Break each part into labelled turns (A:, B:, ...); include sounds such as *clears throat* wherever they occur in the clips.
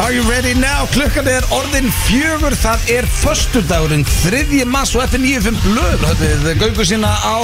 A: Are you ready now? Klukkan er orðin fjögur Það er föstudagurinn Þriðji mass og F95 blöð Þau gaugu sína á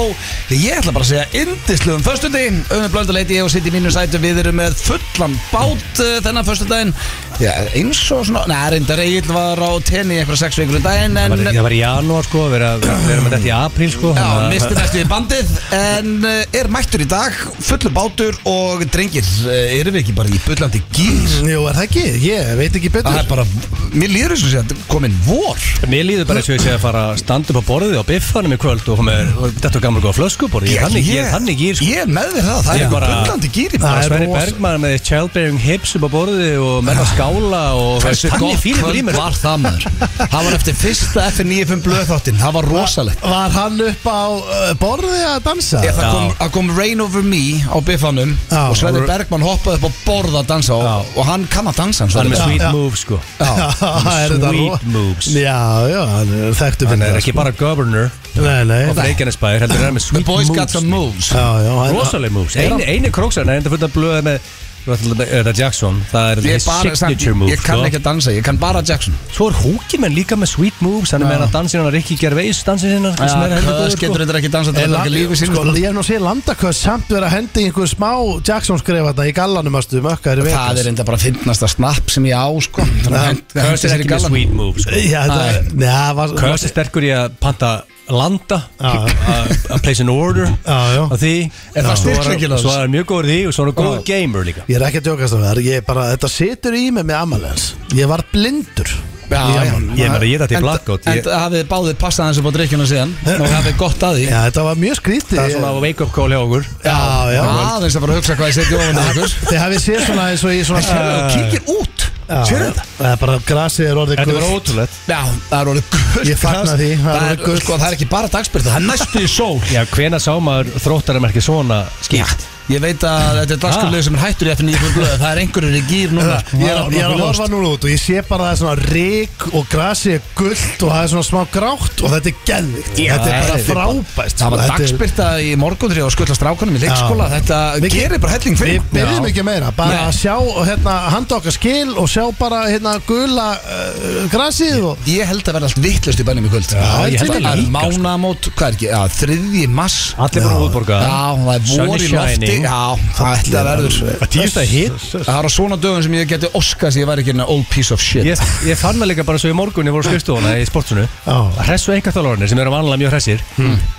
A: Ég ætla bara að segja Indisluðum föstudi Öfnum blönduleiti Ég og sitt í mínu sætu Við erum með fullan bát uh, Þennan föstudaginn Já, eins og svona Nei, reyndar Egil var á tenni Eitthvað sex vikur um daginn En
B: Það var, það var í janúar sko, við erum við erum með þetta í apríl sko
A: Já,
B: þannig að-
A: misti næstu í bandið En uh, er mættur í dag Fullur bátur Og drengir uh, Erum við ekki bara í bullandi gýr
C: Jú, er það ekki? Ég veit ekki
A: Það
C: betur
A: er bara Mér líður þessu sé að komin vor
B: Mér líður bara eins og ég sé að fara að standa upp á borðið á biffanum í kvöld og með þetta gamla góða flöskuborð Ég er þannig, ég er þannig gýr sko
A: Ég er með þér það, það
B: Ég
A: er bara
B: bara-
A: bullandi gýr í
B: Bara
A: bara
C: er
B: Sverri
C: rosa-
B: Bergmann með childbearing hips upp á borðið og menn að skála og
A: Hversu
B: þannig
A: gott
B: fílingur í
A: kvöld
B: mér
A: var það maður *laughs* Það var eftir fyrsta FN95 blöðþáttinn Það var rosalegt
C: Var hann upp á uh, borði að dansa?
A: Ég, það,
B: Já.
A: kom, það kom Rain Over Me á biffanum
C: Já.
A: og Sverri Bergmann hoppaði upp á borða að dansa og, og hann kann að dansa hann Sverrir
B: Hann er með
A: Bergmann.
B: sweet
C: já.
B: move sko
C: Já, það er þetta
B: Sweet
C: ro-
B: moves.
C: Já, já, hann er þekktu
B: Hann
C: fyrir
B: er
C: það,
B: ekki
C: sko.
B: bara governor
C: Nei, nei
B: á Reykjanesbæðir, heldur hann er með
A: The
B: sweet
A: boys got
B: moves
A: some moves
C: Já, já, hann-
B: Rosaleg moves,
A: Er hann-
B: eini, eini króksan er enda fullt að blöða með Þetta Jackson, það er
A: Ég,
B: his
A: bara, samt,
B: signature move
A: ég kann
B: sko.
A: ekki að dansa, ég kann bara Jackson
B: Svo er Hókimenn líka með sweet moves Hann er með hann að dansin hann að Rikki Gervais dansin sinna sem er heldur
A: Það
B: góður
A: getur
B: sko.
A: þetta ekki dansa
C: Er
A: þetta er
C: land-
A: ekki lífið sín
C: Sko, ég hef nú séð landaköð samt vera að hendi einhver smá Jackson skrifa þarna í gallanum aðstu mökkaður í
A: Það er
C: Vegas
A: enda bara fyndnasta snapp sem ég á sko Þannig að hent-
B: Kös
A: hendi
B: er
A: sér í
B: ekki með
A: gallann.
B: sweet moves sko.
C: Já,
A: Æ.
C: það neða, var-
B: Kös er sterkur í að panta landa
C: Já.
B: að að place an order
C: Já, já.
B: að því
A: Er það
B: Já. Svo
A: styrkleikinn
B: hann-
A: hans?
B: Svo er hann mjög góður í því og svo er hann góður gamer líka
C: Ég er ekki að djókast á það, ég er bara, þetta situr í mig með amalens Ég var blindur
A: Já,
C: í
A: já.
C: afmælinu.
B: Ég meina, ég er þetta í blackout
A: En
B: Ég-
A: það hafið báðið passað hans upp á drikkjuna síðan og hafið gott að því
C: Já, þetta var mjög skrítið
B: Það er svona wake up call hjá okkur
C: Já, já
A: aðeins að bara hugsa hvað ég setja ofan í ykkur
C: Þið hafið séð svona eins og í svona
A: Sérðu, þú kíkir út
C: Já,
A: Sérðu þetta?
C: Það er bara grasið er orðið
B: Þetta var
C: gult.
B: ótrúlegt
A: Já, það er orðið gult
C: Ég fagna
A: gras.
C: því, það er
A: Það
C: orðið
A: er,
C: gult.
A: sko, það er ekki bara dagsbyrð Það er næstu í sól
B: Já, hvena sá maður þróttaramerki svona skipt
A: Ég veit að þetta er dagsbyrðið sem er hættur í FN9 blöð Það er einhverjur í gýr núna sko.
C: Ég er, að- ég er að horfa núna út og ég sé bara að það er svona rík og grasið er gullt og það er svona smá grátt og þetta er geðvikt Þetta er bara
B: þetta er bara-
C: frábæst
A: Það var
C: Þetta er-
A: dagsbyrta í morgundri og skullast rákunum í leikskóla
C: Já.
A: Þetta
C: Við-
A: gerir bara helling
C: Við
A: fyrir
C: byrjum
A: Já.
C: ekki meira, bara
A: Nei.
C: að sjá hérna, handa okkar skil og sjá bara hérna gula uh, grasið og
A: Ég held að vera allt vittlust í bænum í kvöld
C: Já, ég held að
A: að
B: líka, sko.
A: Mánamót, hvað er ekki, já, þriðji mass
B: Allir búin að útborga
A: Já, það er vor í
B: Sunny
A: lofti
B: shining.
A: Já, það ætla að verður
B: Það tíðst að hitt
A: Það var á svona dögum sem ég geti oskast Ég væri ekki enn old piece of shit
B: Ég, ég fann það líka bara svo í morgun ég voru á skrifstofuna í sportsunu
C: Já. Hmm.
B: Hressu einhverþálarnir sem eru vanlega mjög hressir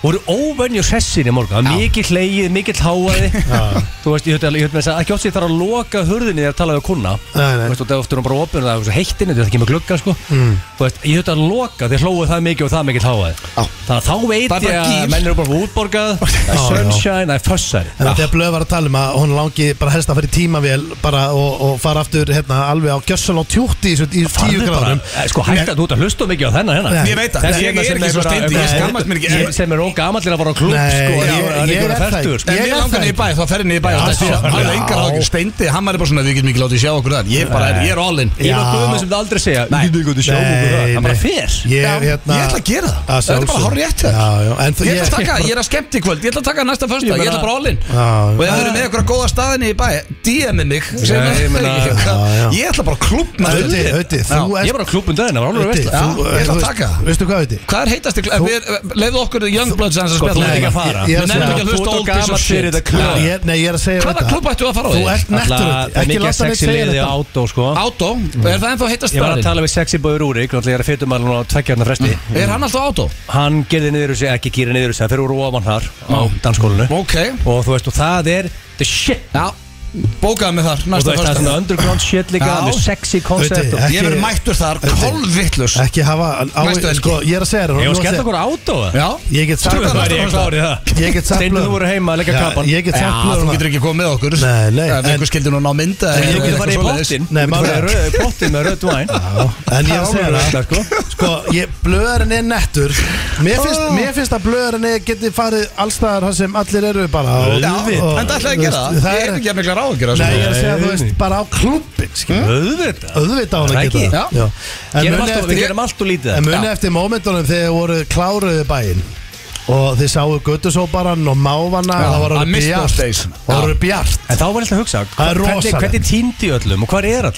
B: voru óvenju hressir í morgun það var mikið hlegið, mikið háaði þú veist, ég höfði alveg- ég höfði með þess að ekki oft sem ég þarf að loka hurðinni þegar talaði við kuna
C: Nei, nei. Hmm.
B: þú veist, og það er oftur hún bara opin og það er svo heittin þetta er ekki með glugga sko þú veist, ég höfði að loka þegar hlóðu það mikið og það mikið háaði
A: Já.
B: þannig að þá
A: Það er
B: veit
A: bara
B: ég
A: gír.
B: að menn eru bara útborgað það er
C: Já, já.
B: sunshine, það er fössar
C: En þetta er blöð var að tala um að hún langi bara helst að fara í tímavél bara og, og fara aftur hérna alveg á gjössan og tjútti í, þessu- í tíu
B: Farðu bara,
C: gráðum
B: eh, Sko hægt að þú ert að hlusta mikið á þennan hérna
C: Nei. Ég
A: veit það.
B: Þessi
A: Ég-
B: hérna
A: ég er
B: sem
A: ekki svo
B: bara-
A: steindi, ég
B: Nei.
A: skammast mér ekki.
B: Ég- Sem er ógamallir að fara á klúb
C: Nei,
B: sko
C: ég-
B: Ég er
C: ég
B: ekki
C: er
B: að
C: það
B: fertur
C: ekki.
A: En
C: Ég
A: mér
C: er
A: langar
C: það
A: niður í bæ, þá fer henni í bæ
C: Já,
A: Þetta er-
C: já.
A: Hann er engar áhugur steindi Hann er bara svona, við getum ekki látið sjá okkur þar Ég er bara, ég er all in
B: Ég var
C: Já.
B: guðum sem það aldrei segja
A: Nei.
B: Við getum ekki út í sjálf okkur það
C: Nei,
B: Það bara
C: nei.
B: fer
C: Ég,
A: Já,
C: er hérna,
A: ég ætla að gera það.
C: Að
A: Þetta er bara
C: sjálfsögðu.
A: hárrétt hjá þér.
C: Já, já, en þú-
A: Ég ætla að taka, ég er að skemmt í kvöld Ég ætla að taka næsta fösta, ég
B: Ég
A: ætla
B: meina-
A: bara all in
C: Já, já.
A: Og ef þau eru með okkur að góða staðinni í bæ DM-ið mig segðu
B: Já, ég
A: mér-
B: meina-
C: Já, já.
A: Ég ætla bara að klúbna
C: Öddi,
A: hluti.
C: Öddi,
A: Já.
C: þú
B: Ég
C: ert
B: var á klúbum daginn, það var alveg
C: Öddi,
B: veist
A: Já,
C: þú-
A: ég ætla að
C: þú veist-
A: taka.
C: Veistu hvað, Ötti?
A: Hvað er eh, heitast í Leifðu okkur Youngbloods hans að
B: Sko, þú
A: spjalla
B: ert ekki að
A: hérna.
B: fara
C: Ég- ég-
A: Við nefnum ekki að hlusta old piece of shit
B: Já.
C: Ég- Nei, ég er að segja
A: Hvaða
C: þetta.
A: klúb ættu að fara á
C: Þú
A: því?
C: ert nettur, Öddi.
B: Það er
C: ekki
B: mikið að
C: láta mig
B: sexy
C: segja
B: liði
C: þetta
B: átó sko
A: Átó, er það ennþá heitast
B: Ég var að
A: staðin?
B: tala um- við sexy boy Rúrik Þannig að ég er að fytum alveg á tveggjarnar fresti
A: Er hann alltaf átó?
B: Hann gerði niður þessi, ekki gýri niður þessi Það fyrir úr ofan þar á danskólinu
A: Ok,
B: Og þú veist, og það er the shit
A: já, bókaðu mig þar
B: Og þú
A: næsta
B: veist, það er
A: fösta
B: svona underground shit líka
A: Já.
B: Með sexy concept
C: Öddi,
B: og-
A: Ég verður mættur þar, kolvittlus
C: Ekki hafa, á,
A: Næstu helgi.
C: sko, ég er að segja þetta
B: Ég var
C: nú ætla
B: skemmt okkur át á það
A: Já,
C: Ég get sagt
A: Þú
C: það
A: verður
C: bara-
A: ég klár
B: í það
C: Ég get sagt
B: Steindór,
C: blöð.
B: þú voru heima að leggja
C: Já,
B: kappan.
C: Ég get
A: Já,
C: sagt
A: þú
C: blöð
A: getur ekki komið okkur
C: Nei, nei,
A: Ef
C: en-
A: einhver skildi núna á mynda
B: Ég
A: eða
B: geti
A: eitthvað
B: farið í
A: svoleiðis.
B: pottin
C: Nei,
B: Ég geti
C: málið
B: farið í rauð- pottin með rödd væn
C: En ég er
B: Það
C: að
B: er
C: segja
B: alveg
C: það
B: sko
C: Sko, ég, blöðurinn er nettur Mér finnst, mér finnst að blöðurinn er- geti farið allstaðar þar sem allir eru bara og-
A: Já,
C: og-
A: en það ætlaði að gera
C: veist,
A: það
C: það
A: Ég hef
C: er-
A: ekki að mikla ráðgjör
C: Nei, ég er að segja, þú
B: Nei.
C: veist, bara á klubbin
B: Öðvitað
C: Öðvitað á hún
B: Það
C: að
B: ekki?
C: geta
A: Já.
C: Já. En
B: Gerum
C: muni
B: allt og- Við
C: eftir,
B: gerum allt og lítið
C: en
B: það.
C: muni
A: Já.
C: eftir mómentunum þegar þið voru kláruðu bæinn og þið sáu göttusóparan og mávana og það var
A: að
C: orðið
A: mista
C: bjart
A: þess
C: það var orðið bjart
B: En þá var ég alltaf að hugsa
C: Það er
B: hvernig-
C: rosalegt.
B: Hvernig týndi öllum og hvað er allir?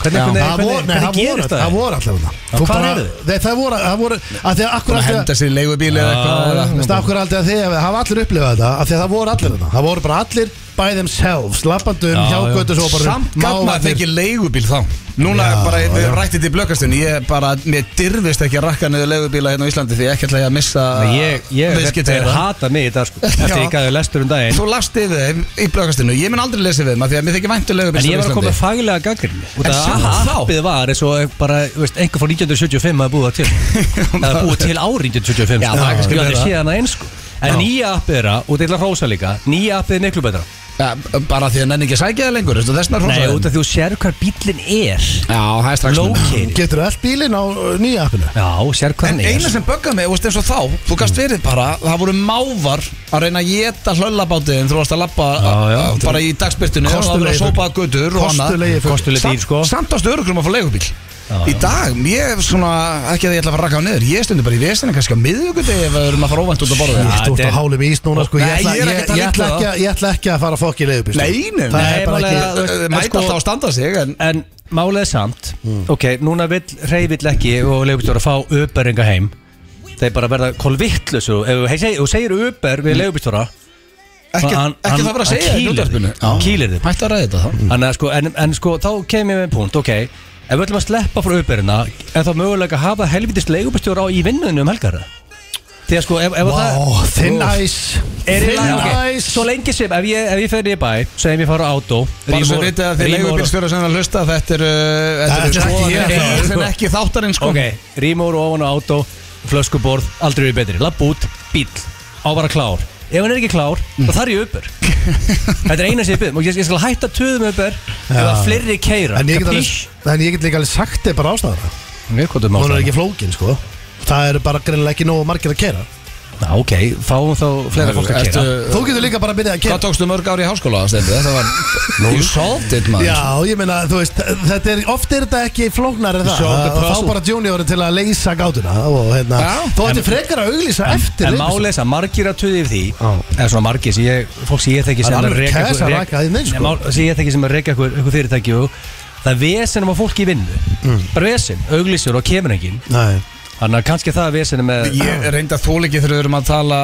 B: Hvernig,
A: Já.
B: hvernig,
C: Það voru, nei,
B: hvernig, hvernig
C: það voru,
B: gerir þetta?
C: það voru allir þarna.
B: Já,
C: Þú
B: hvar
C: bara-
B: eru þau?
C: Nei, Það voru, það voru, að því að akkur
A: Að
C: alltaf
A: henda sér í leigubíli eða eitthvað eða-
C: Þú veist, af hverju aldrei að þið hafa allir upplifað þetta af því að það voru allir þetta það voru bara allir by themselves lappandum,
B: Já, já.
C: hjágötusóparum
A: Samt gaf maður
C: mávarnir.
A: ekki leigubíl þá Núna
C: Já,
A: er bara, við
C: já.
A: höfum rættið í blökkastunni Ég bara, mér dyrfist ekki að rakka niður leigubíla hérna á Íslandi Því ekki ætla ég að missa
B: Nei, Ég, ég,
A: viðskipti
B: ég
A: þeirra.
B: hata mig í dag sko Eftir
A: Já.
B: ég gæði lestur um daginn
A: Þú last yfir þeim í blökkastunni Ég mun aldrei lesa við þeim af Því að mér þykir væntu leigubíl
B: En ég var að koma með faglega gangrinni Út
A: En
B: af
A: sjá
B: að
A: þá.
B: appið var eins og bara, þú veist, einhver frá 1975 að búið það
A: *laughs*
B: til Það er búið til árið 1975
A: Já, það er kannski
B: sko. Ég
A: meira.
B: aldrei séð hana eins sko En nýja appið þeirra, og þetta er eitthvað rosa líka Nýja appið er miklu betra
A: ja, Bara því að nenni ekki að sækja það lengur veistu, Þessna
B: Nei,
A: hrósaði
B: út
A: þeim. Sko.
B: af því þú sér hvar bílinn er
A: Já, það er strax núna.
B: Lókin
C: getur all bílinn á uh, nýja appinu
B: Já, sér hvað
A: En
B: hann
A: eina
B: er
A: sem böggaði mig, þú veist eins og þá Þú gast verið bara, það voru mávar Að reyna að geta hlöllabátið En þú varst að labba
B: Já, já.
A: a- a- bara í dagspyrtunni Og það var að
C: Kostulegi
A: sópa götur og annað
C: kostulegi fugl.
B: Kostuleg dýr sko
A: Samt ástu örugrum að fá leigubíl
B: Já,
A: Í dag, ég er svona, ekki að ég ætla að fara að rakka á niður Ég stundi bara í vesinu, kannski á miðvikudegi Ef við erum að fara óvænt út að borða
B: Já,
C: Þú ert
B: þetta
C: á
B: er-
C: hálum ís núna sko, ég
A: Nei,
C: ætla,
A: ég er ekki að
C: ég,
A: tala
C: ég, ætla
A: illa
C: ekki, að- ég ætla ekki að fara að fokk í leiðubíl
A: Nei, nei,
C: það
A: nei,
C: er bara
B: málega-
C: ekki
B: þú
A: Þa-
B: veist, en
A: Mæta
B: sko-
A: alltaf að standa sig En
B: En málið er samt
A: Hmm.
B: Ok, núna vill reyfill ekki og leifbílstjóra fá öperinga heim Þeir bara verða kolvittlus og ef þú segir, þú segir öper við leifbílstjóra
A: ekki,
B: hann-
A: ekki
B: hann-
A: það bara að
B: hann
A: segja
B: kýlir
A: útvarpinu.
B: þig. Hann
A: Já.
B: kýlir þig.
A: Hættu að ræða þetta þá
B: Þannig að sko, en, en sko, þá kem ég með punkt, ok Ef við ætlum að sleppa frá öperina Er þá mögulega að hafa helvitist leigubastjóra á í vinnuðinu um helgara? Því að sko, ef, ef
C: Wow,
B: það
C: thin ice
B: Er í
C: Thin
B: lagi, ok
C: ice
B: Svo lengi sem, ef ég, ef ég fer í bæ Sem ég fara á átó
A: Bara svo vitið að þið leigubílstjóra sem er að hlusta Þetta er, uh, þetta
C: Þetta er
A: er,
C: ekki
A: sko,
C: ég,
A: þetta er
C: sko.
A: sem ekki þáttarinn sko
B: Ok, rímur ofan á átó Flöskuborð, aldrei verið betri Lapp út, bíl, á bara klár Ef hann er ekki klár, þá þarf ég öper Þetta er eina sem ég byrð Ég, ég skal hætta töðum öper Ef að fleiri keira
C: en ég, get alveg,
B: Kapís?
C: en ég get líka alveg sagt þið bara ástæðara
B: Nei, hvað er um
C: hún er
B: ástæðan?
C: ekki flókin sko það eru bara greinilega ekki nógu margir að kera
B: Já, ok, fáum þá fleira fólk
C: hérna?
B: að
A: Ertu-
B: kera
C: þú getur líka bara að byrja að
A: Hvað
C: kera
A: tókstu mörg ári í háskóla ástændi? Þetta var, you solved it man
C: Já, ég meina, þú veist, þetta er, oft er þetta ekki flóknar en það
B: Solve the
C: Það fá
B: puzzle.
C: bara juniorin til að leysa gátuna og hérna,
A: Já.
C: þú ætti frekar að auglýsa eftir
B: En
C: leikhúsið.
A: sko?
B: málið þess að margir að tuði yfir því
C: Já.
B: Eða svona margir sem ég, fólk sem ég þekki
C: Það er
B: sem
C: alveg
B: reka
C: kæs að
B: einhver-
C: raka því neins,
B: Nei,
C: sko.
B: mál- sem ég þekki sem að reka eitthvað, eitthvað fyrirtæki og það er vesenum á fólki í vinnu
A: Mm.
B: bara vesen, auglýsur og kemur engin
C: Nei,
B: þannig að kannski það er vesenum með
A: Ég reynda þóliki þegar við erum að tala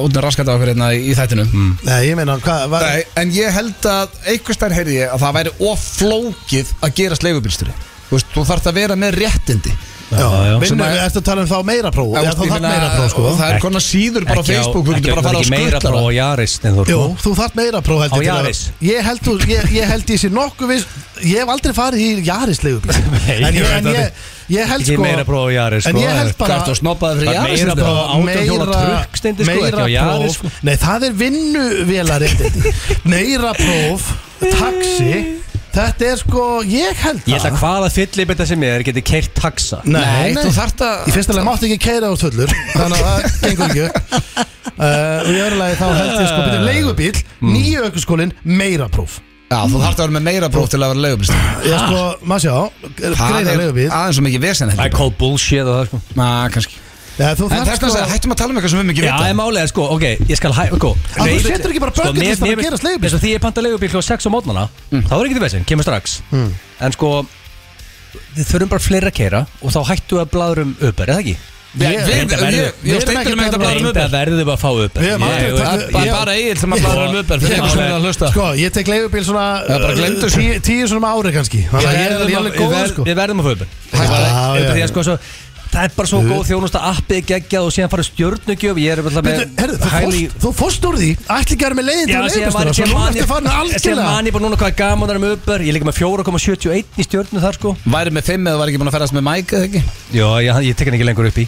A: út með raskat á okkur hérna í í þættinu
C: nei, ég meina, hvað var
A: Nei, en ég held að einhverstær heyrði ég að það væri oflókið að gerast leigubílstjóri Þú veist, þú þarft að vera með réttindi
C: Já,
B: já.
C: vinnum
A: Sem að-
C: við eftir að tala um þá meira próf
A: Þú
C: Já,
A: veist,
C: þá
A: ég
C: þarf
A: meina,
C: meira próf, sko
A: Það er
B: Ekki-
A: konar síður bara á
B: ekki
A: Facebook, þú
B: ekki-
A: getur bara að fara á
B: ekki meira
A: skutla
B: bara á Jaris en þú
C: Jú,
B: sko.
C: þú þarf meira próf
B: Á
C: heldur til að-
B: Yaris?
C: Ég held, þú, ég, ég held ég sé nokkuð viss Ég hef aldrei farið í Jaris
B: *laughs*
C: leigubíl
B: Nei,
C: En, ég,
B: ég
C: en
B: veit
C: ég, ég held
B: Ekki
C: sko
B: meira próf á Yaris,
C: En
B: sko,
C: ég held
A: Hvað
C: bara
A: ertu að snoppaði fyrir
B: Bara
A: Jaris?
B: meira
A: þetta?
B: bara-
C: Sko,
B: átján hjóla trukk, Steindi, sko,
C: meira
B: ekki á Yaris,
C: próf
B: sko.
C: Nei, það er vinnuvélarréttindi Meira próf, taxi Þetta er sko, ég held
B: Ég held að hvaða fyllibetta sem ég er geti keirt taxa
A: Nei, þú þarft
C: Í
A: að
C: fyrsta lega máttu ekki keira út fullur Þannig að það gengur ekki uh, Og í öðru lagi þá held ég sko byrja Leigubíl,
A: Mm.
C: nýju ökkuskólin, meira próf
A: Já, þú þarft að vera með meira próf til að vera leigubílstjóri
C: Ég sko, maður sjá,
A: Það
C: greiða
A: er
C: leigubíl
A: aðeins og mikið vesen
B: I
A: heldur
B: call bullshit og það sko
A: Ná, kannski
C: Já, þú
A: En
C: þarft
A: þess að
C: sko
A: segja, hættum að tala um eitthvað sem við mikið
B: Já,
A: vita
B: það er málega, sko, ok, sko, ég skal hæ, sko
C: þú setur ekki bara bucket list að gera sleigubíl? Mm.
B: Þess að því ég panta leigubíl hljóð 6 á mótnana Þá er ekki til veginn, kemur strax En sko, þið þurfum bara fleira að keira Og þá hættu að um blaðurum öper, eða ekki?
A: Við,
C: Ég-
A: við,
B: Reynda verður-
A: ég-
B: við
A: ég
C: erum ekki
A: steindur með
C: að
A: þetta
C: tala
A: bara um
B: Reynda
A: öber
B: verður að fá öper
C: Við höfum aldrei
B: Ég-
C: tekið-
B: bara-
C: ég-
B: bara-
A: Bara eigin sem að blaðra um öber Fyrir
B: Ég-
A: einhvers veginn að hlusta
C: Sko, ég tek leigubíl svona
A: Já, bara gleymdu
C: uh,
A: þessu.
C: tíu, tíu svona ári kannski Þannig að ég er
B: Við
C: alveg- ég
B: verðum að- við
C: er alveg góð
B: verð-
C: sko
B: Við verðum að fá öper
C: Já, já,
B: Því
C: já.
B: að sko, svo- það er bara svo góð þjónusta Appið geggjað og síðan farið stjörnugjöf Ég er alltaf með
C: Bíddu, heyrðu, þú
B: highly-
C: fórst- Þú fórst úr því, ætli ekki að vera með leiðin til
B: Já,
C: að
B: síðan var síðan
C: leigubílstjóra Svo núna
B: man
A: *laughs*
C: ertu farin
B: ég- síðan
C: algjörlega
B: man ég bara núna hvað gaman það er um öpber Ég er líka með 4,71 í stjörnu þar sko
A: Væri með fimm eða væri ekki búin að ferðast með Mike eða ekki
B: Já, ég, ég tek hann ekki lengur upp í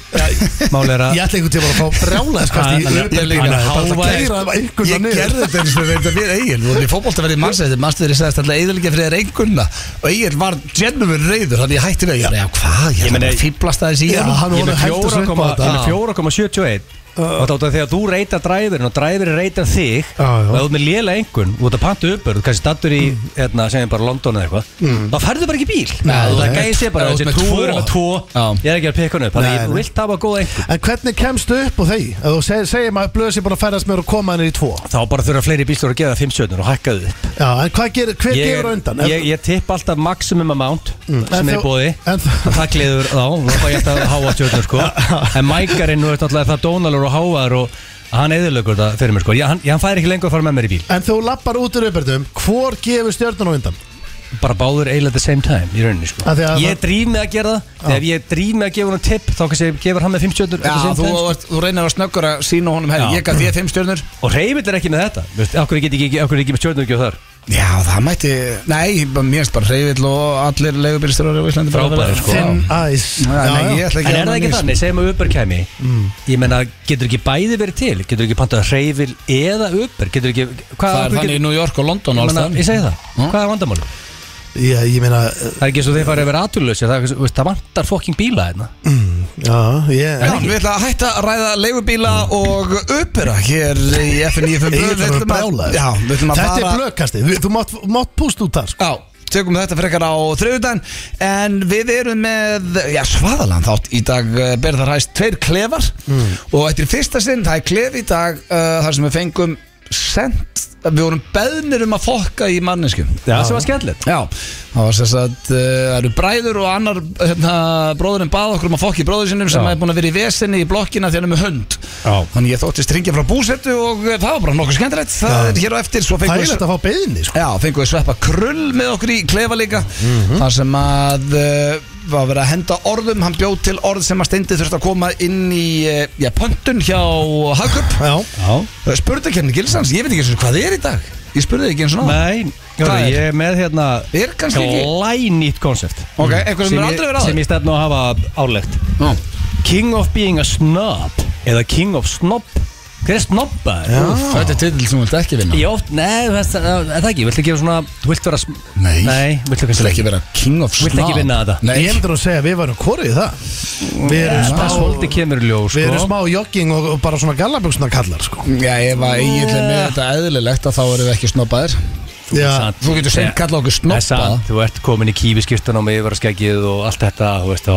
B: Mál er að
C: Ég ætla einhvern tíma að fá brjálæðskast í
B: Hann er-
C: Uber-
A: Ég líka.
C: Hann er bara
B: Hávaði-
C: að keira einhvern
A: Ég
C: veginn niður.
A: gerði þetta eins og þetta við Egil Þú erum í fótboltaverði mannsætti Mannsætti sagðist alltaf eðalega fyrir þér einhverna Og Egil var genuine reyður Þannig ég hætti við Ég bara, já hvað, ég
B: Ég
A: ætla
B: meina-
A: bara að fýblast aðeins í
C: Já,
A: hann
C: hann
B: Ég er
C: voru
B: með
C: hægt að svippa á
B: 4,- ég er með
C: þetta
B: 4,71 Og þetta átt að þegar þú reytar dræfirinn og dræfirinn reytar þig
C: Já, já.
B: og þú ert með léla engun og þú ert að panta uppur, þú kannski stattur í hérna, segjum bara London eða eitthvað þá færðu bara ekki bíl
A: Nei,
B: Þú
A: þú
B: það
A: ert-
B: gæði sér bara,
A: ef þú
B: þessi
A: ert með
B: trúur
A: tvo.
B: með tvo
A: Já.
B: ég er ekki að pekka hann upp, þannig að
C: Nei,
B: ég- þú
C: nei.
B: vilt hafa góða engun
C: En hvernig kemstu upp á þeir? Ef þú segir, segir maður blöð sem bara að ferðast með og koma henni í tvo
B: þá bara þurfa fleiri bílstjóra að gefa það 5-7 og hækka þau upp
C: Já, en hvað gerir, hver
B: Ég
C: gefur á
B: er-
C: undan? Mm.
B: Ég, ég tipp alltaf maximum amount sem
C: En
B: er í
C: þú-
B: bóði
C: en þú-
B: Það gleður þá, þá fæ ég alltaf að háa tjörnur
C: *laughs*
B: sko En mækarinn, nú er alltaf það dónalur og háaður og hann eðurlögur það fyrir mér sko ég, hann, ég, hann fær ekki lengur að fara með mér í bíl
C: En þú lappar út úr uppbyrðum, hvor gefur stjörnun á undan?
B: Bara báður eiginlega at the same time í rauninni sko
C: Af því að
B: Ég
C: það-
B: drýf mig að gera það Þegar ég drýf mig að gefa hann tipp þá kannski gefur hann með 5 tjörnur
A: Já, þú, ert, þú reynir að snöggur að sína honum
B: Já.
A: herri, ég gaf því fimm stjörnur
B: Og reyfill er ekki með þetta Þú veist, Akkur er ekki, ekki, akkur er ekki með tjörnur ekki þar
A: Já, það mætti, nei, bara- mér finnst bara reyfill og allir leigubýrstjórar á Íslandi bara
B: Frábærir,
A: vera-
B: sko.
A: Já.
C: Thin Eyes
A: Já,
C: Já,
A: nei,
C: já.
A: ég ætla
B: En
A: að
B: er það ekki Mm. þannig, segjum að Uber kæmi Ég menna, getur ekki bæði verið til Getur ekki pantað hreyfil eða Uber Getur ekki, hvað
A: Það er
B: getur-
A: þannig í New York og London og
B: Ég
A: alls
B: meina,
A: það
B: Ég segi það, hvað er vandamálum?
C: Já, ég meina uh,
B: Það er ekki eins og þeir farið að vera aturlösi Það, er- þú veist, það vantar fokking bíla hérna
C: Já, ég
A: Já, við ætlum að hætta að ræða leigubíla og uppera hér í FN95
C: Ég ætla að brjála
A: Já, við ætlum að
C: Þetta
A: fara
C: er blökkasti, Við- þú mátt, mátt púst út þar sko.
A: Já, tökum þetta frekar á þriðudaginn En við erum með já, svaðalan þátt Í dag eh, ber þar hæst tveir klefar
B: Mm.
A: Og þetta er fyrsta sinn, það er klef í dag uh, Þar sem við fengum sent Við vorum beðnir um að fokka í manneskum
B: Það sem var skemmtilegt
A: Já, það var sess að uh, það eru bræður og annar hérna, bróðurinn bað okkur um að fokki bróður sinum sem
B: Já.
A: er búin að vera í vesinni í blokkina því hann er með hund
B: Já.
A: Þannig ég þóttist ringja frá búsettu og eh, það var bara nokkuð skemmtilegt Það
C: Já.
A: er hér á eftir, svo
C: Það
A: fengum
C: er
A: við
C: þetta að fá beðinni sko.
A: Já, fengum við sveppa krull með okkur í klefa líka Þar sem að uh, var verið að henda orðum Hann bjóð til orð sem að steindi þurfti að koma inn í uh, já, pöntun hjá Hagkup
C: Já,
B: Já
A: Spurðu kenni Gilsans, ég veit ekki eins og hvað er í dag Ég spurði ekki eins og náðan
B: Nei,
A: Hvað
B: hörðu,
A: er?
B: ég Ah. er með hérna
A: Er kannski ekki-
B: Glænýtt konsept
A: Ok, eitthvað sem
B: Sem
A: er
B: ég-
A: aldrei verið
B: sem
A: áður
B: ég stefn á að hafa álegt
A: Nú.
B: King of being a snob Eða king of snob Hver er snobbaður?
A: Úff, Þetta er titill sem þú vilt ekki vinna
B: Ég oft, nei, það það- það ekki, viltu gefa svona, þú vilt vera sm-
A: Nei.
B: Nei, viltu
A: Þú
B: kannski
A: vilt ekki vera king of snob
B: Vilt ekki vinna þetta?
A: Nei,
C: ég heldur að segja að við varum korið það Við erum
B: Það
C: smá
B: svolítið kemur í ljós, sko
C: Við erum smá jogging og, og bara svona gallabuxna kallar sko.
A: já, ef að ég er með þetta eðlilegt að þá erum við ekki snobbaðir
C: Já,
B: samt-
A: Þú getur seint kallað okkur snobba.
B: Það er samt, Þú ert komin í kífiskiptun og með yfaraskeggið og allt þetta Þú veist þá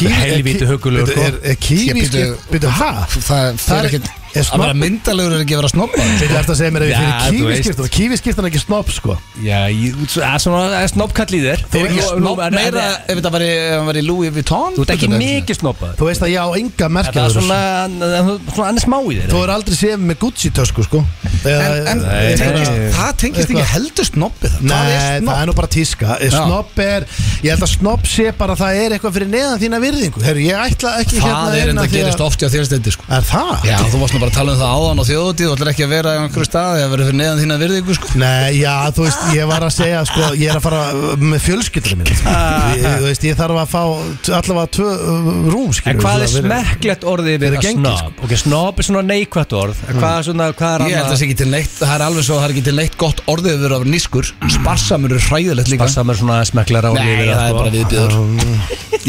A: eh,
B: Helvíti hugulegur
C: sko.
B: sko.
C: Er, er kívi
A: Ég býtu-
C: skip Býtu, hæ?
A: Það, það er ekki
C: er
A: Að vera
C: snobb-
A: myndalegur er ekki að vera snobbaðir
C: Þetta er eftir að segja mér ef ég
B: Já, þú
C: fyrir kívi
B: veist.
C: skiptun Kívi skiptun er ekki snopp sko
B: Já, ég- þú- það er svona það er snobbkall í þér
A: Þú er ekki snobb
B: en- en-
A: meira ef þetta væri, ef hann væri Louis Vuitton
B: Þú ert ekki mikið snobbaður
C: Þú veist að ég á enga
B: Það er
C: merkjaður
B: svona, svona annars smá í þér
C: Þú er aldrei séð með Gucci tösku sko
A: En, en
B: Nei,
A: tengist,
B: nei.
A: það tengist ekki
C: Eitthvað.
A: heldur snobbi það Hvað er
C: Nei, það
A: snobb?
C: er nú bara tíska Eh,
A: Já.
C: Snobb er, ég held að snobb sé bara að það er eitthvað fyrir neðan þína virðingu Herru, ég ætla ekki
B: hérna
A: Það er enda
C: því að-
A: gerist oft hjá þér stendi sko
C: Er það?
A: Já, þú varst nú bara að tala um það áðan á þjóðutíð Þú ætlar ekki að vera í einhverju staði að vera fyrir neðan þína virðingu sko
C: Nei, já, þú veist, ég var að segja sko, ég er að fara uh, með fjölskyldurinn mín sko. Ég- Þú veist, ég þarf að fá t- allavega tvö uh, rúm skilur
B: En
C: við,
B: hvað er
C: svona, verið-
B: smekklegt orðið
C: Fyrir
B: við að
C: gengi,
B: snobb? Ok, snobb er svona neikvætt orð En hvað er svona, hvað er
A: Mm. Ég held að það sé ekki til neitt, það er alveg svo að það er ekki til neitt gott orðið að vera nýskur Sparsamur er hræðilegt líka
B: Passa mér svona smekklar á
A: Nei, það
B: sko.
A: er bara viðbjöður
B: *laughs*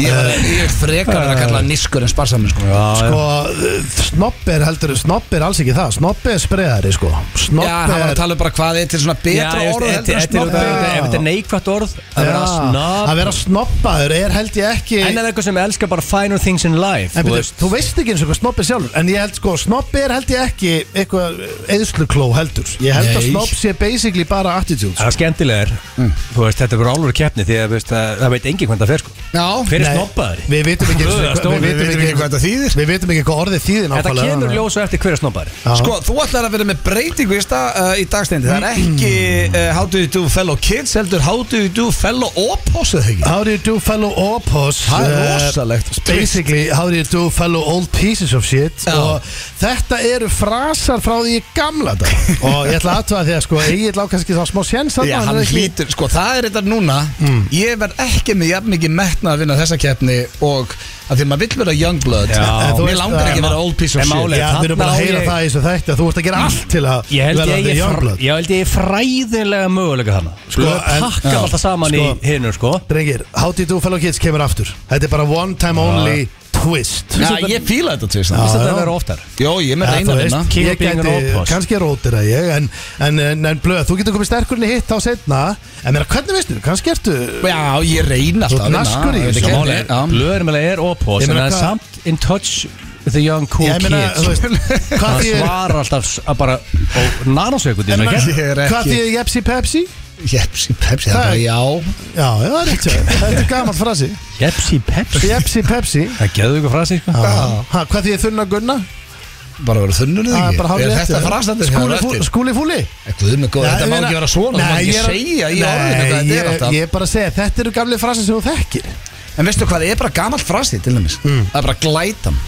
A: Ég var- ég er frekar að kalla nýskur en sparsamur sko
B: Eh. Já,
C: Sko, uh, snobb er heldur, snobb er alls ekki það Snobb er spreðari, sko Snobb
A: Já, það var að
C: er
A: tala um bara hvað er til svona
B: Já,
A: betra
B: ég
A: orð
B: veist,
A: heldur en
B: þetta þetta er út
A: snobbi
B: af- ef þetta er neikvætt orð um að vera snobb
C: Að vera snobbaður er held ég ekki
B: En er eitthvað sem elskar bara finer things in life
C: En
B: þú
C: byrju,
B: veist.
C: þú veist ekki eins og hvað snobb er sjálfur En ég held sko, snobb er held ég ekki eitthvað eðslukló heldur Ég held að
A: Nei.
C: snobb sé basically bara attitude sko.
B: Það er skemmtilegar
C: Mm.
B: Þú veist, þetta er bara álur keppni Því að veist, það það veit engin hvernig það fer sko
A: Já,
B: Hver er
C: Nei,
B: snobbaðari?
C: Við vitum ekki,
B: Guð, það stóð-
C: við vitum ekki,
A: hvað þetta þýðir
C: Við vitum ekki hvað orðið þýðir
B: Þetta
C: nákvæmlega
B: kemur ljós og eftir hver er snobbaðari
C: Já.
A: Sko, þú ætlar að vera með breytingu í, stað, uh, í dagsteindi Það
C: Mm.
A: er ekki uh, How do you do fellow kids heldur How do you do fellow opos eða ekki
C: How do you do fellow opos
A: Það er
C: eh,
A: rosalegt
C: Basically, how do you do fellow old pieces of shit
A: Já.
C: Og þetta eru frasar frá því í gamla
A: *laughs*
C: dag Og ég ætla aðtöða því að sko Egil á kannski þá smá sjens þarna,
A: Já,
C: hann
A: hann
C: er ekki- Mm.
A: hlýtur, sko, það er þetta núna Ég verð ekki með jafn mikið metna að vinna þessa keppni og að því maður vill vera youngblood
B: Já. En þú
A: Mér
C: veist,
A: langar
C: eh,
A: ekki að vera old piece
B: en
A: of
B: málið-
A: shit
C: Já, við erum bara
B: Þarna á
C: að heyra
B: ég-
C: það í þessu þætti að Þú ert að gera allt til að
B: Ég held
C: verða
B: ég
C: the
B: eigi fr-
C: Youngblood
B: ég held ég eigi fræðilega möguleika þarna Sko,
C: en-
B: pakka
C: Já.
B: alltaf saman
C: Sko,
B: í hinu sko
C: Drengir, How do you do fellow kids kemur aftur Þetta er bara one time only twist
A: Já, ég fíla þetta tvist
C: Já,
B: Þetta
C: já.
B: verður oftar
A: Jó, ég er með
C: Eða,
A: reyna
C: þú
A: að vinna
C: veist,
B: Keep
C: Ég
B: being an
C: gæti,
B: outpost.
C: kannski rótir að ég En, en, en, en blöð, þú getur komið sterkur inn í hitt þá setna En meira, hvernig veistu, kannski ertu
A: Já, ég reyna
C: Þú
A: alltaf að vinna
C: ert naskur í
A: ég veit
C: þessu,
A: ekki
B: Mál
A: hvernig,
B: er, blöður meðlega er opos
C: Ég
B: En það
C: meina
B: er
C: hvað-
B: samt in touch with the young cool
C: Ég meina, þú
B: kids
C: veist, hvað
B: Það
C: því er
B: svarar alltaf s- að bara á nanosekundin
C: en meina,
A: ég er ekki-
C: Hvað því er Jepsi Pepsi?
A: Jepsi, pepsi,
C: Það
A: það
C: er-
A: er já
C: Já, já, það er rétt hjá þér. *laughs* Þetta er gammal frasi
B: Jepsi Pepsi
C: Jepsi Pepsi Já.
B: Það geðu ykkur frá sig sko
C: Ha, Hvað því er þunna gunna?
A: Bara verið þunnur eða
C: Það er bara
A: ekki Er
C: hárið rétt
A: þetta
C: hjá Sko, þér.
A: frastandir
C: Skúli fú- Skúli fúli
A: Guð með góð,
C: Já,
A: þetta
C: ég
A: má
C: meina-
A: ekki vera svona Það má
C: Nei,
A: ekki
C: ég er að-
A: segja í
C: Nei,
A: orðinu hvað þetta
C: ég
A: er alltaf
C: Ég er bara að segja, þetta eru gamli frasi sem þú þekkir
A: En veistu hvað, það er bara gamall frasi til dæmis
C: Mm.
A: Það er bara glætan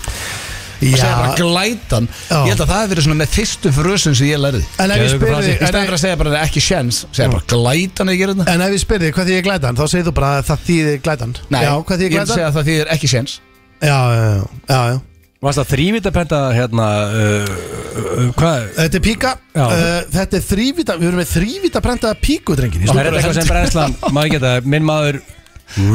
A: Það segja bara glætan
C: Já.
A: Ég held að það hefur verið svona með fyrstu frösun sem ég lærði
C: En ef ég
B: Geðveikur
C: spyrir
B: frasi.
A: Í
C: þig- en
A: staðan
C: ef-
A: fyrir að segja bara ekki sjens Segja bara glætan eða gera þetta
C: en ef ég spyrir þig hvað því er glætan Þá segir þú bara að það þýðir glætan
A: Nei,
C: Já, hvað
A: ég
C: því er
A: vil
C: glætan?
A: segja að það þýðir ekki sjens
C: Já, já, já, já, já.
B: Varst það þrývita penta hérna uh, uh, Hvað?
C: Þetta er píka
B: Já.
C: uh, Þetta er þrývita Við erum með þrývita prentaða píku, drengir í
B: Það
C: stúkunni.
B: er þetta eitthvað sem
C: *laughs*
B: brennslan maður geta Minn maður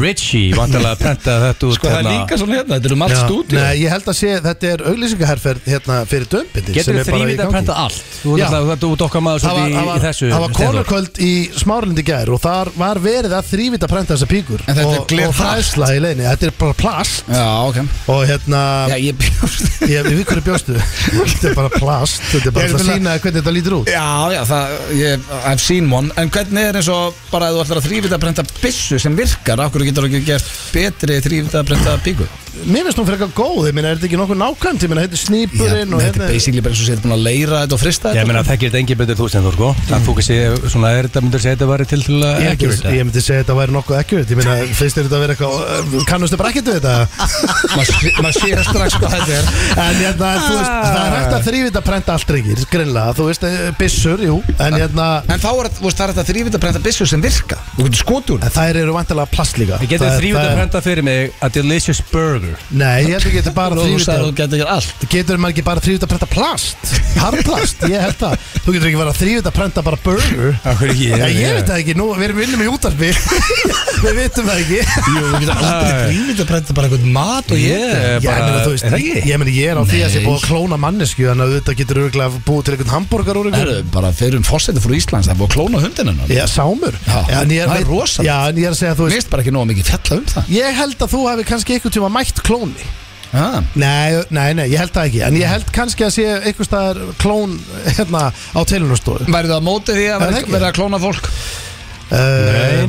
B: Richie vantarlega að prenta þetta út
A: Sko það er líka svona hérna, þetta eru margt
C: Já.
A: stúdíu
C: Nei, ég held að sé Þetta er auglýsingaherferð hérna, fyrir dömbindi
B: Getur þið þrývita að prenta allt Þú
C: Já.
B: ert alltaf- þú ert okkar maður
C: Það var,
B: svolítið
C: það
B: í- í
C: var,
B: þessu
C: það var
B: Steindór.
C: konarkvöld í smárlindi gær og þar var verið að þrývita prenta þessa píkur
A: En þetta er
C: og, og
A: glerhart.
C: fræsla í leini, þetta er bara plast
A: Já, ok
C: og hérna,
A: Já, ég bjóst
C: ég, við hverju bjóstu þetta er bara plast, þetta er
A: Ég
C: bara
A: meina-
C: að sína hvernig þetta lítur út
A: *laughs* Já, já, það, ég, I've seen one En hvernig er eins og bara að þú ætlar að þrývita að brenda byssu sem virkar Akkur getur þú ekki gert betri þrývita að brenda bíku
C: mér finnst hún frekar góð, ég meina, er þetta ekki nokkuð nákvæmt ég meina, þetta er
A: Já,
C: snýpurinn og
A: þetta er
C: hérna
A: basically bara eins og séð búin að leira þetta og frista
B: Ég
A: þetta
B: meina þekkir þetta engin betur þú sem þú sko Það þú kannski, svona er þetta myndir segja þetta væri til til að
C: Ég,
B: ekki
C: myndi- ég myndi segja að þetta væri nokkuð accurate Ég meina, finnst þér þetta að vera eitthvað Kannustu bara ekkert við þetta
A: *laughs* Maður mað sér strax hvað þetta er
C: En hérna, þú veist, það er hægt að þrývita prenta allt reykir Grinnlega, þú veist, eh, byssur, jú En hérna,
A: En þá er, þú veist, það er þetta þrývita að brenda byssu sem virka Þú getur skotur
C: en þær eru vantilega plast líka
B: Við getum
C: Það-
B: þrývita
C: það
B: að
C: er-
B: prenta fyrir mig A delicious burger
C: Nei, ég held að getur bara
A: Þú
C: þrývita
A: sagði þú getur ekki allt
C: Getur maður ekki bara þrývita prenta plast Harplast, ég held það Þú getur ekki bara þrývita prenta bara burger
A: Ah,
B: Af hverju ekki?
C: Já, ég veit það ekki, nú, við erum vinnum í útarpi *laughs* Við vitum það ekki
A: Jú, eh, þú getur aldrei þrývita að brenda bara eitthvað mat og
B: Ég
A: ég
B: er
C: Já, ég
B: bara,
C: meina, þú veist,
B: er það
C: ég,
B: ekki?
C: meina, ég er á því að sé
A: Nei.
C: búið að klóna mannesku Þannig að þetta getur örgulega búið til einhvern hamburgar úr
A: Það
C: einhver
A: eru bara fyrir um fósettu frú Íslands Það er búið að klóna hundinu hennar.
C: Já, sámur
A: Já,
C: en ég
A: það er
C: að-
A: rosalegt.
C: Já, en ég er að segja, þú
A: Mér
C: veist
A: finnst bara ekki nóg mikið fjalla um það
C: Ég held að þú hafi kannski einhvern tíma mætt klóni
A: ah.
C: Nei, nei, nei, ég held það ekki En ég held kannski að sé einhver staðar klón hérna á *laughs* telunastofu uh,
A: Værið það á móti því að
C: Það er
A: vera-
C: ekki.
A: vera að klóna fólk
C: Nei,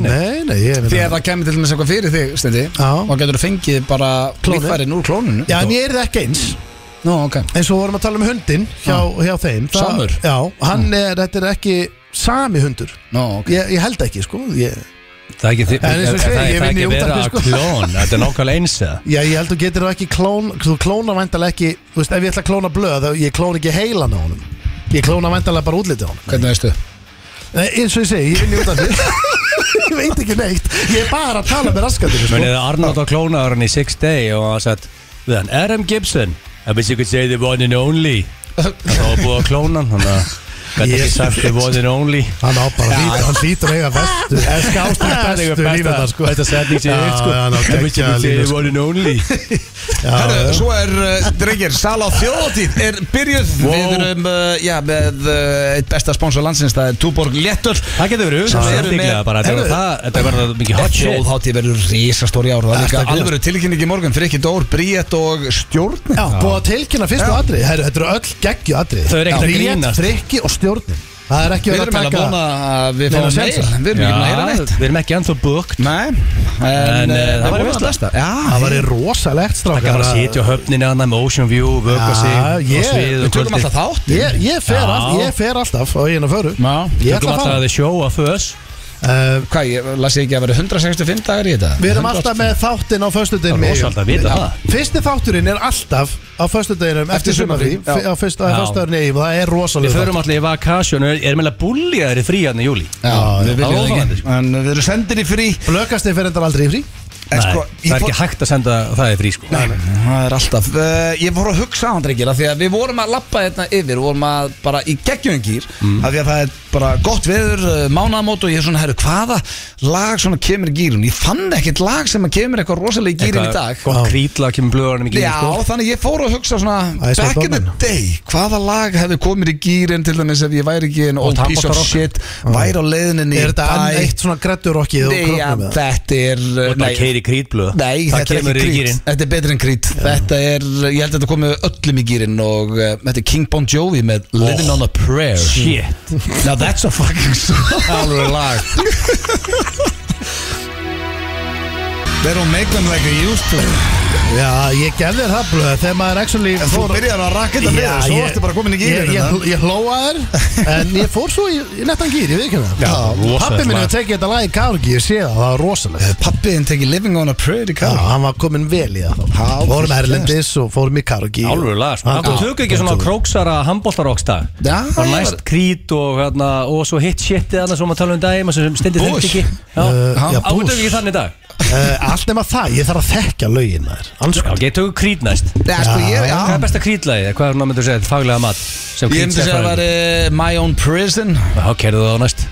B: nei.
C: Eh, nei, nei ég, hérna-
A: Því
C: meina-
A: að það kemur til með eitthvað fyrir þig Stendi
C: Já.
A: Og getur þú fengið bara
C: Klónið.
A: líffærin úr klóninu
C: Já, en ég er það ekki eins
A: Nú, ok
C: eins og vorum að tala um hundin hjá, hjá þeim Það-
A: Samur.
C: Já, hann er, þetta er ekki sami hundur
A: Nú, ok
C: Ég, ég held ekki, sko ég,
B: Það er ekki þi-
C: En eins og ég segi,
B: það
C: ég
B: er
C: vinn í
B: ekki verið
C: útvarpi,
B: að
C: sko.
B: klón Þetta er nákvæmlega eins eða
C: Já, ég held að þú getur það ekki klón Þú klónar væntalega ekki Þú veist, ef ég ætla að klóna blöð þá Ég klón ekki heilan á honum Ég klóna væntalega bara útlitið á honum
A: Hvernig veistu?
C: Nei, eins og ég segi, ég vinn í út af því *laughs* Ég veit ekki neitt Ég er bara að tala með raskatinu sko.
B: Munið að Arnold á klónaðurinn í Six Day og hann sagt við hann Adam Gibson I wish you could say the one and only Það var búið að klóna hann Þannig að gæti ekki
C: Yes.
B: sagt the one and only
C: Hann á bara lít, hann lítur eiga bestu En skástur bestu lífið það sko
B: Þetta setning sé
C: Já,
B: eitt sko
C: já,
B: I
C: ná,
B: wish you
C: geggjaða
B: could say
C: línu,
B: the
C: sko.
B: one and only
C: Já,
A: Herru,
C: já.
A: svo er, uh, drengir, sala á þjóðatíð er byrjuð
B: Wow.
A: Við erum, uh, já, með uh, eitt besta sponsor landsins, það er Túborg Léttur
B: Það getur verið
A: Sem eru
B: Sannleiklega
A: með-
B: bara Þetta
A: Herðu.
B: er það- þetta er bara mikið hot shit
A: Þjóðhátíð verður risastór í ár og Það er
C: Ertu að
A: líka
C: grínast?
A: alvöru tilkynning í morgun Frikki Dór, Bríett og stjórn
C: Já, búið að tilkynna fyrstu atrið Herru, þetta eru öll geggju atrið
B: Þau eru ekkert að grínast.
C: Frikki og stjórnin Það er
A: Við
C: ekki verið
A: erum
C: að
A: eiginlega
C: taka
A: vona að við
C: Neina
A: fáum mail
C: sénsa.
A: Við erum ekki búin að heyra neitt
B: Við erum ekki ennþá booked
A: Nei,
B: En,
A: en
B: eh,
A: uh,
B: það væri
A: vonum
B: veistla.
A: besta Já,
C: Það var rosalegt
B: Það
C: strákar
B: gæti að sitja á höfninni annað með Ocean View, vöka
C: Já,
B: sig um
C: ég-
B: og svið
A: við
B: og
A: tökum alltaf þátt
C: Ég, ég, fer
B: Já.
C: all, ég fer alltaf á eigin að föru
A: Já.
B: Tökum
C: Ég ætla að
B: alltaf
C: fara
B: að þið sjóa fös
C: uh,
A: Hvað, ég las ég ekki að vera 165 dagar í þetta?
C: Við erum alltaf með þáttinn á föstudegin
B: Það er rosalega að vita það
C: Fyrsti þátturinn er alltaf á föstudeginum
A: Eftir
C: Eftir sumafrí
A: sumarfrí, já.
C: Á fyrsta
B: Já.
C: föstudagurinn eigin og það er
B: Við
C: rosalega
B: förum alltaf í vakasjón og erum meðlega búljaðir í frí hann í júli
A: Já, við
B: já,
A: viljum
B: já.
A: það ekki En við erum sendir í frí
C: Blökastið fer endar aldrei í frí
A: En
B: Nei,
A: sko, ég
B: það er
A: fór-
B: ekki hægt að senda það í frí sko
A: Nei, nei, það er alltaf uh, Ég voru að hugsa á hann drengir af Því að við vorum að lappa hérna yfir Við vorum að bara í geggjungir mm. Því að það er bara gott veður uh, Mánamót og ég er svona, herru, hvaða lag svona kemur í gýrun Ég fann ekkert lag sem að kemur eitthvað rosalega í gýrun í dag
B: Gótt krýtla kemur blöðanum í gírin
A: Já,
B: sko
A: þannig ég fór að hugsa svona
C: Æ, svo
A: Back in the
C: dómen.
A: day, hvaða lag hefði komið í gýrin Til dæmis ef ég væri ekki en
B: Og
A: old piece of
B: tampastar okkar.
A: shit Væri á leiðinni í
C: Er þetta enn
A: bæ
C: eitt svona grætturokkið og
A: Nei, ja,
C: króknum með það?
A: þetta er
B: Og bara keiri krýtblöð
A: Nei, þetta er ekki krít Þetta er betur en krít Þetta er, ég held að þetta komið öllum í gýrin og uh, þetta er King Bon Jovi með Living on a Prayer
B: Shit
A: Now that's a fucking song
B: Alveg
A: *laughs*
B: lag
A: They don't make them like they used to
C: Já, ég gef þér það blöð Þegar maður actually
A: Þú
C: fór-
A: byrjar að rakka þetta
C: Já,
A: með Svo
C: ég-
A: ertu bara komin í
C: Ég,
A: gýrin
C: ég, hl- ég hlóa þær En ég fór svo í, í nettan gýr, ég veit ekki
B: Já,
C: það
B: rosalegt
C: Pappi minn
B: lag.
C: hefur tekið þetta lag í kárgi Ég sé það, það var rosalegt
A: Pappiðin tekið Living on a Prayer í
C: Já,
A: kall
C: hann var komin vel í það
A: Já,
C: þá Fórum
A: fyrst
C: Erlendis og fórum í kárgi
B: Alveg lag sko Það tökur ekki svona króksara handbóltarokstag
A: Já,
B: Og
A: ég
B: næst
A: var-
B: krít og hérna Og svo hitt shitið annars Svo maður tala um daginn Sem stendir
A: Bush.
B: þengt ekki
C: Uh, já,
B: Já, átökum
C: Bush.
B: ekki þannig í dag
C: Eh, Allt nema það, ég þarf að þekka lögin þær
B: Já, ok, tökum krít næst
A: Já, sko, ég, já
B: Hvað er besta krítlagi? Hvað er hún að mynda að segja? Faglega mat sem
A: Ég myndi segja að það
B: krítstærðfræðingur?
A: var uh, My Own Prison
B: Já, kerðu það á næst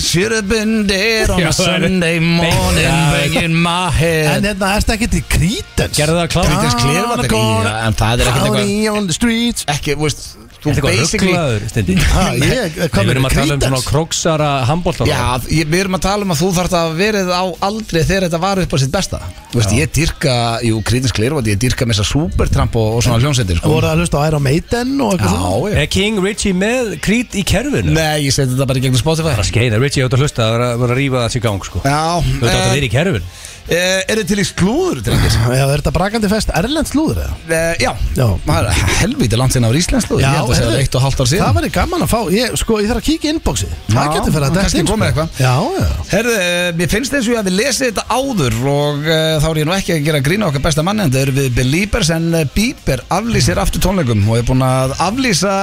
A: Should have been there on
B: Já,
A: a
B: það er-
A: Sunday morning
B: Já,
A: Banging my
C: En
A: head
C: hérna, erstu ekki til krítens?
B: Gerðu það Ah, klár
A: Creedence Clearwater- Já, en það er ekkert eitthvað-
C: County on the streets
A: Ekki, þú veist Þú
B: Þetta er eitthvað
A: basically
B: rugglaður stundi
C: Ha, ég,
B: Við erum
C: hvað verður
B: að tala um svona
C: krítens?
B: króksara handbóltar
A: Já, ég, við erum að tala um að þú þarft að verið á aldrei þegar þetta var upp á sitt besta Þú veist, ég dyrka, jú, Creedence Clearwater, ég dyrka með þessa Supertramp og, og svona hljónsendir, sko
C: Voru það að hlusta á Iron Maiden og eitthvað svona?
A: Já, já
B: Er King Richie með krít í kerfinu?
A: Nei, ég seti þetta bara í gegnum Spotify
B: Það er skeið, Richie átt að hlusta, það er að vera að rífa það sér gang sko Þú
A: Já,
B: veit átt að
A: eh,
B: vera í kerfinu
A: eh, er þið til í slúður, drengir?
C: Já, er þetta brakandi fest Erlend slúður eða?
A: Eh, Já,
C: Já.
A: maður, helvítið langt sinna á Íslands slúður Ég held að segja
C: heyrðu,
A: það eitt og halvt ár
C: Það
A: síðan
C: væri gaman að fá, ég, sko, ég þarf að kíkja í inboxið
A: Já,
C: Það getur fyrir að
A: kannski
C: detta inn
A: komið
C: sko.
A: eitthvað.
C: Já, já
A: Herðu, eh, mér finnst eins og ég hafi lesið þetta áður og uh, þá er ég nú ekki að gera grína okkar besta manni en það eru við Beliebers en uh, Bieber aflýsir aftur tónleikum og er búin að aflýsa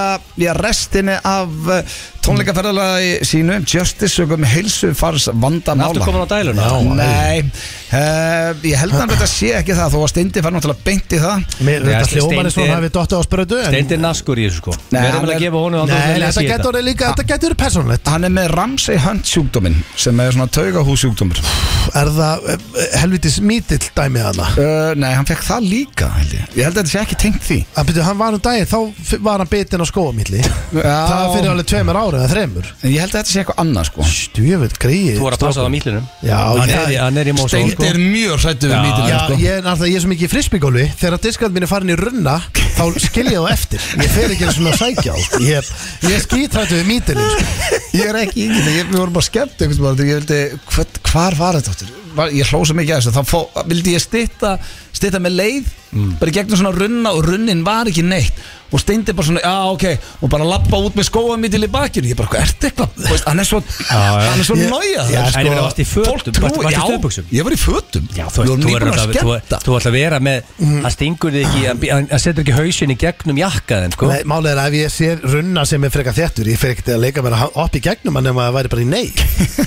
A: já, restinni af uh, tónleikaferðalagi sínu Justice sögum heilsu fars
B: Aftur
A: vandamála
B: komin á dæluna
A: Nei, uh, ég held að þetta sé ekki það þó að Steindi fær náttúrulega beint í það
B: Já, sko,
C: Mér, Þetta
B: Steindi-
C: hljómar er svona að við dottu á sprödu en-
B: Steindir naskur í þessu sko Við
A: Nei,
B: erum
A: hann
B: að
A: er-
B: gefa honum
C: Nei,
B: andrúm til að
C: þetta
B: lesa í
C: getur
B: þetta.
C: orðið líka, þetta getur verið persónulegt
A: Hann er með Ramsey Hunt sjúkdómin sem er svona taugahús sjúkdómur
C: Er það eh, helvitis mítill dæmið hana
A: uh, Nei, hann fekk það líka held ég. ég held að þetta sé ekki tengt því
C: Að byrju, hann var um daginn, þá f- var hann bitinn á skóamilli Það var fyrir alveg tveimur ára eða þreimur
A: En Ég held að þetta sé eitthvað annað sko
C: Stjöfitt greið
B: Þú voru að passa það á mýllinum
C: Já,
B: Hann
C: ég-
B: er í- hann er í sko. mósa
A: Steindi er mjög hrættu við
B: Já.
A: mítið
C: Já,
A: sko.
C: ég er alltaf, ég er svo mikið í frisbygólu Þegar diskant mín er farin í runna Þá skilja ég þá eftir Ég fer ekki einu sinni að sækja á Ég, ég er skítrættu við mítilinn sko.
A: ég er ekki yngið það, við vorum bara skemmt einhvern veginn, ég vildi, hvern, hvar var þetta áttur? Var, ég hlósa mikið að þessu, þá fó, vildi ég stitta, stitta með leið
B: Mm.
A: bara í gegnum svona runna og runnin var ekki neitt og steindi bara svona, já ok og bara lappa út með skóa mitt í bakinu ég bara, hvað ert eitthvað, Þú veist, hann er svo
B: já.
A: hann er svo
C: Ég-
A: nájað
C: Já,
B: En ég meina, varst í
A: fólk
B: fötum, varst-
A: trúi,
B: varst í
A: já,
B: stöðbuxum?
A: ég var í fötum
B: Já,
A: Við
B: þú veist,
A: vorum
B: þú verður
A: nýbúin
B: alltaf- þú-
A: skemmta.
B: þú ætla að vera með Það stingur þig ekki, hann- hann hann setur ekki hausin í gegnum jakkaðin sko
C: Nei, Málið er að ef ég sé runna sem er freka þéttur Ég fer ekkert að leika mér að upp í gegnum hann Nefn að það væri bara í nei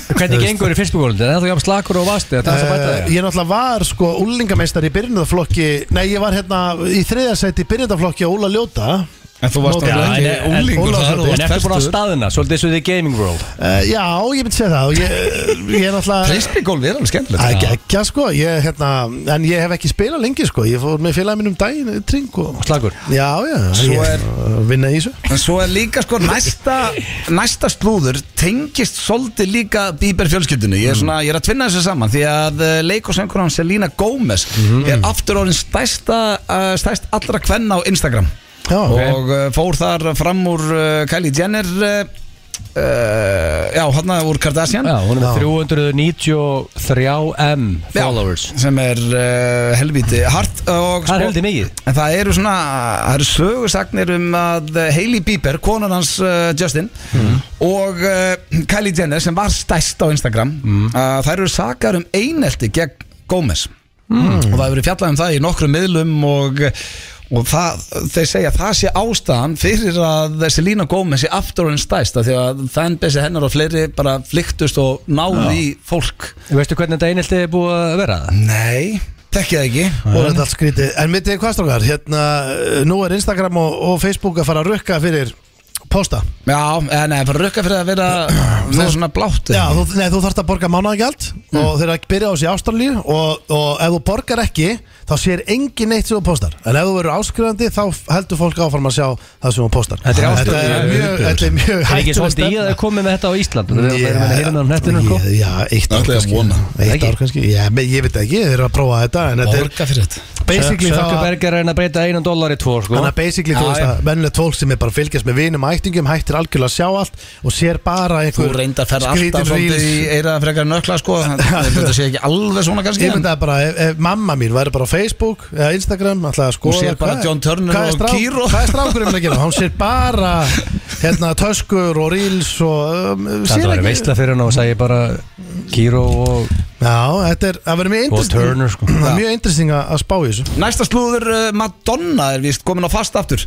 B: Hvernig gengur í fyrstbúkólund? Er það jafn slakur og vasti? Það er það að bæta
C: Eh,
B: þig
C: Ég náttúrulega var sko úlingameistar í byrjunarflokki Nei, ég var hérna í þriðasæti í byrjunarflokki á Óla Ljóta
A: En þú varst
C: Já,
A: náttúrulega
C: en-
A: ekki
C: en-
A: unglingur
C: Ólafur
A: þar, þú
C: Þórdís,
A: varst
B: En ertu búin að
A: fertugur.
B: staðina, svolítið eins og þið gaming world
C: uh, Já, ég myndi segja það og Ég, ég er náttúrulega
A: Frisbeególf er alveg skemmtilegt
C: Það er geggja sko, ég, hérna, en ég hef ekki spilað lengi sko, ég fór með félagin minn um daginn í tring og...
B: Slagur
C: Já, já,
A: Svo
C: ég
A: er-
C: uh, vinna í þessu.
A: En svo er líka sko næsta, næsta slúður tengist svolítið líka Bíber fjölskyldinu ég er, svona, ég er að tvinna þessu saman því að eh, leik og söngur hans Selina Gómez
B: Mhm.
A: er aftur orðin stæsta, eh, stæst allra kvenna á Instagram
C: Já,
A: og uh, fór þar fram úr uh, Kylie Jenner uh, uh, já, hann úr Kardashian
B: Já, hún er
C: Já.
B: með 393M
A: Já,
B: followers
A: sem er uh, helviti hart og, sko-
B: Það er heldur mikið
A: En það eru svona, það eru sögusagnir um að Hailey Bieber, konan hans uh, Justin og uh, Kylie Jenner sem var stæst á Instagram mm. þær eru sakar um Mm. einelti gegn Gómez og það hefur verið fjallað um það í nokkrum miðlum og, og það, þeir segja að það sé ástæðan fyrir að þessi Lína Gómez sé aftur en stæsta því að fanbase hennar og fleiri bara flyktust og náði í fólk
B: Veistu hvernig þetta einhelti er búið að vera?
A: Nei, tekki það ekki
C: Og þetta er allt skrítið En mitt er hvað strókar Hérna, eh, nú er Instagram og, og Facebook að fara að rukka fyrir Pósta
A: Já, eða nei, bara rukka fyrir að vera með svona blátt hérna.
C: Já, þú, nei, þú þarft að borga mánaðagjald Og þeir eru að byrja á þessi ástralíu og, og ef þú borgar ekki Þá sér engin neitt sem þú póstar En ef þú verður áskrifandi Þá heldur fólk áfram að sjá það sem þú póstar
B: Þetta er
C: Þetta er
B: Ástralíu,
C: mjög, þetta er mjög
B: Það er ekki
C: hættuleg
B: svolítið í að
C: stefna.
B: þau komið með þetta á Ísland Þú veist,
C: Já,
B: það er hérna um hnettinu sko.
C: ég- Já, eitt
A: Það
C: ár
A: ætla ég að
C: kannski
A: vona.
C: Eitt
B: Ekki?
C: ár kannski, já, men ég veit ekki, þeir eru að prófa þetta En þetta er
A: Borga fyrir þetta
C: basically þá að
B: Sökkuberg er að reyna að breyta einan dólar í tvo sko.
C: Þannig að basically þú
A: Já,
C: veist
A: já.
C: að vennilegt fólk sem er bara að fylgjast með vinum og ættingum hættir algjörlega að sjá allt og sér bara
A: Þú
C: einhver
A: reyndar að ferða alltaf
C: skrítin
A: svolítið í
C: reels.
A: eiraða frekar en ökla
C: *laughs*
A: sko Þetta sé ekki alveg svona kannski
C: Ég
A: en
C: myndi að bara, ef, ef mamma mín væri bara á Facebook eða Instagram, alltaf að skoða
A: Hún sér bara
C: hvað-
A: John Turner
C: hvað er
A: og Kiro.
C: Hvað er strákurinn
A: *laughs*
C: að gera? Hún sér bara hérna, töskur og reels og um,
B: Þetta var veistla fyrir hann og sagði bara Kiro og,
C: Já, þetta er, það verður mjög
B: og
C: interesting
B: Turner sko.
C: Það er mjög interesting að að spá í þessu
A: Næsta slúður uh, Madonna er vist komin á fast aftur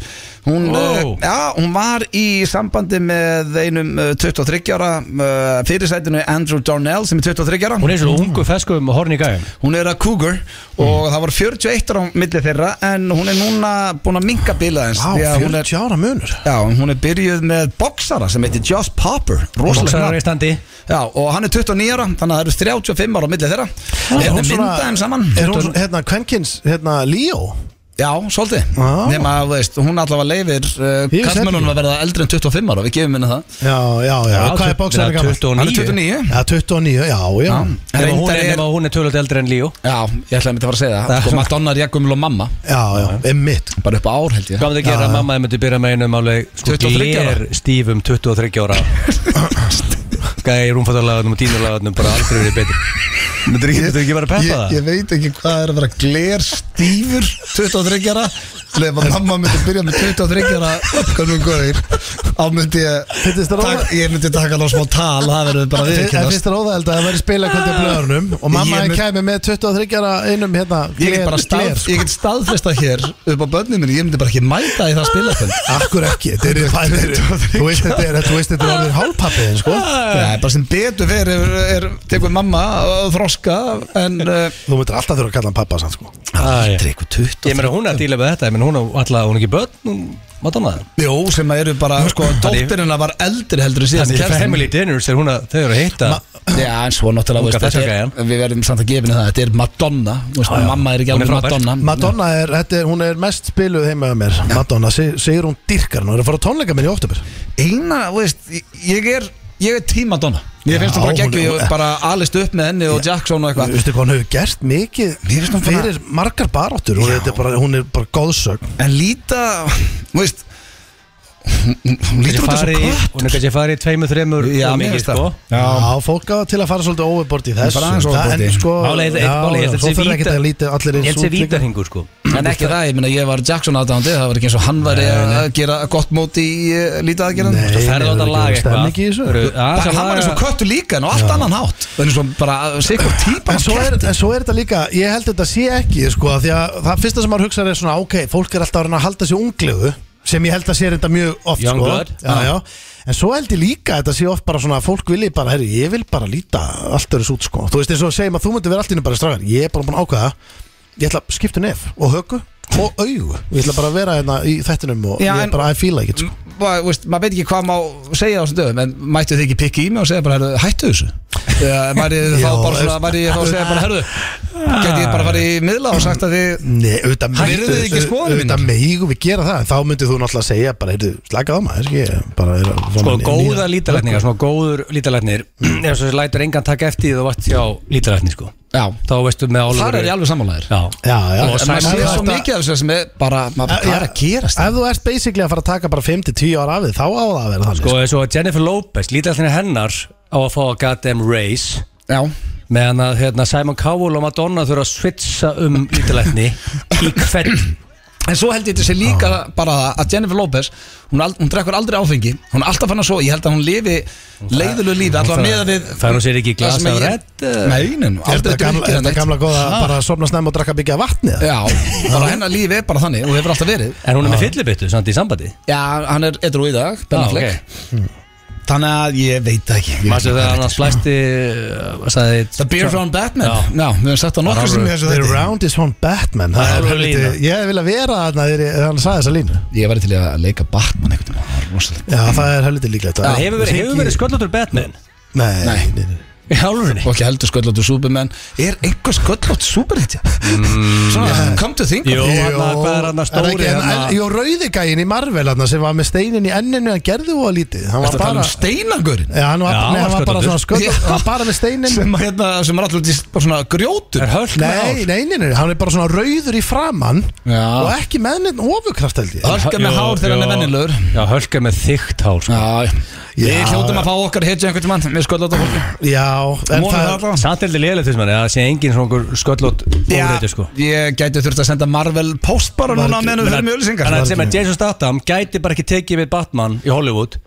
A: hún,
B: Wow.
A: uh, já, hún var í sambandi með einum uh, 23 ára uh, fyrirsætinu Andrew Darnell sem er 23 ára
B: Hún er svo ungu feskum og horn í gæðum
A: Hún er að cougar
C: Mm.
A: og það var 41 ára á milli þeirra en hún er núna búin að minka bilað eins
C: Vá,
A: því að hún er,
C: 40 ára munur
A: já, hún er byrjuð með boksara sem heitir Josh Popper rosalega
B: Bóksar er í
A: nafn.
B: standi
A: Já, og hann er 29 ára þannig að það eru 35 ára á milli þeirra er
C: Er Ah, hún
A: það
C: svona-
A: myndað þeim saman
C: Er hún, svona- hérna, Kvenkins, hérna, Leo
A: Já, svolítið
C: Já.
A: Nefna að, þú veist, hún allavega leifir uh,
C: Ah. Ég vissi
A: Kallmennunum
C: ekki.
A: að verða eldri en 25 ára Við gefum henni það
C: Já, já, já, hvað er bóksarinn gammal?
B: 29
A: Hann er 29
C: Já, 29, já, já,
A: Já,
B: Nema hún
A: Reyndar
B: er, nema hún er tölvöld eldri en Líó
A: Já, ég ætlaði að mynda að fara að segja
B: Það er
A: það Sko,
B: svona-
A: Madonna er jægumil og mamma
C: já, já, emmitt
A: Bara upp á ár held ég
B: Hvað með það gera að mamma þið myndi byrja með einum alveg sko,
A: 23 ára?
B: gler stífum 23 ára Gæði rúmfattarlagarnum og dínulagarnum bara aldrei verið betri Myndir ekki, myndir ekki bara peppa það?
A: veit ekki hvað er að vera gler stífur 23 ára Leif að mamma myndi byrja með 23 ára Hvernig góðir Á myndi ég
C: Fyndist þér óvæ-
A: Ég myndi taka alveg smá tal Það verður bara
C: En finnst þér óþægild að það væri spila kvöldi á blöðarunum og mamma
A: Ah. Ég
C: henn
A: mynd-
C: kæmi með 23 ára einum hérna
A: Ég get
C: gler-
A: bara stað,
C: gler, sko.
A: ég get staðfesta hér upp á börnum minni, ég myndi bara ekki mæta í það spilafinn
C: Akkur ekki, þetta er þetta er- þú veist þetta er þú veist þetta er orðin hálfpappiðin sko
A: Það er bara sem betur verið er, er tekur mamma að þroska en uh,
C: Þú myndir alltaf þurfa að kalla hann pappa sann sko
B: Æ,
A: eitthvað 20
B: Ég meina hún er að díla með þetta, ég meina hún er alltaf, hún er ekki börn, hún Madonna
A: Jó, sem að eru bara, sko, dóttirina var eldri heldur en síðan
B: Þannig í Family Dinners er hún að, þau eru að hitta
A: Já, en svo náttúrulega,
B: Unga
A: veist, þetta
B: þessaka,
A: er, við verðum samt að gefa henni það, þetta er Madonna, þú veist, mamma er ekki
B: Hún er
A: alveg
B: frábær.
A: Madonna
C: Madonna er, þetta er, hún er mest spiluð heima með mér Madonna, segir hún dyrkar hún er að fara á tónleika minn í óttubur
A: Eina, þú veist, ég er, ég er tím Madonna Ég finnst
C: Já,
A: hún bara
C: hún-
A: geggju,
C: hún-
A: bara alist upp með henni og Jackson og
C: Þú
A: eitthvað
C: veistu hvað hún hefur gert mikið
A: Mér finnst hún bara-
C: fyrir margar baráttur og
A: Já.
C: þetta er bara, hún er bara góðsögn
A: En líta, þú veist hún- hún- Hún lítur út þessu
B: farið,
A: kött
B: hún er kannski farið í tveimur, þreimur
A: Já,
B: og
A: mér
B: mikið
A: finnst það.
B: sko
C: Já, fólk á til að fara svolítið overbord í þessu
A: Bara aðeins overboard í.
C: en sko,
B: Málið er-
C: já,
B: málið er-
C: já,
B: þetta
C: þú
B: sé
C: þurfir ekki
B: víta-
C: að líti allir
B: Ég
C: eins
B: held sér
C: líka.
B: vítarhingur sko
A: En ekki það, ég meina ég var Jackson aðdándi Það var ekki eins og hann væri að gera gott mót í uh, lítið aðgerðan
C: Nei,
B: Svo ferðu á
C: nei,
B: þetta lag
C: það er ekki
B: eitthvað
C: stemning í þessu.
B: Eru- Já,
A: Hann
B: svo
A: var eins og
B: laga-
A: köttu líka en á allt annan hátt Það er eins og bara uh, sikur típa
C: En svo, er, en svo er þetta líka, ég held þetta sé ekki sko, af Því að það fyrsta sem maður hugsa er svona Ok, fólk er alltaf að reyna að halda sér ungliðu Sem ég held að sé þetta mjög oft
B: Young
C: sko.
B: blood.
C: já, já. En svo held ég líka að þetta sé oft bara svona að Fólk vilji bara, herri, ég vil bara líta allt öðru út sko. Þú veist eins og segjum að þú myndir vera allt innum bara strafgar Ég er bara búin að ákvaða Ég ætla að skipta um nef og högu og augu Ég ætla bara að vera hérna í þettinum og
A: Já,
C: ég
A: en-
C: er bara að fíla ekkert sko.
A: Bara, veist, maður veit ekki hvað má segja á þessum dögum en mættu þið ekki pikki í mig og segja bara herðu, hættu þessu Eða
C: *laughs*
A: væri þið þá
C: Já,
A: bara svona
C: veist-
A: væri ég þá að segja bara herðu geti ég bara farið í miðla og sagt að
C: *laughs*
A: þið
C: Nei, auðvitað
A: Hættu
C: megum-
A: þið ekki skoðanir
C: auðvitað
A: mínar?
C: megum við gera það en þá myndið þú náttúrulega segja bara, heyrðu, slaka á maður ég bara er að fá
B: Sko,
C: mér
B: góða
C: nýja-
B: lítalætningar, svona góður *clears throat* lítalætnir eins og þessi lætur engan taka eftir því þú vart hjá lítalætni sko
A: Já,
B: Þá veistu með álögur
A: þar er ég alveg sammálaðir
B: Já,
C: Já, já
B: Og
A: En maður
B: Sæmi-
A: sé svo
C: þetta-
A: mikið af þessu sem er bara maður bara,
C: Já,
A: hvað er að gerast
C: Ef þú ert basically að fara að taka bara 5-10 ára af því þá á það að vera þannig
B: Sko, eins og Jennifer Lopez, lítalætnir hennar á að fá að goddamn race
A: Já,
B: meðan að hérna, Simon Cowell og Madonna þurfa að switcha um lítalætni í hvern
A: En svo held ég þessi líka bara það að Jennifer Lopez, hún, ald, hún drekkur aldrei áfengi Hún er alltaf fann að svo, ég held að hún lifi leiðilegu lífi, alltaf
B: það-
A: meða við
B: fær hún sér ekki í
A: það
B: glas
A: sem
B: af
A: ég-
B: Red, eða?
A: Nei, nei, nú,
C: Er
A: aldrei
C: þetta gamla,
A: drukkið
C: er þetta
A: neitt.
C: gamla góða
A: Ha?
C: bara að sofna snemma og drakka mikið af vatni eða?
A: Já, bara hennar líf er bara þannig og hefur alltaf verið
B: En hún er með fyllibittu samt í sambandi
A: Já, hann er edru í dag, Ben
B: Ah,
A: Affleck
B: ok.
A: Þannig að ég veit það ekki Ég-
B: Mastu þegar hann að slæsti uh, sagði,
A: sko. The Beer from Batman Já,
B: Já.
A: við höfum sett það nokkuð sem í þessu
C: The
A: þetta
C: round is from Batman Það
B: Það
C: er
B: er
C: alveg
B: lína.
C: lítið- Ég vil að vera þarna þegar ég- þegar hann sagði þessa línu
A: Ég væri til í að leika Batman einhvern veginn Það var rosalega
C: Já, það er helviti líklegt
B: Það hefur verið, hefur verið sköllóttur Batman
C: Nei, nei, nei, nei.
B: Í álurinn
A: Og ekki heldur sköllóttu Superman Er einhver sköllótt Superhættja? Svona, come to think of
B: Mm, Jú,
A: it.
B: hann að hvað er hann að
C: er
B: stóri hérna?
C: ekki- en- en-
B: hann
C: Jó, rauði gæin í Marvel hann sem var með steinin í enninu hann gerði og lítið Hann var
A: Ertu að tala
C: bara
A: um steinangurinn
B: Eh.
C: Já, hann var,
B: Já,
C: nei, hann var bara
B: sköllóttur.
C: svona sköld
A: Já.
C: Hann var bara með steinin
A: sem, að, hérna, sem er alltaf út í bara svona grjótur
B: er höll með
C: Nei,
B: hár
C: nei, nei, nei, hann er bara svona rauður í framann
B: Ah.
A: Já.
C: Og ekki með neitt ofurkraft held ég
A: Hölka með
B: Jú,
A: hár þegar hann er
B: jú.
A: vennilegur
B: Já, hölka með þykkt hár sko.
A: Já,
C: Já,
A: við hljótum
C: já.
A: að fá okkar hitja einhvern tímann með sköllóttu fólki
C: Já, en
A: Mónum það
C: það
A: allavega
B: Samt heldur lélega þess manni að það sé engin svona okkur sköllótt óreitur sko
A: ég gæti þurft að senda Marvel post bara
C: Var
A: núna
C: ekki-
A: meðan við
B: Þannig
A: fyrir mjög sko,
B: að-
A: lýsingar
B: þannig að sem að Jason Statham gæti bara ekki tekið við Batman í Hollywood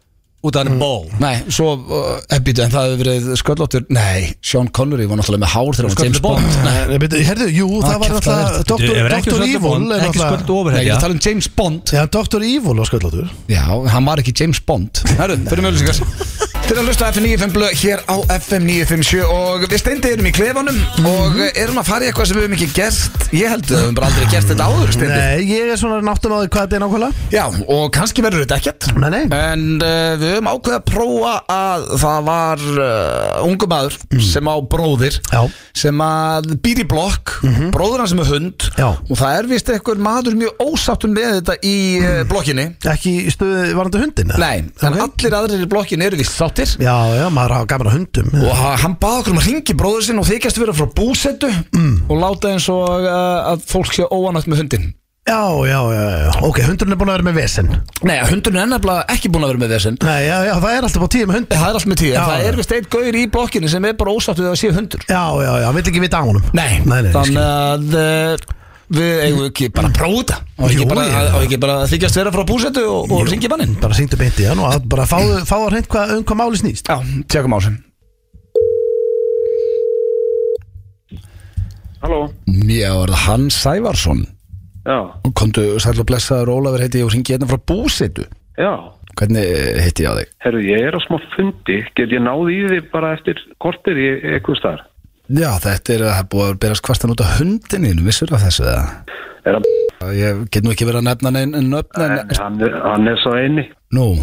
B: út
A: Mm.
B: af hann er ból
A: Nei, svo, uh, býtu, en það hefur verið sköllóttur Nei, Sean Connery var náttúrulega með hár þegar hann var James Bond Nei,
C: Nei, byrju, Herðu, jú,
B: Ah,
C: það var
A: kjaftaðu
C: náttúrulega
A: þetta.
B: Þú hefur ekki
C: Dr.
B: sköllótt
C: Evil
B: von,
C: er
B: Ekki sköllótt
C: náttúrulega
A: Nei, ég er
B: ofurhetja
A: að tala um James Bond
C: Já, Dr. Evil var sköldlóttur
A: Já, hann var ekki James Bond Herru, fyrir mjög lýsingar Til að hlusta á FM 95 blöð hér á FM 957 og við steindi erum í klefanum og erum að fara í eitthvað sem við höfum ekki gert Ég held að við höfum bara aldrei gert þetta áður steindi
C: Nei, ég er svona náttum á því hvað þetta er nákvæmlega
A: Já, og kannski verður þetta ekkert
C: Nei, nei.
A: En uh, við höfum ákveðið að prófa að það var uh, ungu maður
C: Mhm.
A: sem á bróðir
C: Já.
A: sem að býr í blokk bróður hans sem er hund
C: Mhm. Já.
A: og það er vist einhver maður mjög ósáttur með þetta í mm. blokkinni
C: Ekki í stöðu varandi hundin eða?
A: Nei, en
C: Mhm. Ah, Ok.
A: allir aðrir í blokkinni eru vist sáttir
C: Já, já, maður hafa gaman á hundum
A: og ha- hann baði okkur um að ringi bróður sinn og þykjast vera frá búsettu mm. og láta eins og uh, að fólk sé óanætt með hundin
C: Já, já, já, já, ok, hundurinn er búin að vera með vesen
A: Nei, hundurinn er nefnilega ekki búin að vera með þessin
C: Nei, já, já, það er alltaf á tíu með hundin
A: Það er allt með tíð,
C: Já,
A: en það
C: já.
A: er vist einn gaur í blokkinni sem er bara ósáttu þegar það sé hundur
C: Já, já, já, hann vill ekki vita á honum
A: Nei,
C: nei, nei,
A: þannig að
C: þannig
A: uh, við eigum ekki bara að prófa þetta og ekki
C: Jú,
A: bara,
C: ég-
A: að, og ekki bara að þykjast vera frá búsettu og, og ringi mannin
C: Bara syngdu beint í hann og að- bara fáðu- fá að reynd hvað um hvað máli snýst
A: Já, tjekum á sem
D: Halló,
A: Já, er það Hans Sævarsson
D: já,
A: Komdu sæl og blessaður Ólafur heiti ég og ringi hérna frá búsettu
D: já,
A: Hvernig eh, heiti ég á þig?
D: herru, ég er á smá fundi, get ég náði í þig bara eftir kortir í eitthvað staðar?
A: Já, þetta er að það er búið að berast kvartan út af hundininu, vissur af þessu eða?
D: Er hann,
A: Ég get nú ekki verið að nefna neinn en nöfn en,
D: hann, er- hann er svo einni,
A: Nú,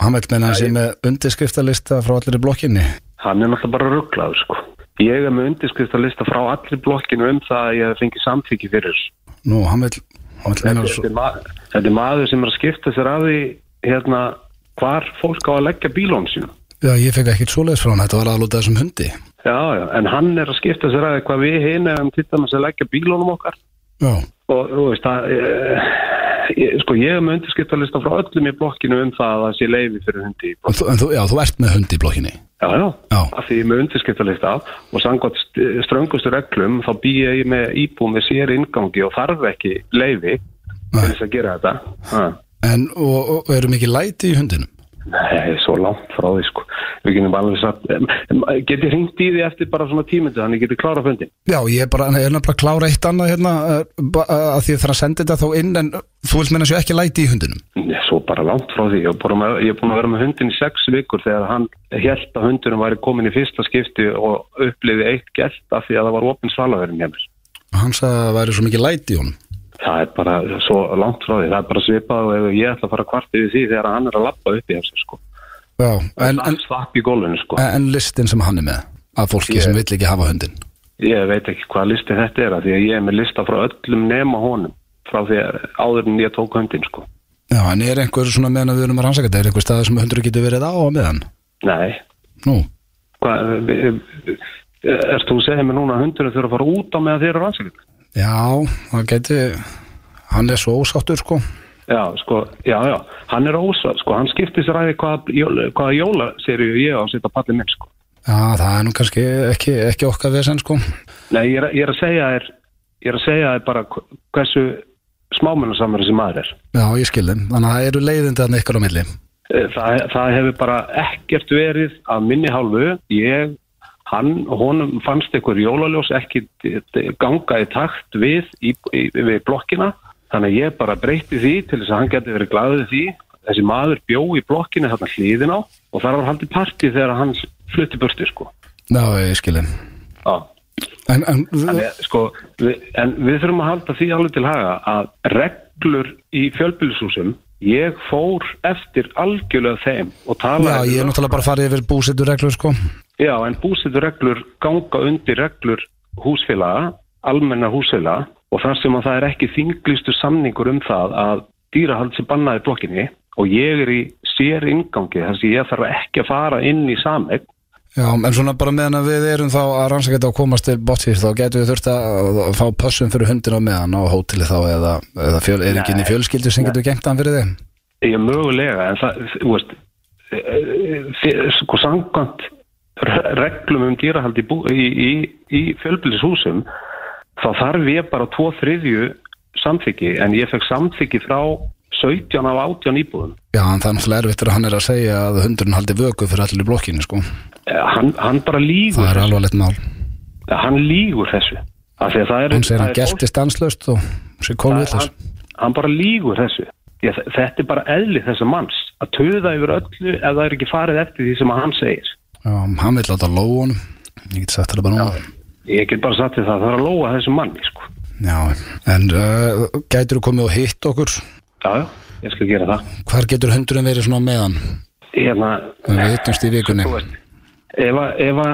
A: hann veit meina hann sé með undirskriftalista frá allir í blokkinni
D: hann er náttúrulega bara rugglaður, sko. Ég er með undirskriftalista frá allir blokkinu um það að ég fengi samþyggi fyrir. þessu.
A: Nú, hann vil, hann vil meina svo
D: Þetta er, ma- þetta er maður sem er að skipta sér að því, hérna, hvar fólk á að leggja bílón sín.
A: Já, ég fekk ekkert svoleiðis frá hann, þetta var aðlútað þessum hundi
D: Já, já, en hann er að skipta sér að því hvað við hinn erum til dæmis að leggja bílónum okkar.
A: Já,
D: og þú veist það eh, ég- sko ég er með undirskriftalista frá öllum í blokkinu um það að það sé leiði fyrir hundi í blokk.
A: en þú, en þú, já, þú ert með hundi í blokkinni
D: já, já,
A: Já.
D: af því ég er með undirskriftalista og samkvæmt st- ströngustu reglum þá býð ég með íbúum með sér inngangi og þarf ekki leiði til
A: Nei.
D: þess að gera þetta ha.
A: En, og, og eru mikið læti í hundinum?
D: Nei, svo langt frá því sko við getum alveg satt get ég hringt í því eftir bara svona tímundu þannig getið klára fundin
A: Já, ég er bara, en ég er nefnilega að klára eitt annað hérna eh, ba- eh, að því ég þarf að senda þetta þá inn en þú vilt meina svo ekki læti í hundinum
D: Nei, svo bara langt frá því. Ég er búinn að- ég er búin að vera með hundin í sex vikur þegar hann held að hundunum væri komin í fyrsta skipti og uppliði eitt gert af því að það var opinn svalavörðin hjá mér.
A: Hann sagði að það væri svo mikið læti í honum
D: Það er bara svo langt frá því. Það er bara svipað og ef ég ætla að fara að kvarta yfir því þegar hann er að lappa upp í þessu sko.
A: Já, en,
D: Hann
A: en,
D: slapp í gólfinu sko.
A: en listin sem hann er með að fólki sem vill ekki hafa hundin
D: Ég veit ekki hvað listi þetta er af því að ég er með lista frá öllum nema honum frá því að áður en ég tók hundin sko.
A: Já, en er einhver svona meðan að við erum að rannsaka þetta er einhver staður sem hundur getur verið á á meðan
D: Nei.
A: Nú,
D: Hva, Erst þú að segja mér núna að hundurinn þurfa að fara út á meðan þeir eru rannsakir?
A: já, það geti hann er svo ósáttur sko
D: Já, sko, já, já, hann er ósað, sko, hann skiptir sér aðeins hvaða, jóla- hvaða jólaserju ég á að setja pallið minn, sko.
A: Já, það er nú kannski ekki, ekki okkar vesen sko
D: Nei, ég er, ég er að segja þér, ég er að segja þér bara hv- hversu smámennasamur sem maður er
A: Já, ég skil þeim Þannig að það eru leiðindi að ykkur á milli
D: Eh, það, það hefur bara ekkert verið að minni hálfu ég, hann, honum fannst einhver jólaljós ekki d- d- ganga í takt við, í, í, við blokkina þannig að ég bara breyti því til þess að hann geti verið glaðið því þessi maður bjó í blokkinu þarna hliðin á og þar var haldið partí þegar hann flutti burti sko
A: Já, ég skil þeim
D: Já.
A: En, en,
D: En, eh, sko, við, en við þurfum að halda því alveg til haga að reglur í fjölbýlishúsum ég fór eftir algjörlega þeim og
A: já,
D: talaði um-
A: ég er náttúrulega bara farið yfir búsettur reglur sko
D: Já, en búsetureglur ganga undir reglur húsfélaga, almenna húsfélaga og þar sem að það er ekki þinglistu samningur um það að dýrahald sem bannaði blokkinni og ég er í sér ingangi þar sem ég þarf ekki að fara inn í sameign
A: Já, en svona bara meðan að við erum þá að rannsaka þetta og komast til bótsýr þá getum við þurft að að fá pössum fyrir hundin á meðan á hóteli þá eða, eða fjöl, er ekki inn í fjölskyldu sem getur gengt hann fyrir þig
D: Ég er mögulega, en það, þú veist, eh, eh, sko sangkvæmt reglum um dýrahald í, bú- í, í, í fjölbýlishúsum, þá þarf ég bara tvo þriðju samþyggi, en ég fekk samþyggi frá 17 af 18 íbúðum.
A: Já, en það er náttúrulega erfitt þegar hann er að segja að hundurinn haldi vöku fyrir allir í blokkinni sko
D: Eh, Hann, hann bara lígur,
A: Það er alveg lett mál
D: hann lígur þessu. Af því að það er,
A: Hann segir
D: það
A: hann
D: er
A: gelti stanslöst og sé kólvillast
D: hann, hann bara lígur þessu. Ég, þetta er bara eðli þessa manns, að töða yfir öllu ef það er ekki farið eftir því sem að hann segir.
A: Já, hann vil láta lóa honum Ég get sagt þetta bara núna
D: Ég get bara sagt því það, það er að lóa þessu manni, sko.
A: Já, en uh, gætur þú komið og hitt okkur?
D: Já, já, ég skal gera það.
A: Hvar getur hundurinn verið svona á meðan?
D: Hérna,
A: Ef Við hittumst í vikunni
D: þú veist, ef að, ef að,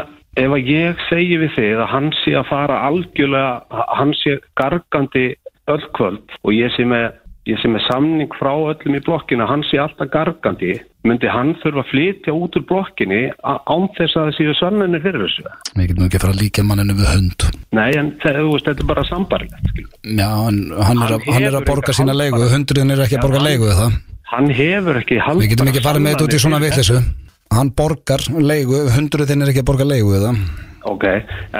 D: ef að ég segi við þig að hann sé að fara algjörlega, hann sé gargandi öll kvöld og ég sé með, ég sé með samning frá öllum í blokkinu, hann sé alltaf gargandi, myndi hann þurfa að flytja út úr blokkinni á- án þess að það séu sanninu fyrir þessu.
A: Við getum nú ekki að fara að líka manninu við hund
D: Nei, en það, þú veist, þetta er bara sambarlegt, skilur.
A: Já, en hann er, að,
D: Hann
A: hann er að
D: hefur
A: borga
D: enga
A: sína leigu
D: hálfbara.
A: Hundurinn er ekki að borga leigu eða það
D: Hann hefur ekki haldið...
A: Við getum ekki að fara með þetta út í svona vitleysu Hann borgar leigu, hundurinn er ekki að borga leigu eða
D: Ok,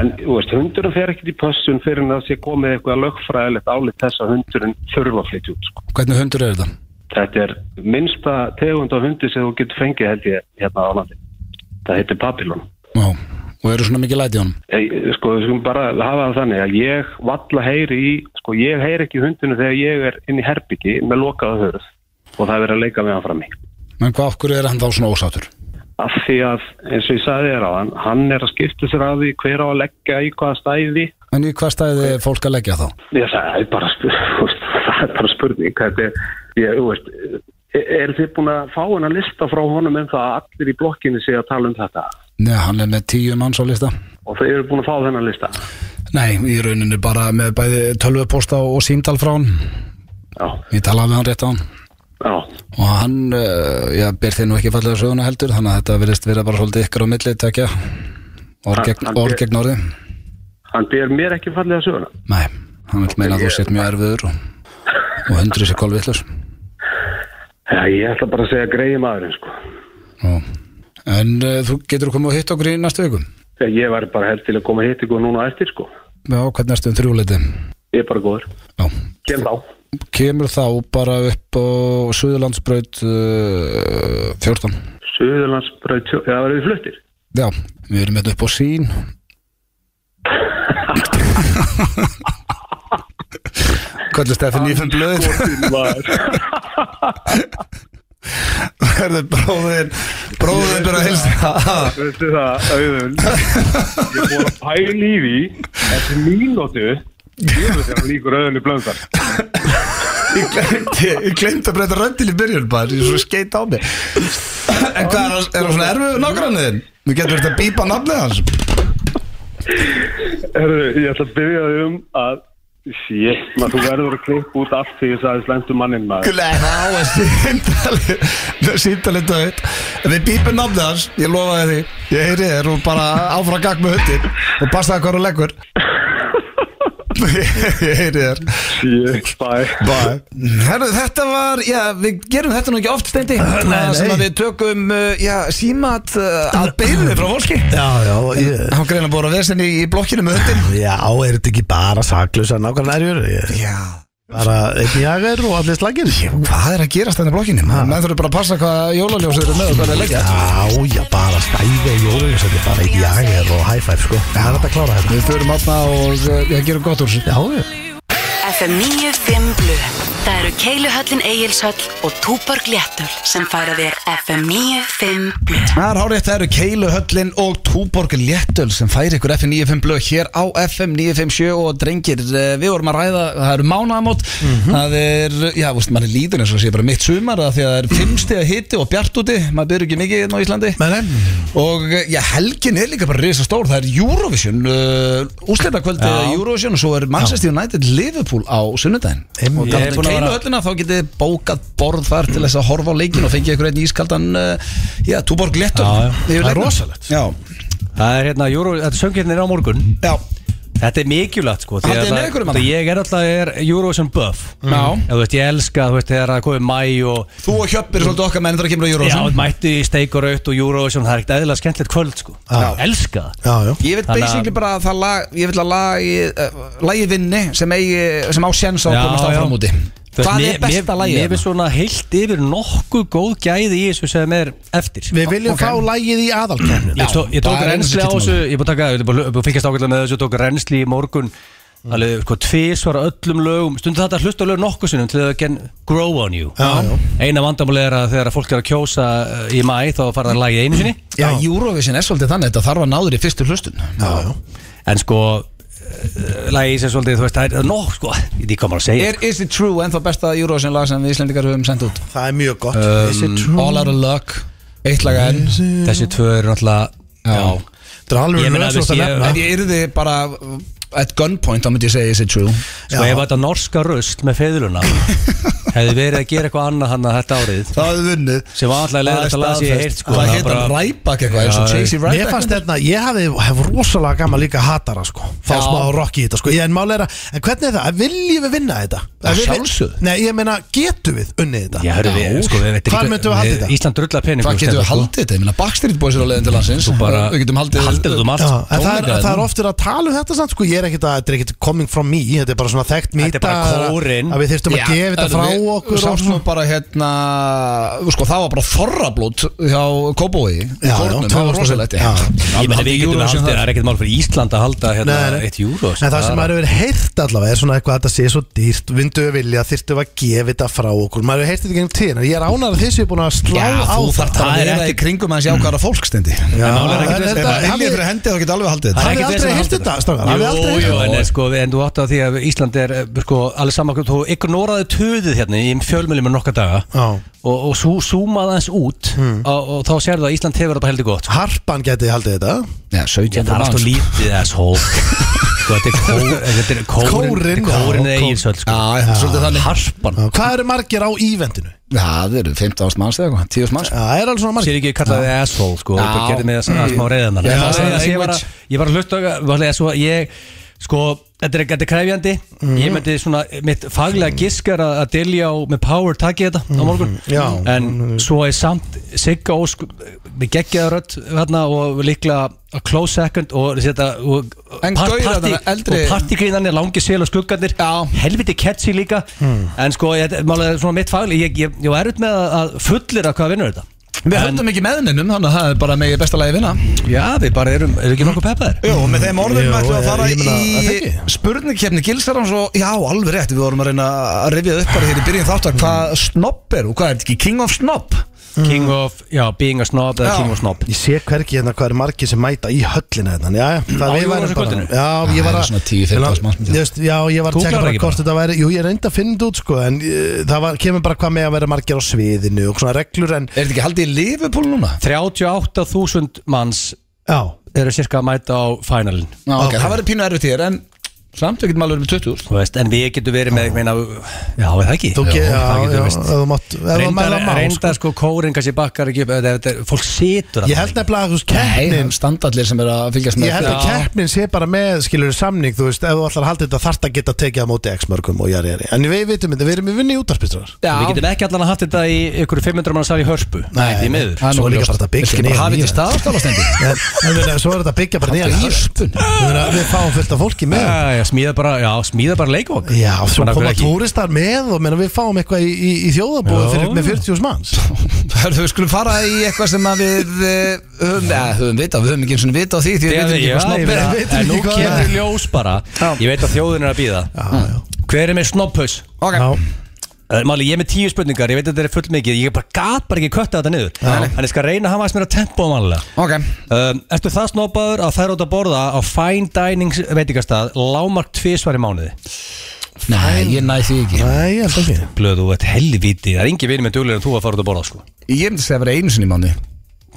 D: en þú veist, hundurinn fer ekkert í pössun fyrir en það sé komið eitthvað lögfræðilegt álit þess að hundurinn þurfa að flytja út. Sko.
A: Hvernig hundur er þetta?
D: Þetta er minnsta tegund af hundi sem þú getur fengið held ég hérna á landi. Það heitir Babylon.
A: Já, og eru svona mikið læti í honum?
D: Ég, sko, við skulum bara hafa það þannig að ég valla heyri í, sko, ég heyri ekki í hundinu þegar ég er inn í herbyggi með lokaða hörð og það er verið að leika með hann fram í.
A: En hvað okkur er hann þá svona ósátur?
D: Af því að, eins og ég sagði þér á hann, hann er að skipta sér að því hver á að leggja í hvaða stæði
A: En í hvað stæði er fólk að leggja þá?
D: Ég, það, er bara, spur- *laughs* þú veist, það er bara spurning. Þetta er, ég, þú veist, er þið búin að fá henn að lista frá honum um það að allir í blokkinni sé að tala um þetta?
A: Nei, hann er með tíu manns á lista
D: Og þau eru búin að fá þennan lista?
A: Nei, í rauninu bara með bæði tölvupósta og símtal frá hann
D: Já,
A: Ég talaði við hann rétt á hann
D: já,
A: og hann, uh, já, ber þeir nú ekki fallega söguna heldur, þannig að þetta verðist vera bara svolítið ykkar á milli, tekja orð
D: Hann-
A: gegn,
D: hann
A: orð
D: ber-
A: gegn orði
D: hann ber mér ekki fallega söguna.
A: Nei, hann vil meina að þú sért mjög erfiður og, og hundrið sér kolvillus
D: Já, ég ætla bara að segja greiði maðurinn, sko.
A: En uh, þú getur komið og hitt okkur í næstu viku
D: Þegar ég væri bara held til að koma hitt ykkur núna á eftir, sko.
A: Já, hvernig erstu um þrjúleiti?
D: Ég er bara góður.
A: Já,
D: Kem þá.
A: kemur þá bara upp á Suðurlandsbraut uh, 14
D: Suðurlandsbröð, tjó- já, verður við fluttir?
A: Já, við erum hérna upp á sín Hvað er Stefán Ífum blöð?
E: Hörðu, bróðin Bróðin byrja að hilsa
D: Veistu það, auðvun Ég búið að pæla í því Eftir mínútu Ég veit að hann líkur auðvunni blöndar
E: Ég glemdi, ég glemdi að breyta röndin í byrjun bara, ég er svo skeit á mig En hvað er, það- er það svona erfið nágranniðin? Þú getur þetta að bípa nafnið hans
D: Herru, ég ætla að byrja þig um að Shit, maður þú verður að klippa út allt því þess að þið slendur mannin maður
E: Nei, *laughs* þá er síntalið Síntalið döitt En við bípum nafnið hans, ég lofaði því Ég heyri þér og bara áfram að gagg með hundin Og passaði hvað þú leggur *laughs* Ég heyri þér
D: Shit, bye
E: Herru, þetta var, já, við gerum þetta nú ekki oft steindi Það sem að við tökum, uh, já, símat uh, að beinuði frá fólki
C: Já, já, ég,
E: Hann greina búið að vera sinni í blokkinu með hundin
C: já, er þetta ekki bara saklaus að nákvæmlega erjur? Ég,
E: Já
C: Bara einn jager og allir slagir Já,
F: Hvað er að gerast
A: hérna
F: þannig blokkinni? Menn þurfum bara að passa hvað jólaljósið eru með og hvað er leggja
C: já, bara stæði jólaug Þetta er bara einn jager og high five sko Það er þetta að klára þetta
F: Við förum aðna og eh, ég gerum gott úr þessu.
C: Já, já
G: FM 95 Blu Það eru Keiluhöllin Egilshöll og Túborg Léttul sem færa þér FM 95 Blu
A: Það er hárið, það eru Keilu Höllin og Túborg Léttöl sem færi ykkur FM 95 blöð hér á FM 957 og drengir, eh, við vorum að ræða, það eru mánaðamót,
C: Mhm.
A: það er, já, þú veist, maður er líður eins og sé bara mitt sumar að því að það er fimmstega hitti og bjart úti, maður byrður ekki mikið hérna á Íslandi
C: Nei, nei.
A: og eh, já, helgin er líka bara risa stór, það er Eurovision, uh, úsleita kvöldi Eurovision og svo er Manchester United Liverpool á sunnudaginn og
B: Ég er
A: það
B: búinn að
A: Keilu
B: vera-
A: Höllina þá getið þið bókað borð þar til þess að horfa á leikin og fengið ykkur einn ískaldan, uh, já, Túborg Léttöl
B: Já, já.
A: yfir
C: Það er
A: leiknum.
C: rosalegt.
A: Já,
B: Það er hérna, Euro, þetta söngjarnir á morgun
A: já,
B: Þetta er mikilvægt sko því
A: Haldið
B: að
A: með
B: það-
A: ykkur um hana?
B: því Ég er alltaf er Eurovision buff
A: Já.
B: Ef Þú veist, ég elska, þú veist, þegar það komið mæ og
A: þú og Hjöpp er svolítið okkar menn þegar kemur á
B: Já,
A: Eurovision
B: mætti í steik og raut og Eurovision Það er ekkert eðlilega skemmtilegt kvöld sko
C: Já.
B: Elska það
C: Já, já
A: Ég veit
B: Þannig að-
A: basically bara að það lag, ég vil að lagi, uh, lagi vinni sem, eigi, sem á sjens á að
B: Já,
A: komast
B: já.
A: áfram úti
B: Þú veist,
A: Hvað
B: mér-
A: er besta
B: mér-
A: lagið?
B: Mér finnst svona heilt yfir nokkuð góð gæði í þessu sem er eftir
C: Við viljum fá lægið í aðalkjörnu
B: Ég, tó, ég tók reynsli á þessu, ég búið að taka, ég er búinn að fylgjast ákveðlega með þessu, ég tók reynsli í morgun, alveg sko tvísvar á öllum lögum, stundu þetta að hlusta á lög nokkuð sinnum til þau can grow on you.
C: Já, já.
B: Eina vandamáli er að þegar fólk er að kjósa eh, í mæ þá fara það að lagið einu sinni,
A: Já, Eurovision er svolítið þannig að þetta þarf að náður í fyrstu hlustun
B: en sko eh, lagið sem svolítið, þú veist, það er nokk sko, ég kom að segja.
A: Er Is It True ennþá besta Eurovision lag sem við Íslendingar höfum sendt út?
C: Það er mjög
B: Um,
C: gott
A: All Out of Luck, eitt lag enn
B: Mm. Þessi tvö eru náttúrulega, já,
C: Það er alveg
B: Ég
C: mjög
B: meina,
C: svo
B: veist,
C: þetta
B: ég-
C: nefna
A: Ef ég yrði bara at gunpoint þá myndi ég segja Is It True
B: sko
C: Já.
B: ef þetta norska röst með
C: *laughs*
B: feðluna hefði verið að gera eitthvað annað hann þetta árið
A: Það hefði vunnið
B: sem var alltaf leðast að laða sér heilt sko
A: Það
B: en
A: heit hann
B: bara-
A: Ræbak eitthvað eins og
B: Já,
A: Chasey Ræbak
C: Mér fannst þetta, ég hafði hef rosalega gaman líka að hatara sko Fá
A: Já.
C: smá rock í þetta sko Ég en máli er að, en hvernig er það, viljum við vinna þetta?
A: Að
C: Við- við-
A: sjálfsögðu.
C: Nei, ég meina, getum við unnið þetta?
B: Já, hörru, við, sko, við veitum
C: Hvar myndum við haldið þetta?
B: Ísland drullar pening
A: Hvað getum við haldið þetta? Ég meina Backstreet Boys er á leiðin til landsins
B: sko, Bara,
A: Við getum haldið
B: Haldið þetta um allt
C: Já,
B: sko.
C: en það er,
A: tónleika
C: það er
A: hérna.
C: oftur að tala um þetta samt sko, ég er ekkit að, þetta er ekkit coming from me, þetta er bara svona þekkt mýta
B: Þetta er bara kórinn.
C: Að við þyrstum að gefa þetta frá okkur og
A: Sáttum
C: svona.
A: við bara hérna sko, Það var bara þorrablót hjá Kóbói í
C: Já,
A: kórnum,
C: já,
A: það var
C: 2000.
A: rosalegt
C: Já.
B: Ég meina við getum haldið Það er ekkert mál fyrir Ísland að halda hérna,
C: Nei, nei.
B: eitt júró
C: En það sem maður hefur heyrt allavega er svona eitthvað að þetta sé svo dýrt Vindu við vilja, þyrftum við að gefa þetta frá okkur Maður hefur heyrt þetta í gegnum tíðina Ég er ánar að þið séu búin að slá
A: Já,
C: á
A: þú þarf að
C: þetta
B: Það er
A: vera í
B: ekki-
A: kringum að sjá hvaða fólk stendi
C: Já,
A: Ef
B: málið er ekkert
C: en
B: þess-
C: þetta-
A: Ellið
C: hafið-
A: fyrir hendi þá getur alveg haldið
C: Það
A: þetta
C: er- hafið aldrei heyrt þetta, strákar? Hafið aldrei
B: Jú,
C: heyrt
B: jú, en
C: þetta?
B: eh, sko, við- en þú átt að því að Ísland er, eh, sko, allir saman þú ignoraði töðið hérna í fjölmjöli með nokka daga
C: Já.
B: og, og sú, súmaði hans út og, og þá sérðu að Ísland hefur þetta heldur gott sko.
C: Harpan geti haldið þetta
A: Já, 17
B: Þetta er alltaf lítið *laughs* asshole Sko, þetta er kór- þetta er kórin
C: Kórinn,
B: Þetta er kórin
C: já,
B: eða
C: kór-
B: Ísöld, sko
A: Já, svolítið þannig
B: Harpan
C: Já, Hvað eru margir á ívendinu?
A: Já, það eru 15.000 manns eða eitthvað, 10.000 manns
C: Já, Það er alveg svona margir
B: Sér ekki kallaði þið asshole sko
A: Já.
B: og bara gerði mig að að smá reyðan
A: Já,
B: ég,
A: já,
B: ég, var að-
A: language.
B: ég var að hlusta á- var að svo, ég, sko, þetta er, þetta er kræfjandi
A: Mhm.
B: Ég myndi svona, mitt faglega giskar að að dilja á með power takki þetta
A: Mhm.
B: á morgun
C: Já.
B: En svo er samt Sigga Ósk með geggjaðarödd hérna og líklega a close second og þetta og
A: En gaurar þarna, eldri-
B: og partígrínarnir, langi sél og skuggarnir
A: Já. Mhm.
B: helviti catchy líka en sko, ég, málega svona mitt fagli ég, ég, ég var erut með að- að fullir að hvað vinnur þetta
A: Við
B: En-
A: höldum ekki meðninum, þannig að það er bara megið besta lagi vinna
B: Já, við bara erum, erum ekki nokkuð peppaðir
A: Jó, og með þeim orðum
C: Jú,
A: ætlum við að
C: ég-
A: fara
C: ég meina, er það
A: í
C: ekki?
A: spurningkefni gilsarans og já, alveg rétt, við vorum að reyna að rifja upp bara hér í byrjun þáttar hvað snopp er og hvað er þetta ekki, king of snopp
C: Mm.
B: King of, já, being a snob eða
A: Já.
B: king of snob
C: Ég sé hverki hérna hvað eru margir sem mæta í höllina hérna Já, já, það
B: Á
C: við værum
B: Eurovision-kvöldinu?
C: bara Já, ég var
A: Það eru
C: að
A: svona 10-15
C: Ég la-
A: manns myndi.
C: Þú veist, Já, ég var að
B: Googlar
C: tjekka bara
B: ekki
C: hvort
B: bara?
C: þetta væri Jú, ég reyndi að finna þetta út sko En eh, það var, kemur bara hvað með að vera margir á sviðinu Og svona reglur en
A: Er þetta ekki haldið í Liverpool núna?
B: 38.000 manns
C: Já,
B: eru sirka að mæta á finalin
A: Já,
C: ok.
A: Það verður pínu erfitt hér, en samt við getum alveg verið með 20 úr
B: Þú veist, En við getum verið með, meina, já, er það ekki
C: þú
B: Já,
C: getur,
B: það
C: já,
B: getum
C: já,
B: við
C: ef
B: veist.
C: þú mátt ef þú
B: Reyndar,
C: mæla má, sko.
B: reyndar sko, kórin kannski bakkar ekki upp eða- eða- eða- Fólk situr
C: Ég held nefnilega að þú veist, keppnin
A: standallir sem er að fylgjast
C: Ég held að
A: Já.
C: keppnin sé bara með skilur samning, þú veist, ef þú ætlar að halda þetta þarft að geta tekið á móti X mörgum og jari jari En við vitum þetta, við erum í vinni í útarspistrar
A: Já.
B: Við getum ekki allan að haft þetta í ykkur 500 mann sal í hörpu
C: Nei,
B: því miður
C: það er nú
B: Svo
C: líka
B: ljóst.
C: bara þetta
B: Viltu
C: byggja
B: ekki
C: nýjan
B: bara hafa þetta
C: nýjan.
B: í
C: *laughs*
B: staðarskólastendi
A: *laughs*
C: En en við- svo er þetta að byggja bara nýja Við fáum fullt af fólki með
B: Já, já, eða smíða bara, já, smíða bara leikvokk
C: Já, svo
B: Bara
C: koma
B: hver ekki?
C: túristar með og meina, við fáum eitthvað í, í, í þjóðabúið
B: Já.
C: fyrir, með 40 manns
H: Hörðu, við skulum fara í eitthvað sem að við eh, höfum, ja, höfum vitað, við höfum ekki eins og vitað á því því við
B: Já,
H: vitum ekki
B: já,
H: hvað
B: ég
H: snobb
B: meina,
H: er
C: við vitum
B: en
C: ekki
B: nú
C: hvað
B: kemur
C: það
B: í ljós bara Ég veit að þjóðin er að býða Hver er með snopphaus?
H: Ok,
C: Já.
B: Það er Máli, ég er með tíu spurningar, ég veit að þetta er full mikið Ég bara gat bara ekki kötta þetta niður Þannig ég skal reyna að hafa aðeins mér að tempo mannlega
H: ok
B: um, Ertu það snoppaður að þær átt að borða á fine dining veitingastað Lámark tvisvar í mánuði
A: Nei, ég næ því ekki
C: Nei, ég held ekki
B: Blöð, þú ert helvíti, það er engin vinur með duglegur en þú að fara út að borða sko.
A: Ég myndi segja að vera einu sinni í mánu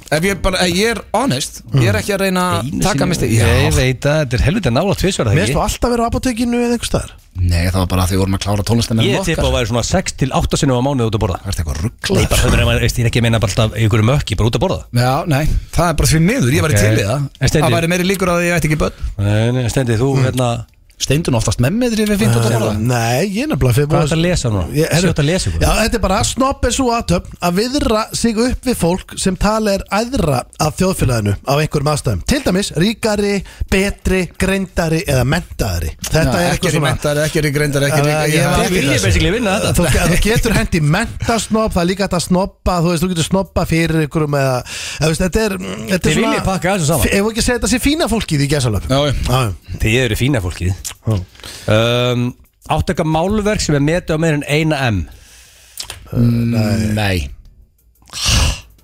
H: Ef ég, bara, ef ég er honest, ég er ekki að reyna að
B: Einu
H: taka
B: sinni-
H: misti
B: Ég veit að þetta er helvíti að nála tvisvar
C: Mér
B: það
C: erstu
B: ekki
C: alltaf vera á apotekinu eða einhvers staðar
A: Nei, það var bara að því við vorum að klára tónlistina
B: Ég tippa að væri svona 6 til 8 sinnum á mánuði út að borða
A: Það er eitthvað
B: Nei,
A: rugglar
B: bara, það er bara- veist, ég er ekki að meina bara alltaf í einhverju mökki, bara út að borða
A: Já, nei
H: Það er bara því miður, ég væri
B: Ok.
H: til í það
B: En Steindi?
H: Það væri meiri líkur að ég ætti ekki börn
B: Nei, nei, Stendi, þú, hérna,
A: Steindun oftast með með þér við fint út að borða
C: Nei, ég er nefnilega fyrir
B: hvað er þetta að lesa núna?
C: Ég- herru,
B: Sjá þetta að lesa ykkur
C: Já, þetta er bara að snopp er svo aðtöfn að viðra sig upp við fólk sem tala er æðra af þjóðfélaginu af einhverjum aðstæðum, til dæmis ríkari betri, greindari eða mentaðari Þetta
H: Ekki
C: er eitthvað
H: er í
C: svona
H: mentar, ekki er í greindar, ekki er
C: Já,
H: í
C: ég var-
B: Þið viljið basically vinna þetta
C: Þú, þú getur hendi mentasnopp, það er líka hægt að snoppa þú veist, þú getur snoppa fyrir ykkurum eða, eða veist, þetta er, mm, þetta
B: Þið
C: er
B: viljið pakka þessu saman.
C: Ef við ekki segja þetta sé fína fólkið í gæsalöp
A: Já, já.
B: Þið eru fína fólkið um, Áttu eitthvað málverk sem er metið á meir en eina M
A: Nei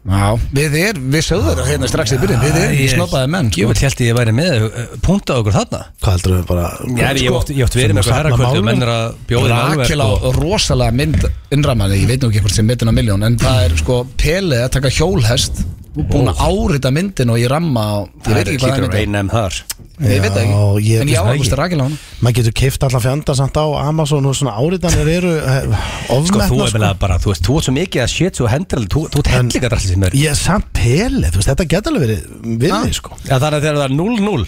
A: Já,
H: Við er, við sögður hérna strax í byrjun Við erum í snoppaði menn
B: Ég sko. vil held ég að væri með punta okkur þarna
C: Hvað heldur við bara
B: Já, ég hef oft- ég hef oft verið með eitthvað herrakvöldu og menn er að bjóða í
A: Rakel
B: málverk
A: á
B: og-
A: rosalega mynd innramanni, ég veit nú ekki hvort sem myndin á miljón en það er sko Pele að taka hjólhest búin að árita myndin og ég ramma á, ég
B: Það
A: veit
B: er
A: ekki hvað það
B: hlýtur að
A: er myndin
B: eina M þar
A: ég veit það ekki,
C: Já, ég-
A: en ég
C: það ekki.
A: áhugust að Rakel á hana
C: Maður getur keift allan fjandar samt á Amazon og svona áritanir eru eh,
B: Sko, þú
C: ofmetna
B: er vel bara, þú veist, þú ert svo mikið að shit svo hendur alveg, þú- þú ert hendlika dralli sem er
C: Ég er samt peli, þú veist, þetta getur alveg verið
A: Ah.
C: vinni, sko
B: Já, þannig að þegar það er 0-0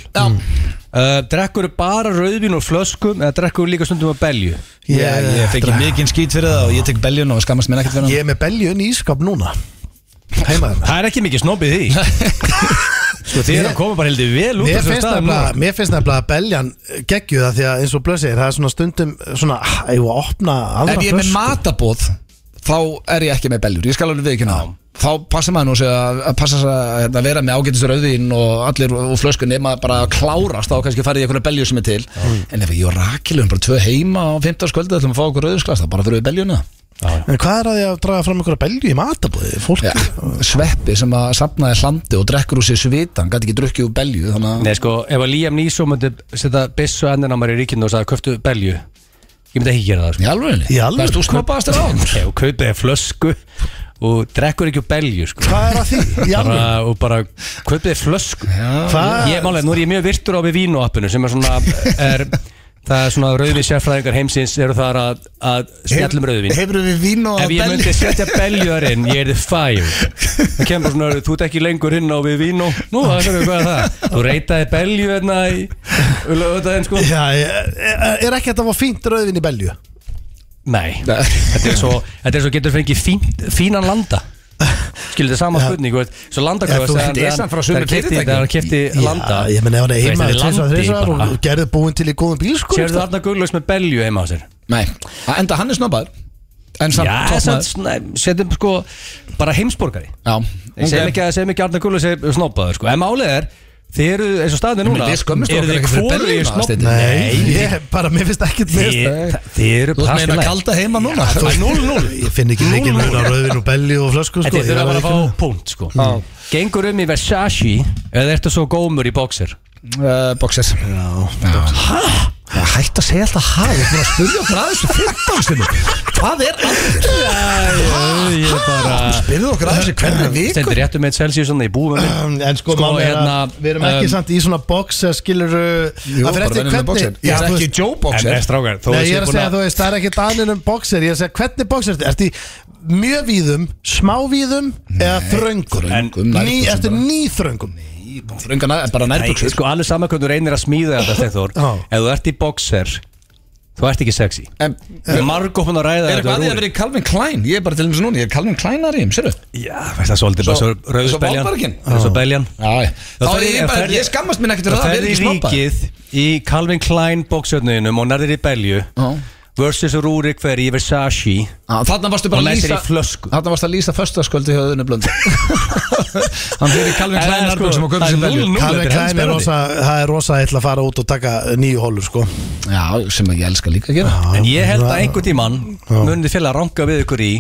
B: uh, Drekkur bara rauðvín úr flöskum eða drekkur líka stundum á belju
A: Ég, ég fengi mikinn skýt fyrir það og ég tek beljun og skammast mér ekkert fyrir
C: Ég
A: hann
C: er með beljun í ískap núna hérna. Heimaður
B: Það er ekki mikið snobbið *laughs* í því Sko þið erum komið bara heldur vel út úr
C: Mér
B: þessum
C: finnst,
B: stað
C: nefnilega, mér finnst nefnilega að beljan geggju það því að eins og blöð segir það er svona stundum svona, ah, ég var að opna aðra
A: Ef ég er
B: sko.
A: með matabóð þá er ég ekki með beljur, ég skal alveg viðkynna það þá passa maður nú sig að, að passa sig að hérna, vera með ágætis rauðin og allir og flöskun nema bara að klárast þá kannski farið í einhverja belju sem er til en ef ég og Rakel um bara tvö heima á 15 skvöldu ætlum að fá okkur rauðinsglas þá bara fyrir við beljuna
C: En hvað er að ég að draga fram einhverja belju í matabóði? Fólk
A: ja, sveppi sem að sapnaði hlandi og drekkur úr sér svitan, gæti ekki drukkið úr belju þannig
B: Nei
A: að
B: sko, ef að Liam Neeson myndi setja byssu hendin á mér í ríkinu og sagði köftu belju Ég myndi ekki gera það sko
A: í alveg
C: Í alvöru?
A: þú snoppaðast þér á
B: Nei, og kaupið er flösku og drekkur ekki úr belju sko
C: Hvað er að því? Í alveg?
B: bara, og bara kaupið er flösku
C: Hvað?
B: Ég málega, nú er ég mjög virtur á við vínuappinu sem er svona er, það er svona rauðvið sérfræðingar heimsins eru þar að, að snjallum rauðvin
H: Hefur við vín og
B: Ef ég myndi setja beljuðar inn, ég er þið fæl Það kemur bara svona, þú ert ekki lengur inn á við vín og Nú, það er hvað er það Þú reytaði beljuðarna í Ulöðaðin sko
C: Já, ég- er ekki þetta var fínt rauðvin í belju?
B: Nei, þetta er svo, þetta er svo getur fengið fín, fínan landa Skilur þetta sama spurning, þú veist, svo
C: Ja,
B: landakvöð
C: þú
B: þegar-
C: veist,
B: þegar-
H: frá sumum
B: þegar keypti-
H: fyrirtækjum.
B: Þegar hann kefti landa
C: Já, ég meni ef hann
B: Þú
C: er
B: veist,
C: heima
B: þetta
C: tvisvar,
B: landi
C: þrisvar
B: bara.
C: og gerði búin til í góðum bíl sko
B: Sérðu þarna gullöks með belju heima á sér
A: Nei, að enda hann er snoppaður en samt
B: Já,
A: toppmaður.
B: samt- nei, setjum sko bara heimsborgari
A: Já,
B: Ég segjum ekki að segjum ekki að Arna Gullu segir snoppaður sko En málið er, þið eru eins og staðin er núna
A: Nei, við skömmumst
B: eru
A: okkar
B: þið
A: ekki fyrir
B: hvorugir
A: Berlín,
B: snobb-
A: Steinn.
C: Nei, ég, bara mér finnst ekkert mér finnst-
B: Þið- það- Þið eru
A: Þú ert
B: plastin
A: meina sko. kalda heima núna
B: Það er 0-0
C: Ég finn ekki mikið mér á rauðvin og belju og flösku sko
B: Þetta
C: ég
B: er
C: verð
B: bara að
C: ekki með.
B: fá punkt sko Gengur um í Versace eða ertu svo gómur í boxer
A: uh, Boxers Hæ? Hætt að segja alltaf hæ Þú ert búin að spurja okkur aðeins og 15 sinni Hvað er allir?
B: Ég er bara
A: Spurðu okkur aðeins í hvernig vik
B: Stendur réttum með Celsius Svona í *clears throat* búum
C: Um, En sko,
B: Sko,
C: sko
B: hérna,
C: að við erum ekki
B: um,
C: samt í svona box að skilur Jú,
A: bara venjulega boxer. Ég er ekki Joe
B: En
A: Boxer
B: er strákar þó
C: Nei,
B: sé
C: ég er að
B: búin
C: segja, þú veist, það er ekki daninn um boxer Ég er að segja, hvernig boxer ertu? Ertu í mjög víðum, smávíðum eða þröngum?
A: þröngum,
C: ný,
A: nærbuxum
C: ertu
A: bara.
C: nýþröngum?
A: Þröngan bara
B: Nei,
A: nærbuksur
B: sko alveg saman hvernig þú reynir að smíða þetta Steinþór
C: Já.
B: Ef þú ert í boxer Þú ert ekki sexy
F: En
B: Við erum margótt búin að ræða
A: sko- Er eitthvað að því að vera í Calvin Klein? Ég er bara til þess að núna, ég er Calvin Klein aðrið, sér þau?
B: Já, það er svolítið bara
A: Svo-
B: svo
A: svo
B: rauðspeljan
A: Valbergin.
B: Það er svo beljan
A: Já, þá
B: ferði-
A: er ég bara,
B: ferði-
A: ég skammast minn ekkert
B: Það
A: að það vera
B: ferði
A: ekki snoppað
B: ríkið í Calvin Klein bóksjötnuðinum og nærðir í belju versus Rúrik fer í Versace
A: Þarna varstu
B: og
A: bara að
B: læsir
A: lýsa
B: í flösku
A: Þarna varstu að lýsa föstaskvöldi hjá öðinu *laughs* blönd Hann fyrir Calvin
B: En
A: Klein
B: sko,
A: sko, sem að kaupa
B: það er
A: sem velju
B: núll- núll. þetta
C: Kalvin
B: er
C: Klein er
B: helst
C: rosa, það er rosa ætla að fara út og taka nýju hólur sko
A: Já, sem ég elska líka að gera
B: En ég held að einhvern tímann munið félag að ranka við ykkur í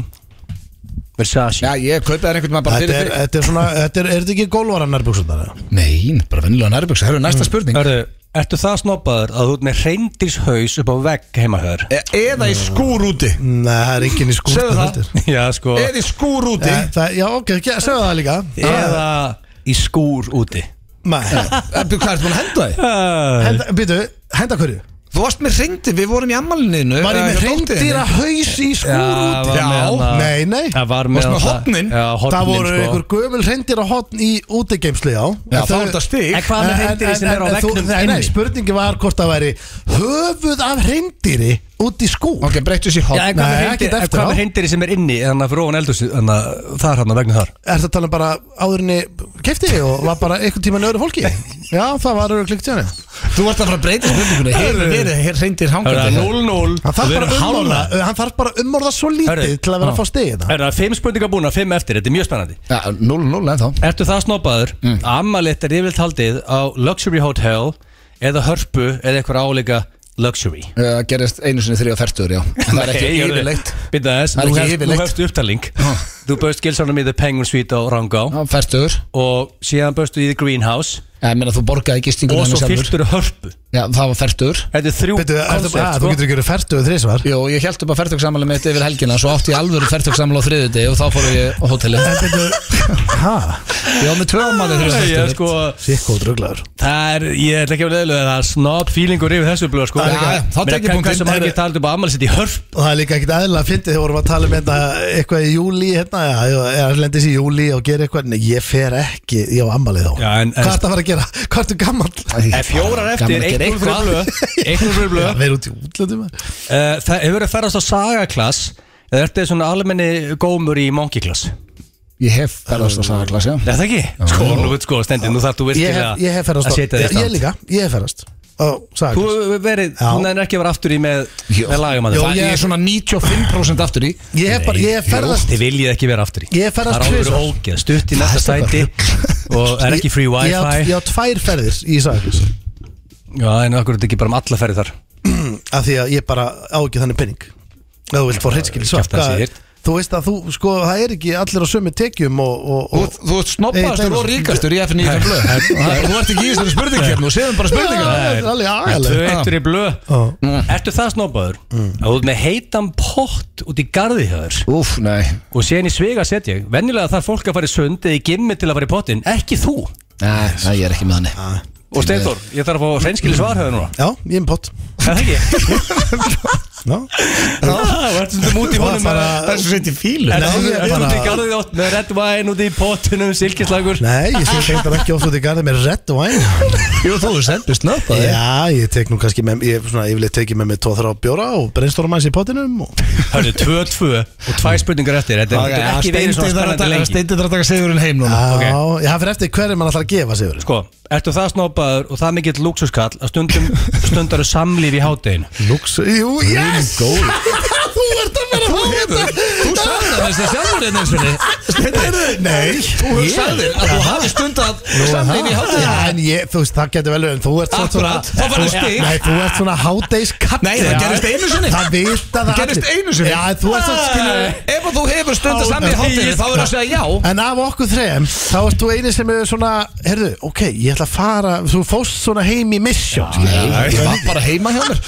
B: Versace
A: Já, ég kaupa þær einhvern veginn bara
C: Þetta
A: fyrir
C: er,
A: þig
C: þetta er svona, þetta er, er þetta ekki gólvaran nærbúksundar?
A: Nei, bara vennilega nærbyggs, það eru næsta spurning
B: Hörru, ertu það snoppaður að þú ert með reyndíshaus upp á vegg heima höður?
A: E- Eða í skúr úti
C: Nei, það er enginn í skúr
A: Segðu það.
B: Já, sko
A: Eða í skúr úti
C: Ja, það, já, ok, ekki- segðu það líka Eh,
B: Eða í skúr úti
C: Nei,
A: Eh, Hvað ertu búin að henda þig?
C: henda, býtu, henda hverju?
A: Þú varst með hreindir, við vorum í eh, ammalinu
C: Var ég með hreindýra haus í skúr
B: Já,
C: út?
B: var með hana-
C: nei, nei
B: Það var
A: Varstu
B: með
A: með
B: alltaf-
A: hornin?
B: Já,
C: Það
B: hornin
C: voru
B: sko.
C: einhver gömul hreindýra hotn í útigeimslu, já
A: Já,
C: En
A: þá
C: þau-
A: er þetta stig
B: En hvað með hreindýri sem
C: en-
B: er á
C: en- en þú-
B: veggnum
C: Nei, nei,
B: inni?
C: spurningi var hvort það væri höfuð af hreindýri út í skúr
A: Ok, breyttu sér
B: Já,
A: hótt
B: en hvað með
C: Nei,
B: hreindýri-
C: ekkert
B: en
C: eftir
B: hvað
C: á.
B: með hreindýri sem er inni Þannig að fyrir ofan eldhúsi Þannig að það er hann að vegna þar
C: Er þetta talað um bara áðurinni kefti og var bara einhvern tímann öðru fólki? Já, það var öðru klikt tjáni
A: Þú varst að fara að breyta spurningunni Hefur verið hér hreindir
B: Það er
A: hangandi
B: 0-0
C: Hann þarf
B: Við
C: bara
B: erum
C: umorða,
B: hálfnaðir.
C: hann þarf bara umorða svo lítið
B: Hörru,
C: til að vera að
B: já.
C: fá hérna. stegið það
B: Það eru fimm spurningar búin að fimm eftir Þetta er mjög spennandi
A: Já, 0-0 ennþá
B: Ertu það snoppaður? Mm. Ammalitt er yfirleitt haldið á Luxury Hotel Eða Hörpu Eða eitthvað áleika Luxury
A: uh, gerist einu sinni þrjá færtur, já En Það er ekki yfirleitt
B: Býta þess
A: Það er
B: Nú
A: ekki
B: hefst- nú
A: yfirleitt.
B: hefst upptaling Þú bauðst gilsanum í The Penguin Suite á Rangá
A: Já, færtur
B: Og síðan bauðstu í The Greenhouse
A: Ég meina þú borgaði gistingu
B: Og svo fyrstur Hörpu
A: Já, það var færtur
B: Þetta er þrjú
C: Beidu, er,
B: koncept,
C: að,
B: sko.
C: Þú getur ekki verið færtuð þrísvar
A: Jó, ég held upp að færtugsamali mitt yfir helgina Svo átti ég alvöru færtugsamali á þriðudegi Og þá fór ég á hóteli
C: Hæ?
A: Ég var með tvö ámali þrjá
B: Nei, ég,
A: færtur
B: sko,
C: Sikko druglaður
B: það er, ég ætla ekki að vera leðilega það er snob feelingur yfir þessu blöð sko.
A: Já, já, þá tek ég punktinn.
B: Hversu margir taldu bara ammali sitt í hörp
C: Og það er líka ekkert eðla að fyndi þegar vorum að tala um þetta eitthvað í júli hérna, já, ég lendis í júli og gera eitthvað, en ég fer ekki, ég á ammalið þá.
B: Já, en- en-
C: Hvað er það að fara að gera? Hvað ertu gammal?
B: En Eh, fjórar eftir,
A: að gera
B: 1-0 fyrir
A: eitthvað.
B: blöð 1-0 fyrir blöð
A: *laughs*
C: Það verður út í útlöndum.
B: Eh, Það hefur verið að ferðast á sagaklass eða ertu svona almenni gómur í monkiklass
A: Ég hef ferðast á sama klass, já
B: Er það ekki? Sko, nú veit sko, stendi, nú þarf þú
C: Ég
B: virkilega
C: hef, ég hef ferðast
B: að
C: á.
B: setja þig
C: Ég,
B: stand.
C: ég líka, ég hef ferðast. Ó,
B: Þú
C: sagði.
B: hefur verið,
C: Já.
B: hún er ekki að vera aftur í með,
A: Jó.
B: með lagum að
C: Jó,
B: það
A: Ég er svona 95% aftur í
C: Ég hef bara, ég hef ferðast.
B: Þið viljið ekki vera aftur í
C: Ég hef ferðast
B: Það er
C: tvisvar.
B: alveg ógeð, stutt í næsta
C: Það er
B: sæti *laughs* og er ekki free
C: Ég- ég á-
B: wifi
C: Ég á tvær ferðir í sagaklis.
B: Já, en okkur er þetta ekki bara um alla ferði þar
C: Mm, Af því að ég bara á ekki þannig penning. Ef þú vilt fá hreinskilið svar.
B: Kjaftaði
C: Hvað-
B: sér.
C: Þú veist að þú, sko, það er ekki allir á sömu tekjum og... og,
A: Þú,
C: og
A: þú ert snobbaðastur og ríkastur í FN í FN blöð Þú ert ekki í þessari hérna, spurningkjörn og séðum um bara
C: Já,
A: spurningar
C: um það er alveg
B: Tvö
C: agalegt. Mm.
B: eittur í blöð Mm.
C: Ó.
B: Ertu það snópaður? Að þú ert með heitan pott út í garði hjá þér
A: Úf, nei
B: Og séðan í svega set ég Venjulega þarf fólk að fara í sund eða í gimmi til að fara í pottin Ekki þú
A: Nei, nei, ég er ekki með hann
B: Og Steintor, ég þarf að fá hreinskili svar hjá þér núna
C: Já, ég er með pott
B: Er Það ekki?
C: Já.
B: *laughs* Já, þú ert stundum út í
C: Það er
B: honum
C: bara-
B: með-
C: það er svo
A: Sveit í fílu
B: Ertu
C: Nei, ég er
B: ertu
C: bara-
B: út í garðið átt með red wine út í pottinum, silkislagur
C: Nei, ég sé þetta ekki oft út í garði með redd væn
A: Jú, þú er sendur snobbaði
C: Já,
B: eh?
C: ég tek nú kannski með Ég svona yfirleitt tekið með mig tvo þrjá bjóra og breynstorma hans í pottinum og...
B: Hörðu, tvö, tvö og tvær spurningar eftir Þetta er- þetta er ekki verið svona spennandi lengi
A: Steindi þarf að taka sigurinn heim núna
C: Já,
B: *laughs* Ok.
C: ég hafði eftir hverju mann ætlar að gefa sig
B: Sko, ertu það snópaður og það mikill luxuskall að stundum stundaru samlíf í hátteginu
C: Lux, jú, yes Þú ert að vera að
A: Þú sagði það þess að sjálfur hérna einn eins og
C: þetta Nei,
A: Þú sagði að þú hafi stundat samlein í
C: Já,
A: hátíð
C: en ég, þú veist, það getur vel verið en Þú ert samt svona
A: Akkurat, þá færðu
C: þú-
A: stig.
C: Nei, þú ert svona hádeis kall
A: Nei, það gerist einu sinni
C: Það vita það
A: Það gerist
C: allir.
A: einu sinni.
C: Já, en þú ert svona skilur
A: Ef að þú hefur stundat samlein í hátíð þá verður að segja já
C: En af okkur þrejum, þá ert þú eini sem er svona, heyrðu, ok, ég ætla að fara, þú fóst svona heim í misjón, skilur.
A: Ég var bara heima hjá mér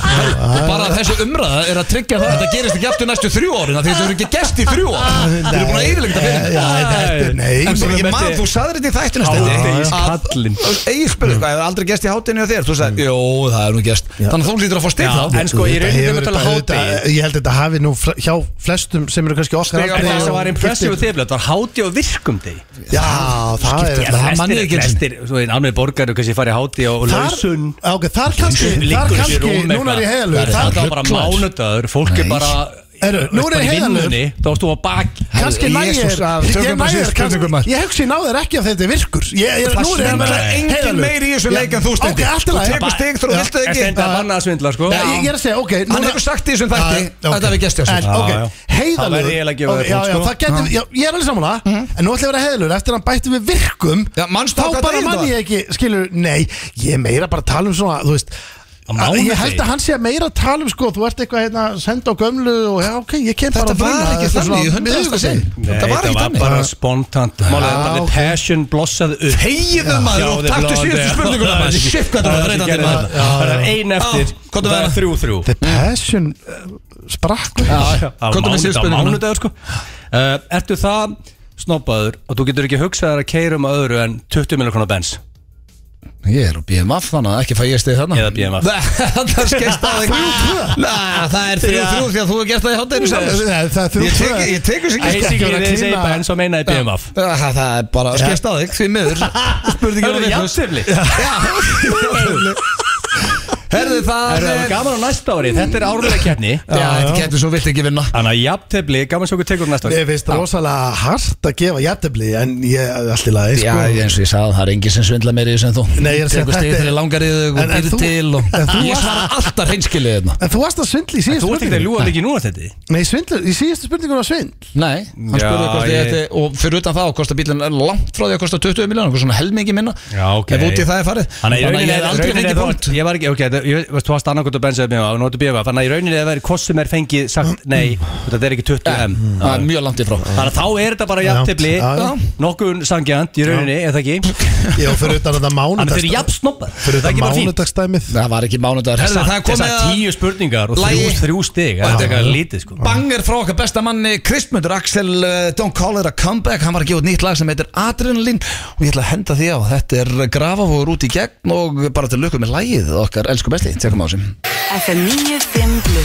A: Og bara þessi umræða er að tryggja það að þetta gerist ekki aftur næstu þrjú árin af Því þetta verður ekki gest í þrjú árin Við erum búin að yfirlegta fyrir
C: Já, þetta er- nei,
A: En svo
B: bara
A: ég
B: með
A: maður,
B: þig.
A: þú sagðir þetta í þættinu
B: Hádegis kallinn.
A: Egil spurði, hvað, hefur aldrei gest í hátinu á þér? Þú sagði, jú, það er nú gest Þannig að þú lítur að fá stig
B: Já,
A: þá
B: en sko, ég er
C: Þetta
B: einhvern
C: hefur
B: veginn að tala
C: bara-
B: hátegi
C: þetta- Ég held að þetta hafi nú fl- hjá flestum sem eru kannski okkar
A: Stiga-
B: En
C: aldrei
B: það sem
C: og-
B: var impressive og þefilegt var háti og virkum deg
C: Já, það er
A: það mann ég ekki einu sinni.
B: Flestir, þú veit, ánveg borgar og kannski farið háti og og
C: Þar,
B: lausun
C: á, ok, þar kannski, þar
B: Liggur upp í
C: kannski,
B: rúm
C: núna er ég heiðalög
B: Það er bara mánudagur, fólk er bara
C: Heyrðu, nú er ég heiðarlegur.
B: Þá varst þú á baki
C: Kannski nægir,
A: Jesus, að-
C: ég
A: tökum bara
C: nægir,
A: síðustu spurningu, maður.
C: kannski, ég hugsi ég náður ekki að þetta er virkur Ég, ég, nú
A: Það
C: er ég
A: snemma
C: heiðarlegur.
A: engin
C: Heiðarlegur.
A: meiri í þessu leik en þú
C: Já,
A: stendur
C: Ok, allt í
A: Þú
C: lagi.
A: tekur stig þegar þú vilt það
B: En
A: ekki
B: stendur að manna að svindla, sko
C: Nei, ég ég er að segja, ok
A: Hann
C: núna-
A: hefur sagt í þessum þætti
C: Já,
A: að
C: ok.
A: þetta hafi gerst hjá sér.
C: En, ok,
B: Já, já.
C: heiðalög
B: Það verð ég eiginlega að gefa þér
C: Já,
B: punkt,
C: já,
B: sko.
C: það getur, já, ég er alveg sammála En nú ætla ég að vera heiðalög Eftir að hann bætti við virkum
A: Mhm. Já, manstu
C: Þá
A: hvað þetta
C: bara
A: heitir
C: mann
A: það?
C: ég ekki, skilur, nei Ég er meira bara að tala um svona, þú veist
B: mánu
C: að- Ég held
B: degi.
C: að hann sé að meira að tala um sko Þú ert eitthvað hérna, senda á gömlu og já, ok, ég kem bara
A: Þetta
C: að
A: var
C: bruna,
A: ekki
C: þetta er
A: þannig í
C: svona
A: hundraðasta
C: miðvikudagsinn.
A: sinn Þetta var ekki þannig
B: bara spontant Málið er
C: Já,
B: bara
C: ok.
B: passion blossaði upp
A: Þegiðu maður og taktu síðustu spurninguna maður. Shit, hvað þetta var þreytandi maður
B: Það er ein eftir
A: Já, komdu með
B: Það er
A: hana.
B: þrjú þrjú
C: The Passion uh, sprakk
A: Komdu með síðustu
B: Mánudag,
A: spurninguna.
B: mánudagur sko Uh, Ertu það snoppaður og þú getur ekki hugsað þér að keira um að öðru en 20 miljonar konar bens
F: Ég er á BMF þannig að ekki fæ ég stið þarna
B: eða BMF
A: *laughs* Það skeist á
C: *laughs*
A: þig Næ, Það er þrjú þrjú því að þú hefur gert það í hátæðinu sjálf
C: Nei, Það er þrjú
A: Ég
C: tvö.
A: tek- Ég tekur sig ekki
B: Basically
C: vera að
B: þið segir
C: klína-
B: bens og meinaði BMF
A: Það það er bara skeist á þig því
C: *laughs*
A: miður Spurði
B: Hörðu,
A: *laughs*
B: jafntefli.
A: jafnir Herðu
B: Það
A: það
B: er eh, Mhm.
A: er-
B: gaman á næsta ári, þetta er árlega keppni
A: Já, þetta getur svo vilt ekki vinna
B: Þannig að jafntefli, gaman svo okkur tekur á næsta ári
C: Mér finnst rosalega hart að gefa jafntefli En ég, allt í lagi
F: Já,
C: sko.
F: eins og ég sagði, það er engin sem svindla meiri sem þú
C: Nei, ég er að segja,
F: Tekur stig
C: þetta er-
F: fyrir langariðu og
C: En- en
F: býr
C: þú-
F: til og
C: en þú
F: Ég
C: varst-
F: svara alltaf hreinskilið hérna
C: En þú varst að svindla í síðustu
B: Þú ert ekki að
C: spurningu
B: ljúga ekki núna þetta
C: Nei, svindla, í síðustu spurningu var svindl
F: Nei, hann
B: Já,
F: spurði hvort ég
B: ég-
F: ætti Og fyrir utan það, kostar bílinn langt frá því að kosta 20 miljónum Eitthvað svona helmingi minna
B: Já, ok.
F: Ef út í það er farið
B: Þannig að í
F: ég
B: rauninni
F: hef aldrei fengið punkt
B: Ég var ekki, ok, það- ég veist, þú varst annarkot að bensa upp og notu BMF Þannig að í rauninni það væri hvort sem er fengið sagt nei Þetta er ekki 20M
F: Það er mjög langt í frá
B: Þannig að þá er þetta bara jafntefli
C: Já, já.
B: Nokkun sangjant í rauninni, eða ekki Þannig
C: Já, fyrir utan
B: að
C: þetta
B: þeir eru
C: mánudagsdæmið
B: jafnsnoppar Það er
C: Fyrir utan
B: ekki bara fínt
C: mánudagsdæmið
F: Það var ekki mánudagur
A: Herðu, það er komið
B: Þessar
A: að-
B: tíu spurningar og
A: Lagi.
B: þrjú, þrjú stig Þetta er eitthvað lítið sko
A: Banger frá okkar besta manni Kristmundur Axel uh, Don't call it a comeback Hann var að gefa út nýtt lag sem heitir Adrenaline Og ég ætla að henda því á Þetta er grafavogur út í gegn Og bara til lukku með lagið Okkar elsku besti Tekum á sem
G: FM 95 Blu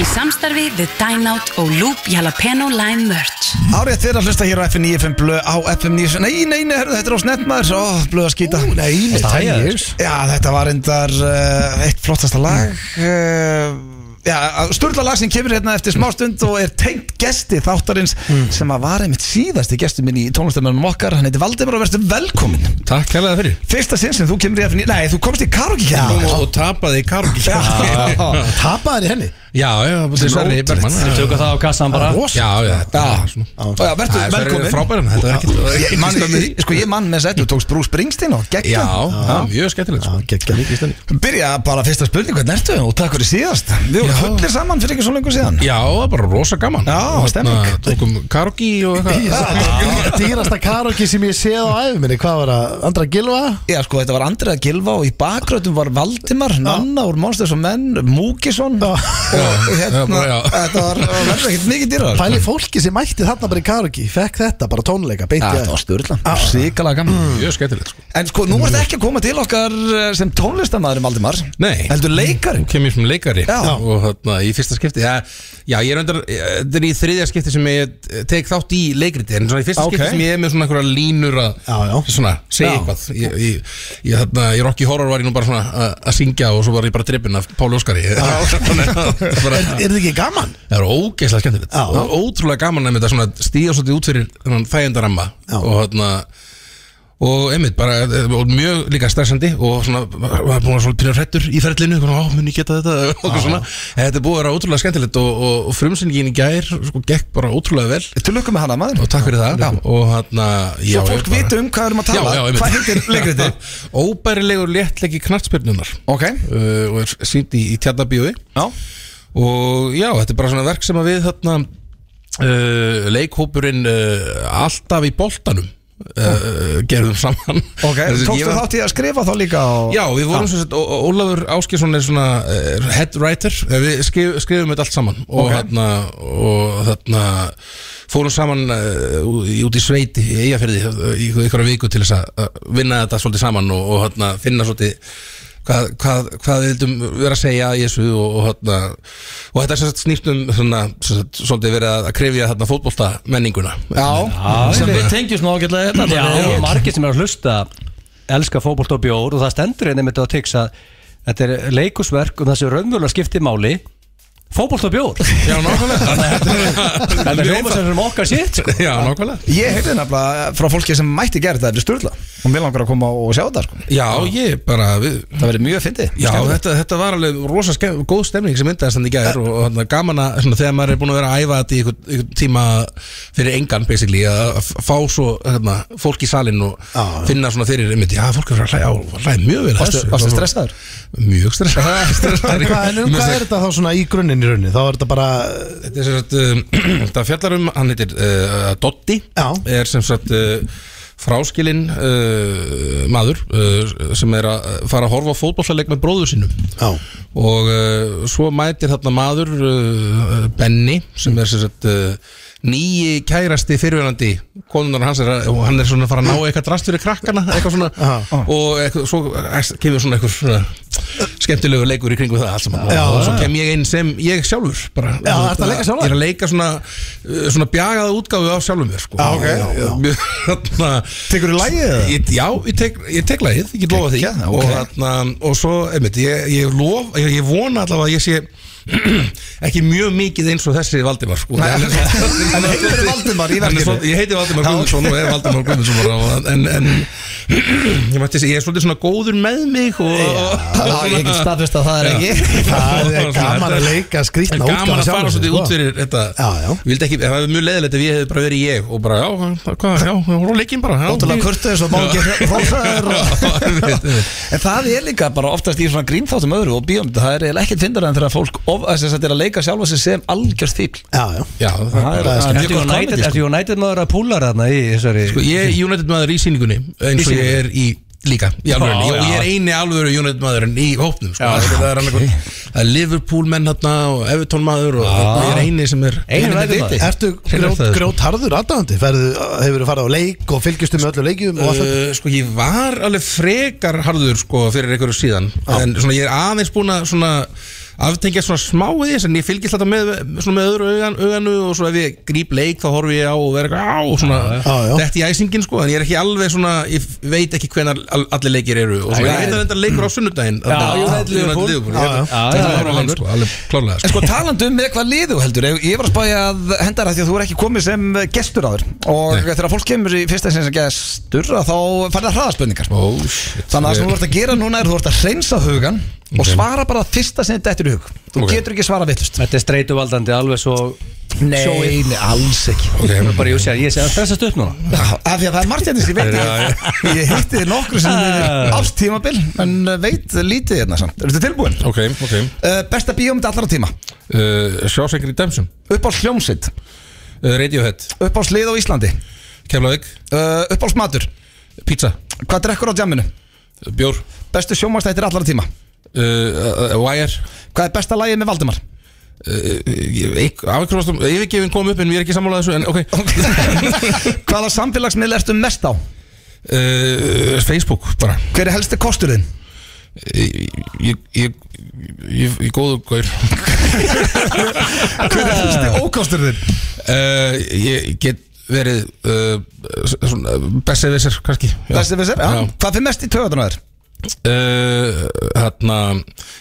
G: Í samstarfi við Dine Out og Loop Jalapeno Lime Merch
A: Árið þeirra hlusta hér á FM 95 blöð Á FM 95 Nei, nei, nei, herðu, þetta er á snettmaður Ó, blöð að skýta Ó, nei, nei,
B: Þetta hægjaði þér.
A: Já, þetta var endar uh, eitt flottasta lag uh, Já, sturla lag sem kemur hérna eftir smástund og er tengt gesti þáttarins sem að var einmitt síðasti gestur minn í tónlistamönnum okkar, hann heiti Valdemar og verður velkomin
I: Takk kærlega fyrir
A: Fyrsta sinn sem þú kemur í FN Nei, þú komst í karaoke
I: Og,
A: hérna
I: og tapaði í kargi Já,
A: Já.
C: Tapaðir í henni
I: já, það er sverri
B: Við tökum það á kassan bara
I: Já, já, þetta
A: Já.
I: er svona
A: Já, vertu
I: Ah. Það er hérna. sverri
A: velkomin.
I: frábæran, þetta er ekkert- það er
A: Ég
I: ekkert
A: man,
I: skömmin í.
A: sko ég mann með þess að þú tókst Bruce Springsteen og
I: Já,
A: geggja
I: það er mjög skemmtilegt sko.
C: Gekkja mikið stenni
A: Byrja bara fyrsta spurning, hvernig ertu og takk fyrir síðast Við vorum fullir saman fyrir ekki svo lengur síðan
I: Já, það er bara rosa gaman
A: Já,
I: Þarna
A: stemning.
I: Tókum kargi og *clears throat* eitthvað
C: Dýrasta karaoke sem ég séð á æfum minni Hvað var það? Andra Gilva?
A: Já sko, þetta var Andrið að gilfa og í bakgröðum var Valdimar, Nanna úr Monsters og Menn Múkisson og
I: Já,
A: hérna,
I: bara, já.
A: þetta var það verður ekkert mikið dýrar
C: Pæli fólki sem mætti þarna bara í karaoke Fekk þetta, bara tónleika, beint í
A: Þetta
C: æð.
A: var styrla, síkala gaman
I: Mjög skemmtilegt sko.
A: Mm. En sko, nú varst ekki að koma til okkar eh, sem tónlistamæðurum Valdimar
I: Nei.
A: Heldur leikarum
I: Nú kem ég sem leikari
A: Já.
I: og þarna í fyrsta skipti já, já, ég er undar, þetta er í þriðja skipti sem ég eh, tek þátt í leikriti en svona í fyrsta
C: Ok.
I: skipti sem ég er með svona einhverja línur að
C: Já, já.
I: svona,
C: Já.
I: segja eitthvað ég, ég, ég, þarna, í Rocky Horror var ég nú bara svona að- að syngja og svo var ég bara drippin af Páli Óskari Þannig að það
C: Er
I: *laughs* bara-
C: *laughs* er þetta ekki gaman?
I: það er ógeðslega skemmtilegt
C: Já.
I: og ótrúlega gaman að þetta svona stíða svolítið út fyrir þennan þægendaramma
C: Já.
I: og hérna og einmitt bara eh, og mjög líka stressandi og svona var var búin að svona pyrja hrettur í ferlinu og svona, ó, mun ég geta þetta *laughs* og eitthvað svona En þetta er búið að vera ótrúlega skemmtilegt og, og, og frumsyningin í gær sko gekk bara ótrúlega vel
A: Til lukku með hana maður
I: og takk fyrir það já. og hérna já,
A: Svo
I: ég
A: fólk
I: bara-
A: viti um hvað við erum að
I: Já,
A: tala
I: já, einmitt.
A: Hvað heitir leikritið?
I: *laughs* Óbærilegur léttlegi knartspyrnunar
A: Ok.
I: uh, og er sýnt í, í tjaldabíói
A: Já
I: og já, þetta er bara svona verk sem að við þarna uh, leikhópurinn uh, alltaf í boltanum uh, gerðum saman
A: Ok, tókstu þátt í að skrifa þá líka á...
I: Já, við vorum sem sagt, Ó- Ó- Ólafur Áskjesson er svona eh, head writer, Eh, við skrif, skrifum þetta allt saman og
A: Ok.
I: þarna, og þarna fórum saman uh, út í sveit í Eyjafyrði eh, í einhverja viku til þess að að vinna þetta svolítið saman og, og þarna, finna svolítið hvað, hvað, hvað við vildum vera að segja í þessu og, og, þarna, og þetta er sem sagt snýst um svona, sem sagt, svolítið verið að- að krefja þarna fótbolta menninguna
A: Já, sem við tengjum svona ágætlega þetta
B: Já,
A: þannig að-
B: og margir sem er að hlusta elska fótbolt og bjór og það stendur einnig með þetta að tyggsa þetta er leikusverk um þessi raunvölu að skipti máli fótbolt og bjór
I: Já, nákvæmlega
B: þetta er hljóma sem er okkar sitt sko.
I: Já, nákvæmlega
A: Ég heyrði nefnilega frá fólki sem mætti gera þetta þetta er sturla og mér langar að koma og sjá þetta sko.
I: Já, ég bara, við,
A: það verið mjög fyndið
I: Já,
A: Skemmtilegt.
I: þetta, þetta var alveg rosa skef, góð stemning sem myndaðist hann í gær og, og þarna gaman að svona, þegar maður er búin að vera að æfa þetta í einhvern- einhvern tíma fyrir engan basically að að fá svo hérna, fólk í salin og finna svona fyrir einmitt, já, fólk er að hlæja, á- hlæja mjög vel að
A: Varstu-
I: þessu.
A: varstu stressaður?
I: Mjög stressaður,
C: En
I: *laughs* stressaður.
C: hvað, en um
I: Mér
C: hvað
I: finnst
C: er þetta þá svona í grunninn í rauninni? Þá er þetta bara
I: þetta er sem sagt um, *clears throat* það fjallar um, hann heitir uh, Dotti,
C: Já.
I: er sem sagt uh, fráskilinn uh, maður uh, sem er að fara að horfa á fótbollaleik með bróður sínum
C: Já.
I: og uh, svo mætir þarna maður uh, Benny sem er sem sagt uh, nýji kærasti fyrirverandi konunar hans er að, og hann er svona að fara að ná eitthvað drast fyrir krakkana eitthvað svona og eitthvað, svo eh, kemur svona eitthvað svona skemmtilegu leikur í kringu það allt saman
C: Já,
I: og svo
C: já.
I: kem ég inn sem ég sjálfur bara
C: Já, ertu að leika sjálfur?
I: Ég er að leika svona, uh, svona bjagaða útgáfu af sjálfum mér sko.
C: Já, ok.
I: Mjög, *laughs* þarna,
A: Tekurðu lagið eða?
I: Ég, já, ég tek, ég tek lagið, ég get lofa því
A: Geggjað, ok.
I: og, þarna, og svo, einmitt, ég, ég lof ég, ég vona allavega að ég sé *clears throat* ekki mjög mikið eins og þessi Valdimar *laughs* sko. Nei,
A: En heitir Valdimar í verkinu?
I: Ég heiti Valdimar Guðmundsson og er Valdimar Guðmundsson bara, en, en *clears throat* ég, mætti, segja, ég er svolítið svona góður með mig og, og,
A: Já, ég get
I: *laughs*
A: staðfest að það er ekki
C: Það er gaman að leika
I: En
C: skrýtna
I: gaman
C: útgáfa
I: að fara svolítið út fyrir þetta
C: sko. Já, já.
I: Vildi ekki, það var mjög leðilegt ef ég hefði bara verið ég og bara, já, hvað, hvað, já, hún leikinn bara já,
A: Ótrúlega
I: ég-
A: kurteis og má ekki
I: *laughs*
A: hrósaður
I: Já,
A: og-
I: einmitt, einmitt.
A: En það er líka bara oftast í svona grínþáttum öðru og bíómynd það er eiginlega ekkert fyndara en þegar fólk of, að þess að þetta er að leika sjálfa sig sem algjörst fíl
C: Já, já
I: Já, það
A: Það
I: er
A: er-
I: bara
A: mjög
B: Ertu
A: gott
B: United-
A: comedy, sko.
B: ertu United maður að púla þarna í þessari
I: Sko, Ég er United maður í síningunni eins og
B: Í
I: ég er í líka í alvörunni,
B: Já,
I: og ég er
B: já.
I: eini alvöru United maðurinn í hópnum sko.
B: Já,
I: Það er- það er annað hvort- það er Liverpool menn hérna og Everton maður og og ég er eini sem er
B: Einu
I: United
B: United maður.
C: Ertu
I: Hreinar
C: grjót,
I: það, sko.
C: grjótharður aðdáðandi? Hefur þú farið á leik og fylgist um öllu leikjum og allt þetta?
I: Uh, sko ég var alveg frekar harður sko fyrir einhverju síðan en svona ég er aðeins búin að svona aftengja svona smá í þess en ég fylgist þetta með, svona með öðru augan, auganu og svo ef ég gríp leik þá horfi ég á og verður eitthvað á og
C: Já, já.
I: svona dett í æsingin sko en ég er ekki alveg svona ég veit ekki hvenar al- allir leikir eru og svona ég veit að þetta leikur á sunnudaginn
B: Já, United Liverpool.
I: Liverpool Ég-
B: Já,
I: þetta
B: já,
I: var alveg hann,
B: Liverpool.
I: sko, alveg klárlega,
A: En
I: sko.
A: sko talandi um með hvað liðu heldur Ég ég var að spája að henda þér að því að þú er ekki komið sem gestur á þér Og
I: Nei.
A: þegar fólk kemur í fyrsta sinni sem gestur að Þá færði það hraðaspurningar
I: Ó, Oh, shit.
A: Þannig að það sem þú ert að gera núna er þú ert að hreinsa hugan Og
I: Ok.
A: svara bara fyrsta sinni dettur í hug Þú
I: Ok.
A: getur ekki svara villust
B: Þetta er streituvaldandi alveg svo sjóið.
A: nei, alls ekki
I: Ok.
B: Ég er bara ég sé að ég sé að stressast upp núna
A: Já, af því að það er margt hérna sem ég veit
I: Já,
A: ekki. Ég hitti þið nokkru sem þið
B: Ah.
A: ástímabil En uh, veit lítið hérna samt Eru þið tilbúin?
I: ok, ok
A: Uh, besta bíómynd allra tíma
I: uh, Sjásengri Redemption
A: Upp á sljómsitt
I: uh, Radiohead,
A: Upp á slið á Íslandi
I: Keflavík,
A: uh, Upp á smatur
I: Pizza
A: Hvað drekkur á djamminu?
I: Bjór
A: Bestu sjómanstættir allra tíma
I: uh, uh, uh, Wire Uh,
A: Hvað er besta lagið með Valdimar?
I: Afkvæmstum, yfirgefin kom upp en við erum ekki sammálað þessu en ok
A: Hvaða samfélagsmiðl ertu mest á?
I: uh, Facebook bara
A: Hver er helsti kostur þinn?
I: Ég, ég, ég, ég, ég góðu gaur
A: Hver er helsti ókostur þinn?
I: uh, Ég get verið uh, svona bestsefisir kannski Já.
A: Þessi við sér, já
I: Já.
A: Hvað fyrir mest í töðunum þér?
I: Uh, Þarna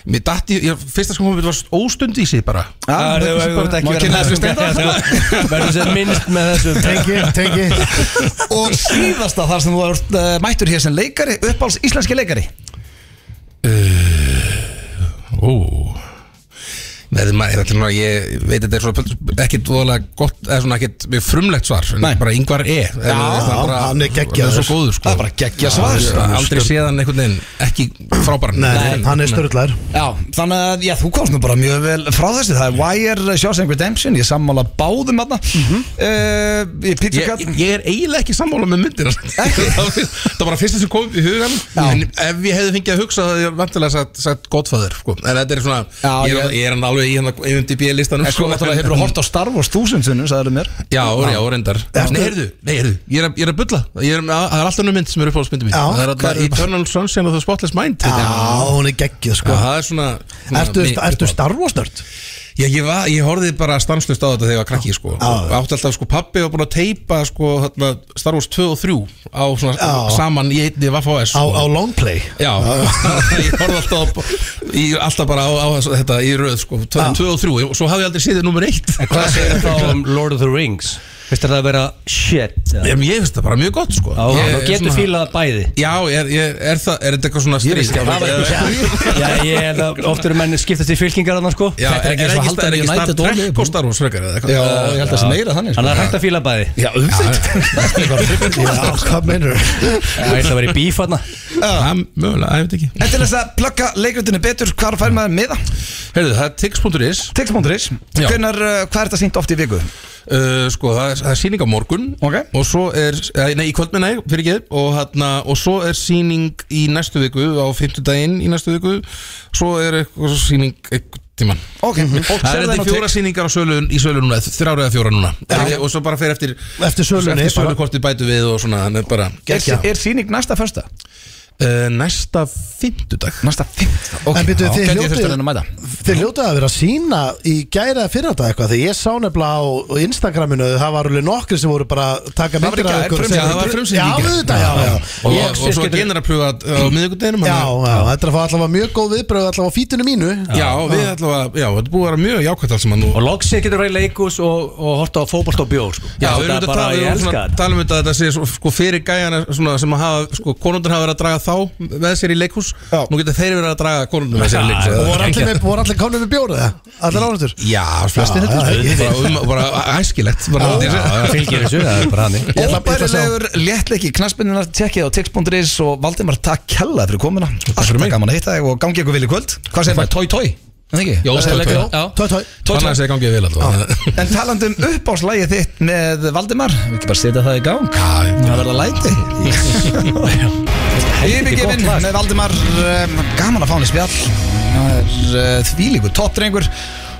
I: Mér datt í, ég, fyrsta sem komið var óstund í sig bara
B: Það er- þú- þú- þú- ekki
A: Má
B: vera
A: kynna
B: með
A: þessu
B: þessum-
A: stenda?
B: Já, þú- Verður sem minnst með þessum
C: Tengi, tengi
A: *laughs* Og síðasta þar sem þú ert uh, mættur hér sem leikari Uppáls íslenski leikari
I: Ó Nei, hefði maður, þetta er svona, ég veit þetta er svona ekkit voðalega gott, eða svona ekkit mjög frumlegt svar, en bara yngvar E Já,
C: hann er geggjaður.
I: Það er svo góður, sko
A: Það er bara geggjað svar.
I: Já, ég hef Aldrei séðan einhvern veginn, ekki frábæran
C: Nei, hann er störðlæður
A: Já, þannig að já, þú komst nú bara mjög vel frá þessu Það er Wire, eh, Shawshank Redemption Ég sammála báðum aðna mm -hmm. uh, Pizza
I: Ég,
A: Cut
I: ég er eiginlega ekki sammála með myndina *laughs* Það var að fyrsta sem kom upp í hugan En ef ég hefði fengið að hugsa Það hefði vantilega sagt, sagt gottfæður sko. En þetta er svona,
A: Já,
I: ég, er,
A: ég-
I: ég er hann alveg í hann IMDB-listanum
A: En sko, náttúrulega hefur þú hort á Star Wars 1000 sinnum, sagðið mér
I: Já, já, reyndar Nei, heyrðu, nei, heyrðu, ég er, að- ég er að bulla ég er, að, Það er alltaf önnur mynd sem er uppáhaldsmyndi mín
C: Já,
I: Það er
C: hvað
I: alltaf
C: er-
I: Eternal Sunshine of the Spotless Mind
C: Já,
I: heitir hún.
C: hún er geggið
I: Já,
C: sko
I: það er svona svona
C: Ertu,
I: mín-
C: ertu Star Wars nörd?
I: Já, ég, var, ég horfði bara stanslust á þetta þegar ég var krakki sko. og átti alltaf sko pappi var búin að teipa sko, þarna, Star Wars 2 og 3 á, svona,
C: Já.
I: saman í einni Vaff-OS
C: Á,
I: sko.
C: á long play
I: Já, *laughs* ég horfði alltaf, á, í, alltaf bara á, á þess- þetta í röð sko, 2 og 3 og svo hafði ég aldrei séð þið nummer 1
B: En hvað segir það þá um Lord of the Rings? Veist það að vera shit eða?
I: En ég finnst það bara mjög gott sko
B: Já,
I: Ég-
B: þú getur
I: svona-
B: fílað bæði
I: Já, er, er, er, það, er þetta eitthvað svona stríð?
B: Já, ég held að oft eru menni skiptast í fylkingar þarna sko
I: Já,
B: Þetta
I: er, er, er
B: eins og
I: ekki
B: halda
I: Star- er ekki
B: með
I: Star
B: United og
I: Trek
B: Liverpool.
I: og Star Wars frekar eða eitthvað?
A: Já, ég held að það sé meira þannig sko.
B: Þannig að hægt að fíla bæði
A: Já, auðvitað
C: Já, hvað meinur
B: Það er það að vera í bíf þarna
I: Já, mögulega, ég veit ekki
A: En til þess að plugga leikritinu betur, hvar fær maður miða?
I: Heyrðu, það er tix.is
A: Tix.is
I: Já.
A: Hvernar, uh, hvað er þetta sýnt oft í viku?
I: uh, Sko, það er, það er síning á morgun
A: Ok.
I: Og svo er, eh, nei, í kvöld minna ég, fyrir ekki og, þarna, og svo er síning í næstu viku Á fimmtudaginn í næstu viku Svo er eitthvað svo síning Eitthvað tíman
A: Ok, mm -hmm. og
I: Það er
A: serðu
I: þetta
A: þetta
I: fjóra síningar á sölu, í sölu núna Þrjára eða fjóra núna Og svo bara fer eftir
C: Eftir sölunni,
I: Eftir
C: bara.
I: sölu hvort við bætu við og svona Þannig bara
A: Er, er sýning næsta fyrsta?
I: uh, Næsta fimmtudag
A: Næsta fyrsta
C: En byrju, þið
A: Hvernig
C: hljótið-
A: þurftu að reyna að mæta?
C: Þeir hljótaði að vera að sína í gæra fyrir þetta eitthvað Þegar ég sá nefnilega á á Instagraminu Það var alveg nokkri sem voru bara að taka
A: var
C: myndir
A: ekki-
C: af ykkur
A: frumsýning,
C: sem-
I: það var frumsýning í
C: Já,
I: gær.
C: auðvitað, já, já sko
I: Og,
B: Ég-
I: og, og svo
B: getur-
I: genar að pröfa á miðvikudeginum
C: Já,
I: hann-
C: já, þetta er að fá allavega mjög góð viðbröð allavega á fítinu mínu
I: já, við ætlum að, já, þetta er búið að vera mjög jákvæmt allt sem að nú
B: Og loksinn getur verið í leikus og, og horta á fótbolt og bjór sko.
I: Já,
B: þetta
I: við erum
B: er
I: þetta að
B: bara,
I: tala, við
B: ég
I: erum
B: elska
I: svona að
B: þetta
I: tala um þetta að þetta sé svo- sko fyrir gæjana svona, sem að hafa, sko, konundur hafa verið að draga þá með sér í leikhús,
C: Já.
I: nú geta þeir verið að draga konundur með sér í leikhús
C: Og voru
I: Það er
C: allir,
I: geggjað.
C: með- voru allir komnir með bjór eða? Allir ánættur?
I: Já, flestir
C: Já,
I: þetta
C: já, ég-
I: bara, um, bara æskilegt bara, já, já,
B: Fylgir þessu, það er bara hannig
C: Ég ætla- ég ætla að sjá-
A: Óbærilegur léttleiki knaspinnunar Tjekkið á tix.is og Valdimar takk kella fyrir komuna Alltaf
I: mig.
A: gaman að hitta þig og gangi ykkur vel í kvöld Hvað segir maður? Tói tói? Það ekki?
I: Jó,
A: Það er
I: tói,
A: leikari-
I: tói.
A: Já.
C: Tói, tói.
A: Tói,
I: Þannig að segja gangið vel alltaf
A: tói. En talandum upp á slægið þitt með Valdimar Við ekki bara setja það í gang Það verða læti *laughs* Yfirgefinn með Valdimar um, Gaman að fá hann í spjall Það er þvílíku toppdrengur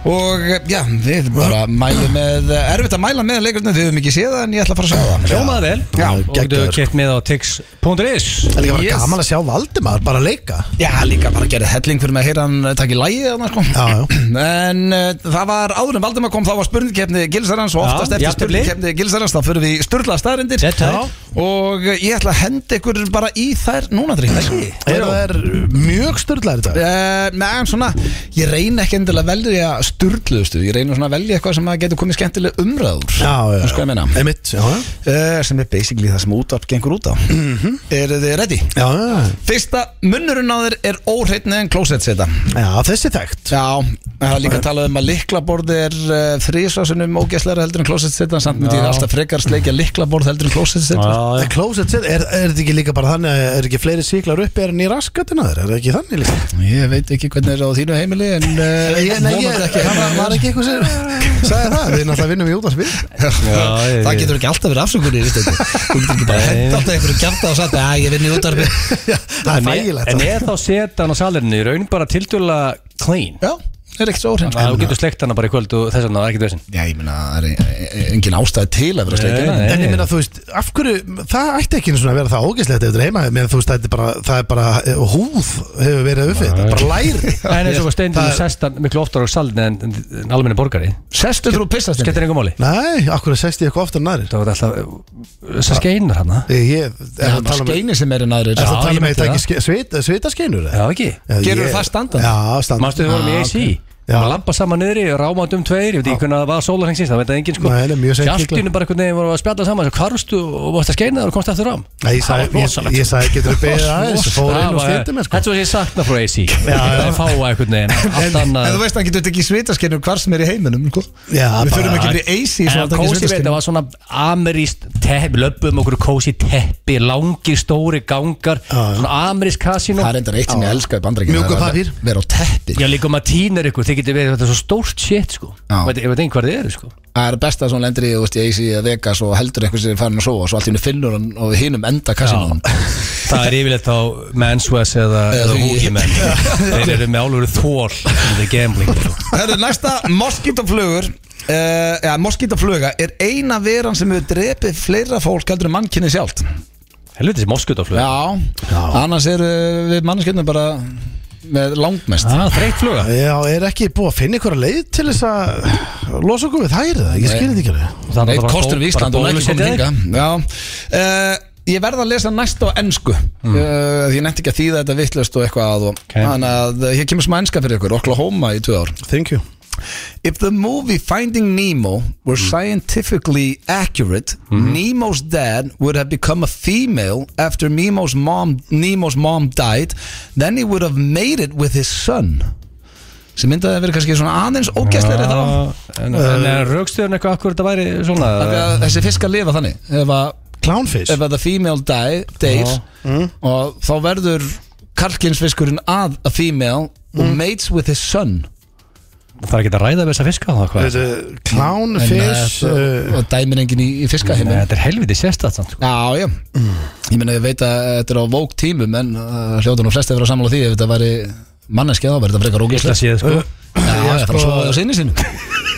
A: Og eh, já, við bara mælum með uh, Erfitt að mæla með leikurinn Við höfum ekki séð það en ég ætla að fara að sjá það
B: Hljómaði vel
C: Já,
B: Og þú
C: geggjaður, sko.
B: keft með á tix.is
C: Það er líka bara
A: Yes.
C: gaman að sjá Valdimar bara að leika
A: Já, líka bara gerði helling fyrir mig að heyra hann eh, taka í lægi þarna sko
C: Já, já.
A: En uh, það var áður en Valdimar kom þá var spurningkeppni Gilsarans og
B: Já,
A: oftast eftir
B: jafntefli.
A: spurningkeppni Gilsarans þá fyrir við í sturlaða staðrindir
B: Þetta er
A: og eh, ég ætla að henda ykkur bara í þær núna drengt ekki
C: Er það er mjög störðlæður þetta?
A: Uh, nei, en svona, ég reyna ekki endilega að velja sturluðustu, ég reyna svona að velja eitthvað sem að getur komið skemmtileg umræður
C: Já, já,
A: Sko ég meina
C: Einmitt, já, já
A: uh, sem er basically það sem útvarp gengur út á mm Eru þið ready?
C: Já, já,
A: Fyrsta, munnurinn á þér er óhreitni en klósett seta
C: já, þessi þekkt
A: Já, það er líka að tala um að liklaborð er uh, þrísvarsunum ógæsleira heldur en klósetsett en samt myndi ég alltaf frekar sleikja liklaborð heldur en klósetsett
C: The Closet Set, er, er þetta ekki líka bara þannig að er ekki fleiri síklar uppi er enn í raskatina þér, er það ekki þannig líka?
A: Ég veit ekki hvernig er á þínu heimili en *laughs* uh,
C: Ég, nei, ég,
A: vonandi ekki
C: það var, var ekki eitthvað sem sagði það, við náttúrulega vinnum í útarsbyrð
B: Já, ég-
A: Það getur ekki alltaf verið afsökunni Þú getur ekki bara henda alltaf einhverju kjarta og sagt að ég vinn í útarfi
C: Það er
B: En er-
C: fægilegt
B: en er þá setan á salirinu í raun bara tildjúlega clean
A: Já, það er ekkert svo sko. óhrein
B: Það þú getur slegt hana bara í kvöld og þess vegna það er ekkert vesinn
A: Já, ég meina, það er e- engin ástæði til að vera sleikja
B: Nei, nei.
C: En ég meina, þú veist, af hverju, það ætti ekki einu svona að vera það ógæslegt ef þetta er heima, menn þú veist, þetta er bara, það er bara, eh, húð hefur verið uppið, þetta er bara læri.
B: *laughs* En eins og var steindur með sestan miklu oftar á salinu en, en, en almenni borgari
A: Sestu þú pissast
B: Skettir engum máli
C: Nei, akkur að sést ég eitthvað oftar en aðrir.
B: Það var alltaf uh, Það skeinar hana
C: Ég, ég, er það að tala um, er
A: Skeini sem er en aðrir
C: það að
B: Já, ég
C: tala um að
B: meinti
C: ég
B: það.
C: taki svita skeinur?
B: Já ekki
A: Gerðu það standandi?
C: Já, standandi.
B: Manstu þau vorum í AC
C: Já.
B: maður lampa saman niðri, rámand um tveir ég veit ekki hvernig að það var sólarhengsins, það veit það engin sko
C: Nei, það er mjög seint líklega.
B: Hjartinu bara einhvern veginn voru að spjalla saman, svo hvarfstu og varst að skeina þar og komst eftir rám
C: Nei, ég
B: Það
C: sagði-
B: var
C: ég-
B: rosalegt.
C: ég sagði, geturðu beðið
B: Það var
C: aðeins?
B: rosalegt.
C: Fór inn
B: Það
C: og
B: var-
C: skemmti mig, sko.
B: Þetta var sem ég sakna frá AC Það er fáa
C: *laughs*
B: einhvern veginn, allt
I: En
B: annað
I: þú veist, hann getur tekið svitaskennu hvar sem er í heiminum sko.
C: Já,
I: Við
C: bara-
I: þurfum ekki fyrir AC í svona
B: En
I: að taka
B: kósi veit,
I: svitaskynjun.
B: það var svona ameríst teppi, löpum okkur kósi teppi, langir stóri gangar, svona amerísk kasino
A: Það er endar eitt sem ég elska upp andrækina
C: Mjúkur pappír.
A: Verð á teppi
B: Já líka maður týnir ykkur, þið getur verið þetta er svo stórt shit sko
A: Já.
B: Ég veit ég veit ekki hvað þið eru sko
A: Það er best að svona lendir í, þú veist, ég eisi að veka Svo heldur einhver sem er farin að sofa Svo allt í henni finnur hann og hinum enda kassinum
B: Það er yfirleitt þá menswes eða, eða
A: Hugi.
B: húkimenn Þeir eru með álöfru þól in the gambling sko.
I: Herru, næsta moskítaflugur uh,
A: eh,
I: Já, moskítafluga er eina veran sem hefur drepið fleira fólk heldur en mannkinni sjálft
B: Helviti sem moskutaflug
A: Já, annars eru við mannskjöndum bara með langmest
B: ah, Þreitt fluga
C: Já, er ekki búið að finna einhverja leið til þess að losa okkur við þær eða? Ég skilði ekki alveg.
A: Eitt
B: Þannig að það var
A: kostur
B: bara
A: við Ísland og hún er ekki
B: bólusetja
A: komin
B: þig.
A: hinga Já, uh, ég verð að lesa næsta á ennsku mm. Ég nefndi ekki að þýða þetta vittlust og eitthvað að og,
B: Ok.
A: Þannig að eh, hér kemur smá ennska fyrir ykkur Oklahoma í tvö ár
C: Thank you.
A: If the movie Finding Nemo were scientifically accurate, Nemo's dad would have become a female after Nemo's mom Nemo's mom died, then he would have made it with his son. sem myndaði að vera kannski svona aðeins ógæstlega
B: Já,
A: þá
B: En, en er raukstuðun eitthvað akkur þetta væri svona
A: Af því
B: eða?
A: að þessi fisk að lifa þannig ef að,
C: Clownfish.
A: ef að the female die, deyr og þá verður karlkinsfiskurinn að a female og mates with his son
B: Það er ekki að ræða við þessa fiska þá hvað
C: Þetta er Clownfish.
A: en,
C: uh,
A: uh, og dæmir enginn í, í
B: Nei,
A: fiskaheimum
B: Þetta er helviti sérstætt samt sko.
A: Já, já Ég meina, ég veit að þetta er á vók tímum en uh, hljóta nú flesti að vera sammála því ef þetta væri manneskja þá væri þetta frekar
B: Gísla
A: ógæslega Já,
B: séð sko
A: það er bara að sofa á sinni sinu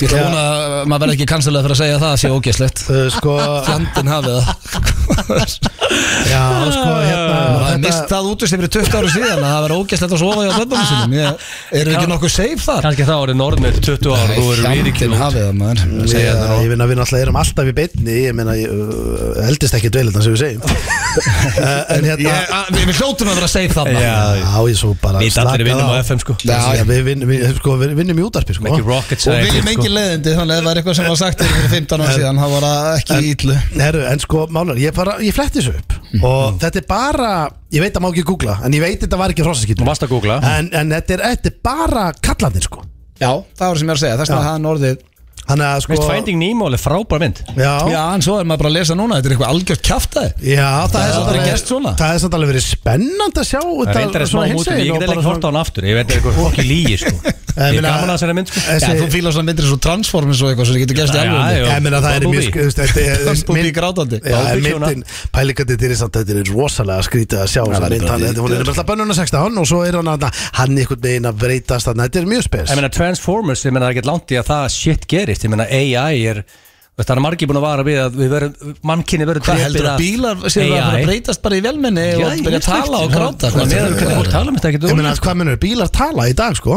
A: Ég ætla hún að maður verði ekki kansalað fyrir að segja að það sé ógæslegt
C: uh, Sko,
A: *laughs* Landin hafið það
C: já, sko,
A: Það
C: hérna
A: er mist það út úr sér fyrir 20 ára síðan að það væri ógæslegt að sofa hjá bönnum sinum Ég- Erum við ekki nokkuð safe þar?
B: Kannski þá orðið norðmið 20 ára Þú eru við ekki
A: Landin hafið það maður Ég segi
C: Ég,
A: þetta nú.
C: ég finna að við náttúrulega erum alltaf í beinni Ég meina, ég uh, eldist ekki dveilitna sem við segjum uh, En hérna
A: Ég- að- Við við hljótum að vera safe þarna
B: Já,
C: Já, ég svo bara
B: Við allir
C: slakað
B: vinnum á
C: á.
B: FM sko
A: Já,
C: Já, Við vinnum- við- sko, við vinnum í útarpi sko.
B: Ekki rocket
A: Og við
B: science
A: erum
B: sko.
A: engin leðindi þannig að það var eitthvað sem var sagt fyrir 15 ára síðan það var það ekki í illu
C: Heru, En sko, málar, ég, bara, ég fletti þessu upp
B: Mhm.
C: Og þetta er bara Ég veit að má ekki googla, en ég veit þetta var ekki
B: Þú
C: hrossaskýtum
B: varst að googla
C: En, en þetta, er, þetta er bara kallandin sko
A: Já, það var sem ég er að segja, þess að hann orðið
C: Þannig að
B: Veist
C: sko
B: Finding Nemo er frábær mynd
A: Já,
C: Já,
A: en svo er maður bara að lesa núna, þetta er eitthvað algjört kjaftaði
C: já það, er
A: hefur
C: samt
A: aldrei
C: alveg-
A: gerst svona.
C: Það er samt alveg verið spennand að sjá
B: Það reyndar er smá mútum, ég get ekki hort á hann aftur Ég veit ekki hvað fólki lýgir sko Ég er
C: meina-
B: gaman að þessari mynd sko
A: Já, þú fílar svona myndir eins og Transformers og eitthvað sem getur gerst í
B: Já, já,
A: alveg
C: Ég meina það er
B: Bumblebee.
C: mjög sk- þú veist, þetta er-
A: Bumblebee
C: mynd-
A: grátandi.
C: Já, en
B: Bumblebee
C: myndin Pælingandi til þess að þetta er rosalega skrítið að sjá þessa mynd, hann- Þetta hún er bara alltaf bönnuna 16 og svo er hann að hann einhvern veginn að breytast þannig að þetta er mjög spes
B: Ég meina Transformers, ég meina það er ekkert langt í að það shit gerist Ég meina AI er veist, Það er margir búin að vara við að við verum Mannkinni verður
A: Hvað heldur að bílar séu að fara að breytast bara í velmenni
B: Já,
A: og
B: ég
A: byrja að
B: veit
A: tala sko.
B: ekki.
A: og gráta
B: Svona meðan hvernig fólk tala um þetta ekkert
C: Ég
B: ólega.
C: meina hvað munur bílar tala í dag *laughs* sko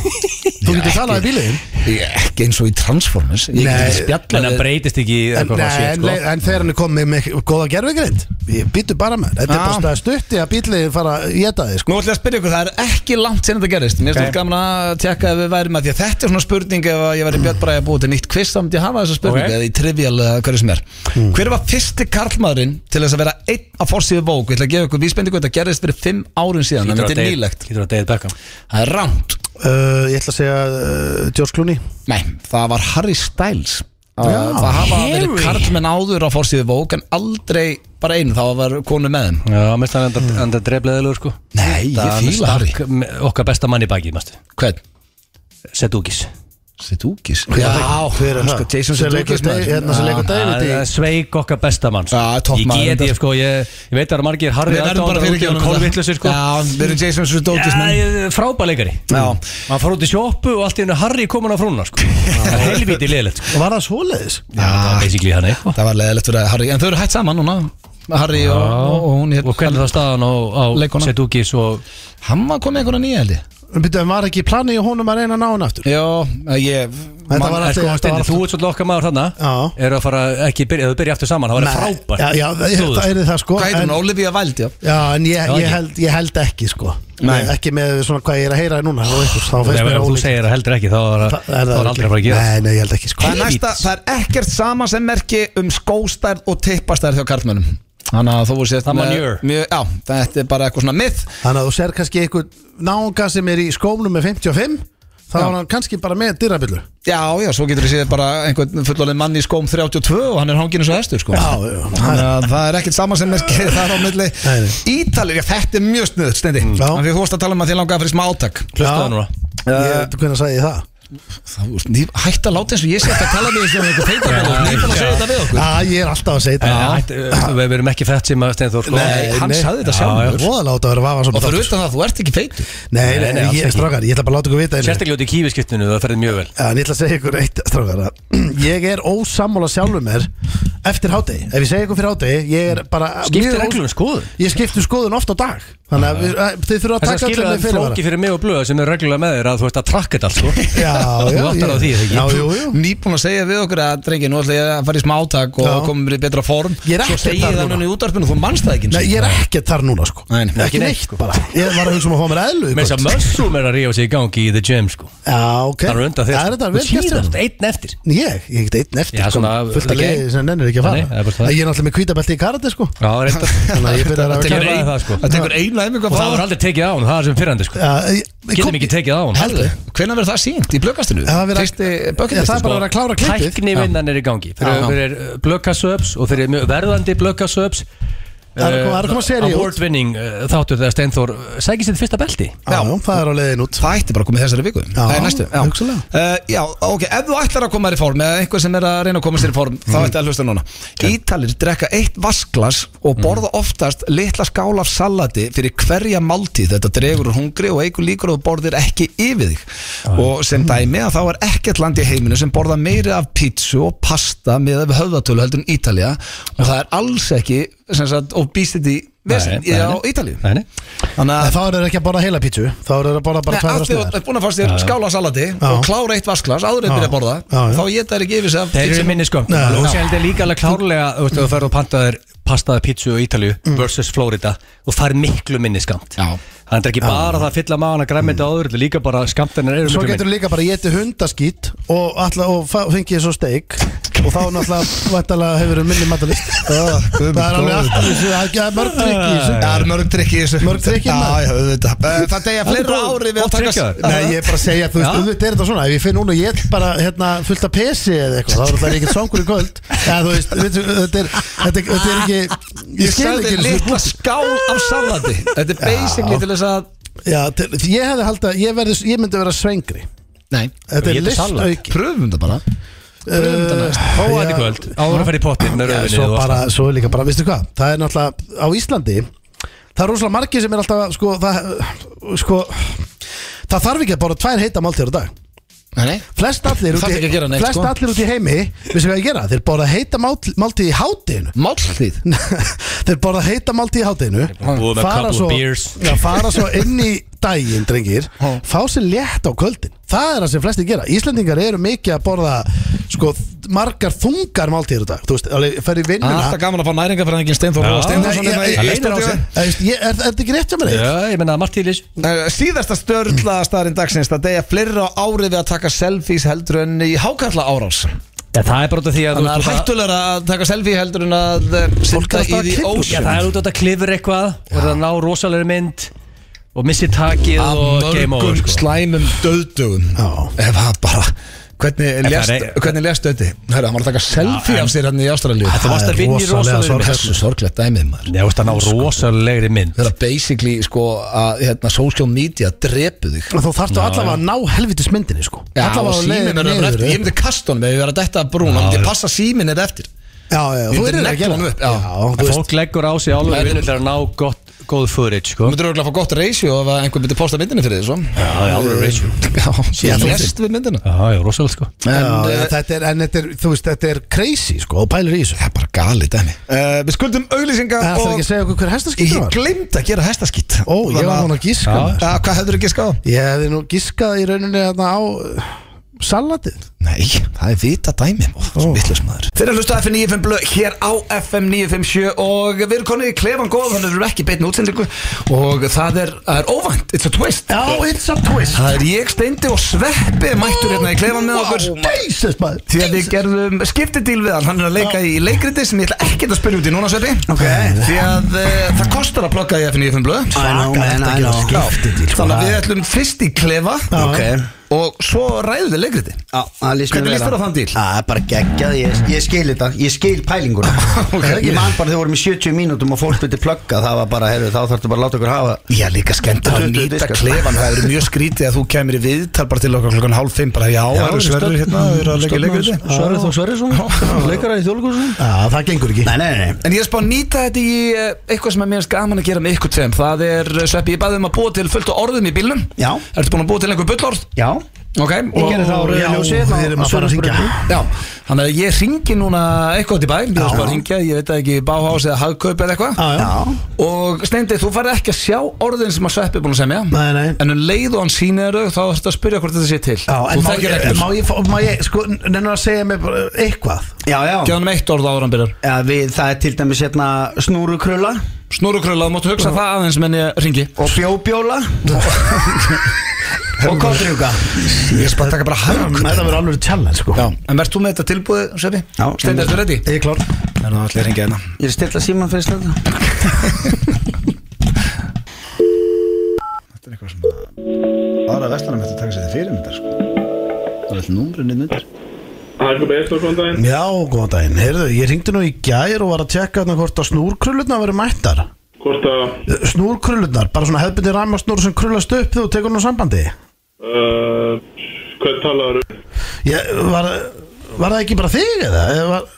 C: Þú getur talað í bílinn
A: Ég- Ekki eins og í Transformers Ég
C: Nei,
A: get ekki
B: En
A: spjalla
B: það
A: við-
B: breytist ekki í
C: En,
B: eitthvað
C: nei,
B: svona shit
C: en,
B: sko
C: en þegar hann er komið með góða gerfugrind Býtu bara með Þetta er
A: Já.
C: bara stað stutti að bílið fara að geta þig sko.
A: Nú ætlum ég að spyrja ykkur, það er ekki langt sinni þetta gerist Mér finnst okay. gaman að tekka ef við værum að því að þetta er svona spurning ef að ég væri Björn Bræði að búið til nýtt quiz þá myndi ég hafa þessa spurningu
B: Ok.
A: eða í trivial eða hverju sem er Hver var fyrsti karlmaðurinn til þess að vera einn á forsíðu bók? Ég ætla að gefa ykkur vísbendingu, þetta gerist fyrir fimm árun síðan en
B: Hlýtur að
A: þetta er
B: Dave-
A: nýlegt
B: Hlýtur að David Beckham
A: Það er rámt
C: uh, Ég ætla að segja uh, George Clooney
A: Nei, það var Harry Styles Það það hafa verið karlmenn áður á forsíðu bók en aldrei bara einn, þá var konu með þeim
B: Já, mér finnst hann enda- enda drefleðilegur sko
A: Nei, ég
B: Það
A: Hmm. fíla Harry
B: stakk me- okkar besta mann í baki, mástu
A: Hvern?
B: Sedúkis
A: Sedúkis
C: Já, hver er
A: sko,
C: það?
A: Jason
C: Sem leikur
A: Sudeikis, maður.
C: Dave- hérna sem leikur David í-
B: Það er sveik okkar besta mann sko.
A: Já, topp
B: Ég
A: maður,
B: get
A: þetta.
B: ég sko, ég, ég veit að það eru margir Harry
A: Við verðum bara fyrir ekki
B: og Kolvillusir sko
A: Já, við erum Jason Sudeikis menn
B: Já, frábæð leikari
A: Já.
B: Maður fór út í sjoppu og allt í hennu Harry komin á frúna sko Það er helviti liðlegt sko
C: Og var það svoleiðis?
B: Já, það er basically hann eitthvað
A: Það var leðilegt fyrir að Harry, en þau eru hætt saman núna Harry og, og, og hún
B: Og hvernig það staðan á, á
A: Leikona.
B: Sedúkis og
A: Hann var komið einhverja nýja held ég
C: Býtu, var ekki planið í honum að reyna að ná hann aftur?
A: Já, ég,
C: Þetta var
B: Mann-
C: alltaf-
B: sko,
C: þetta
B: Steini,
C: var
B: Þú
C: alltaf-
B: ert svolítið okkar maður þarna
C: Já.
B: Eru að fara ekki byrja, ef þú byrja aftur saman Það var
C: Nei,
B: frábært
C: Já, já það er-
B: Stóðust.
C: það er það sko
A: Hvað heitir
C: en-
A: hún? Olivia Wilde, já
C: Já, en ég, ég,
B: ekki.
C: held, ég held ekki sko Nei. Ekki með svona hvað ég er að heyra núna og einhvers, Þá finnst
B: Ef
C: mér
B: ef þú
C: ólíkt.
B: segir það heldur ekki Þá er
C: Þa-
B: það þá er aldrei að fara að gera
C: Nei, nei, ég held ekki sko
A: Það er, næsta, það er ekkert sama sem merki um skóstærð og tippastærð hjá karlmönnum Þannig að þú voru sért
B: Það
A: með-
B: manure.
A: mjög- Já, þetta er bara eitthvað svona myth
C: Þannig að þú sér kannski einhvern náunga sem er í skómnum með 55 Þá er hann kannski bara með dyrabillu
A: Já, já, svo getur þú séð bara einhvern fullorðin mann í skóm 32 og hann er hangin eins og hestur sko.
C: Já, já.
A: Þannig að það er ekkert sama sem merki *laughs* það er á milli
C: Nei, nei.
A: Ítalir, já, þetta er mjög snuð, stendi mm.
C: Já.
A: Þannig að þú vorst að tala um að þið langaði fyrir smá átak
B: Hlustaðu núna.
C: Ég, hvernig sagði ég það?
A: Það, þú veist, ný- Hætt að láta eins og ég sé ekki að tala með þessu um eitthvað feitabæl og nýbúin að segja þetta við okkur
C: Já, ég er alltaf að segja
B: En
C: þetta
B: hætt- eh, Við erum ekki fett sem að Steinþór sko.
A: Nei, hann
C: nei.
A: sagði þetta
C: Það er
A: sjálfur
C: voðalega láta að vera vafa
A: Og
C: svona
A: fyrir
C: þáttur.
A: utan það, þú ert ekki feitur
C: Nei, nei,
B: Nei, nei, alls
C: ég,
B: ekki.
C: strákar, ég ætla bara að láta ykkur vita einu.
B: Sérstaklega út í kífiskiptinu Það ferði mjög vel
C: Já, en ég ætla að segja ykkur eitt strákar að *clears throat* Ég er ósammála sjálfur mér Eftir hádegi, ef ég segja ykkur fyrir hádegi Ég er bara
B: Skiptir
C: mjög ós-
B: reglum skoðun
C: Ég skipti skoðun oft á dag Þannig að við- að þið þurfa að
B: Þess að
C: taka
B: skilja
C: allir
B: það
C: með fyrirvara
B: flóki fyrir mig og blöða sem er reglulega með þér að þú ert að trakka þetta allt sko.
C: Já,
B: *laughs* Þú
C: já,
B: áttar á
C: ég-
B: því, eða
C: Já,
B: ekki? Mm.
C: jú, jú
A: nýbúin að segja við okkur að drengi, nú ætla ég að fara í smá átak og
C: Já.
A: komum við í betra form
C: Ég er
A: svo
C: ekkert
A: segið
C: þar
A: það
C: núna.
A: núna í útvarpinu, þú manst það ekki eins
C: Nei,
A: og.
C: ég er ekkert þar núna sko
A: Nei, nei,
C: Ekki
A: ekki
C: neitt bara Ég var að hugsa um að fá mér eðlu í
B: Með þess
C: kvöld.
B: að mössum er að rífa sig í gangi í the gym sko.
C: Já, ok
B: Það er undan þér
C: Það er
B: sko. Þú
C: þetta vel gert hérna.
B: síðast,
C: þér.
B: Einn eftir
C: Ég, ég get einn eftir
B: Já,
C: sko,
B: svona,
C: Fullt að
B: þetta
C: leiði
B: geng.
C: sem nennir ekki að fara
B: Nei, það er bara það.
C: Ég er náttúrulega með kvítabelti í karate sko
B: Já, reyndar
C: *laughs* Þannig að ég byrjar að
B: Það
C: gera
B: tekur ein- það, sko.
A: það tekur eina einhver
B: Og það var aldrei tekið á hann, það er sem fyrrandi sko.
C: Já, ég-
B: Getum ekki tekið á hann
C: Aldrei.
A: hvenær verður það sínt í blöggastinu?
C: Það verður-
A: fyrsti
C: Já, það er
A: bökkjalistu
C: bara að vera að klára klippið
B: Tæknivinnan er í gangi
A: Já, já.
B: Fyrir, fyrir blökkasöps og fyrir mjög verðandi blökkasöps
C: Það er að koma- það er að koma sería út.
B: Award winning uh, þáttur þegar Steinþór Sækir sér fyrsta belti
C: Já, það er á leiðin út
A: Það ætti bara að koma í þessari viku
C: Já,
A: Það er næstu já.
C: hugsanlega.
A: Uh, já, ok, ef þú ætlar að koma þér í form eða einhver sem er að reyna að koma sér í form þá ætti að hlusta núna Ítalir drekka eitt vasklas og borða oftast litla skál af salati fyrir hverja máltíð þetta dregur úr hungri og eigur líkur og þú borðir ekki yfir þig og sem dæmi að þá er ekkert land í heiminu sem borða meiri af pítsu og pasta með ef höfðatölu heldur en Ítalía og það er alls ekki sem sagt, obesity vesen
B: Nei, nei,
A: á
B: nei.
A: Ítalíu
B: Nei, nei.
A: Þannig
C: En Þá eru þeir ekki að borða heila pítsu Þá eru þeir að borða bara
A: Nei,
C: tvær
A: af því
C: að
A: að þú
C: sniðar
A: ert búin að fá sér skála af salati og klára eitt vasklas áður en byrja að borða
C: Já, já.
A: þá geta þær ekki yfir sig af
B: Þeir
A: pizza.
B: eru minni sko
C: Já, já.
B: Og sér þetta er líka alveg klárlega Þú veist, þú ferð og pantaðir pastaði pítsu og Ítalju
C: Mm.
B: versus Florida og fær miklu minni skamt
A: Já.
B: Þannig er ekki bara það að fylla magan að græmita mm. áður þetta er Líka bara skamtarnir eru
C: Svo
B: miklu
C: getur
B: minni
C: þú líka bara geti hundaskít og, alla, og fa- fengið svo steik og þá náttúrulega vættalega hefur verið minni
A: *laughs*
C: matalist Það er alveg allt í þessu, það er mörg trikk í þessu
A: Það er mörg trikk í þessu
C: Mörg trikk hérna. í
A: Ah. Já, já,
C: maður.
A: auðvitað. Eh, Það degja fleira
B: góð-
A: ári við
B: gott
A: að taka
B: trikk hjá þér.
A: Nei,
C: Nei, ég er bara að segja, þú veist,
B: Já.
C: auðvitað er þetta svona Ef ég finn núna, ég er bara hérna, fullt af pesi eða eitthvað Þá er alltaf ekkert svangur í kvöld Eða þú veist, veitu, þetta er, þetta er, þetta er ekki Ég
A: Ég
C: skil
A: sagði
C: ekki einu sinni-
A: litla skál af salati Þetta er basically til þess að
C: Já, til, ég hefði haldið að ég, verði- ég myndi vera svengri
A: Nei,
C: Þetta er Eh,
B: Étur salat.
C: listauki
A: pröfum þetta bara Eh.
B: Prófa þetta í kvöld Áður að fara í pottin með
C: Já,
B: rauðinni
C: svo
B: og allt.
C: bara, svo er líka bara, veistu hvað Það er náttúrulega, á Íslandi Það er rosalega margir sem er alltaf Sko, það, sko, það þarf ekki að bara tvær heita máltíður á dag
A: Nei, nei
C: Flest allir út
A: Þarf ekki
C: í,
A: að gera neitt,
C: flest
A: sko.
C: allir út í heimi Veistu hvað ég gera? Þeir bara heita máltíð í hátinu
A: Máltíð
C: *laughs* þeir borða heita máltíð í hátinu
B: Búið með couple of beers.
C: já, fara svo inn í daginn drengir, fá sér létt á kvöldin það er það sem flestir gera, Íslendingar eru mikið að borða sko, margar þungar máltíður í dag þú veist, alveg fer í vinnuna
A: Alltaf gaman að fá næringafræðingin Steinþór
B: Já.
A: Róa
C: Nei,
A: Steinþórsson hérna
C: ég-
A: í-
C: ég-
A: í
C: ég-
A: stúdíói.
C: Þú veist, ég- Er er þetta ekki rétt hjá mér? Egill?
B: Já, ég menna að Martílis
A: Eh, Síðasta störla staðarinn dagsins það degja fleira ári við að taka selfies heldur en í hákarla árás
B: Já, það er bara út af því að
A: Þannig að það
B: þú-
A: er hættulega að taka selfie heldur en að eh, synda
C: alltaf
A: í
C: að
A: því
C: klippa
B: Já,
A: ósjón
B: það er út af þetta klifur eitthvað og það ná rosalegri mynd og missi takið
A: Af
B: og game over
A: mörgum
B: sko.
A: slæmum döðdugum Ef það bara Hvernig lést,
B: það er-
A: hvernig lést döði? Hörru, hann var að taka selfie
B: en-
A: af sér hann í Ástralíu
B: Þú varst að vinna í rosalegri mynd
A: Þessu sorglegt dæmið maður Sko.
B: Nei, þú veist að ná rosalegri mynd
A: Það er basically sko að hérna, social media drepu þig
C: Þú þarftu allavega að ná helvitis myndinni sko.
A: Já,
C: Allavega
A: og
C: á leiðinni
A: síminn er
C: niður,
A: öfnir eftir Ég
C: eða?
A: myndi kasta honum ef ég verið að detta af brún Hann myndi passa síminn er eftir
C: Já, já,
A: Ég myndi
C: þú erir að
A: negla
C: gera
A: honum upp, já.
C: Já, þú
B: En
C: veist
B: fólk leggur á sig álum vinnu til að ná gott, góð footage sko.
A: Þú myndir örgulega að fá gott ratio ef að einhver myndi posta myndinni fyrir þig svo Eh,
B: Já, já, alveg ratio
A: *laughs* Já,
C: þú-
A: ég lest við myndina
B: Já, já, rosalega sko
A: En,
C: Já, já,
A: eh,
C: þetta er, en þetta er, þú veist, þetta er crazy sko, og pælir í þessu
A: Það er bara galið dæmi uh, Við skuldum auglýsinga
C: Það ætlar ekki að segja okkur hver hestaskýtur
A: Ég
C: var
A: glemd að gera hestaskýtt
C: Ó, ég var hún að gíska
A: Hvað hefður ekki skáð?
C: eh, Ég hefði nú gískað í rauninni þarna á uh, salatið
F: Nei, það er vita dæmi Vittlis maður
A: Þeir eru að hlusta á FM 95 blöð hér á FM 957 og við erum konið í klefan góð þannig að við erum ekki í beinni útsendingu og það er, það er óvænt, it's a twist
C: Já, it's a twist
A: Það er ég steindi og sveppi mættur hérna í klefan með okkur
C: Jesus maður
A: Því að við gerðum skiptidíl við hann, hann er að leika í leikriti sem ég ætla ekkert að spyrja út í núna sveppi okay. Því að uh, það kostar að plugga í FM 95 blöð
J: I know, man, I know
A: Já, Þannig að við ætlum fyrst í klefa
J: Ok.
A: og svo ræðum við leikriti
J: Já, það líst mér
A: Hvernig
J: vel
A: líst þér á þann díl?
J: Það er bara geggjað, ég, ég skil þetta, ég skil
C: *laughs*
J: pælingur Ég man bara þegar vorum í 70 mínútum og fólk byrti plugga, það var bara, herru, þá þarftu bara að láta okkur hafa
A: Já, líka skemmt að
J: Tuttugu
A: nýta
J: diskar.
A: klefan Það eru mjög skrítið að þú kemur í viðtal bara til okkar klokkan hálf fimm bara já, það eru sverður hérna, það eru að leika í leikriti
J: Sverri Þór Sverrisson, *laughs* leikara í þjóðlugursson
C: Já, það gengur ekki
J: Nei, nei, nei, nei.
A: En ég er spá að nýta þetta í eh, eitthvað sem er mér finnst gaman að gera með ykkur tveim Það er, eh, Sveppi, ég baði um að búa til fullt á orðum í bílnum
J: Já.
A: Ertu búin að búa til einhver bullorð?
J: já
A: Ok
J: Ég gerði það
C: já,
J: á rauðu ljósi
C: við erum að fara að hringja.
A: Já, þannig að ég ringi núna eitthvað til bæ Ég er spá að ringja, ég veit það ekki, báhás eða hagkaup eða eitthvað
C: Já, já
J: Já,
A: Og Steindi, þú farið ekki að sjá orðin sem að Sveppi er búin að semja
C: Nei, nei.
A: En um leið og hann sýnir þau, þá ertu að spyrja hvort þetta sé til
C: Já,
A: Þú
C: en má
A: þekkir
C: ég,
A: reglur.
C: má ég, fá- má ég, sko, nennur að segja mér bara eitthvað
J: já, já.
A: Gjáðum hann eitt orð áður en hann byrjar
J: Já, við, það er til dæmis hérna snúrukrulla
A: Snúrukröla, þú máttu hugsa það aðeins menn ég ringi
J: og bjóbjóla og kottrjúka
A: Ég skal bara taka bara hagkaup
C: Þetta verður alveg challenge, sko
A: Já, en verðst þú með þetta tilbúið, Sveppi?
J: Já.
A: Steindi, ertu ready?
C: Ég er klár
A: Það er nú allir að ringja hérna
J: Ég er að stilla síman fyrir slönda
A: Þetta er eitthvað svona Aðra vestlarna með þetta taka sér til fyrirmyndar sko. Það er alltaf númrinnið myndar
C: Já, góðan daginn Heyrðu, ég ringdi nú í gær og var að tjekka þarna hvort að snúrkrullurnar verður mættar
K: Hvort að
C: Eh, Snúrkrullurnar, bara svona hefðbundi ræmasnúr sem krullast upp þegar þú tekur nú sambandi
K: uh, Hvað talaður
C: Ég, var, var það ekki bara þig eða? Eða Var,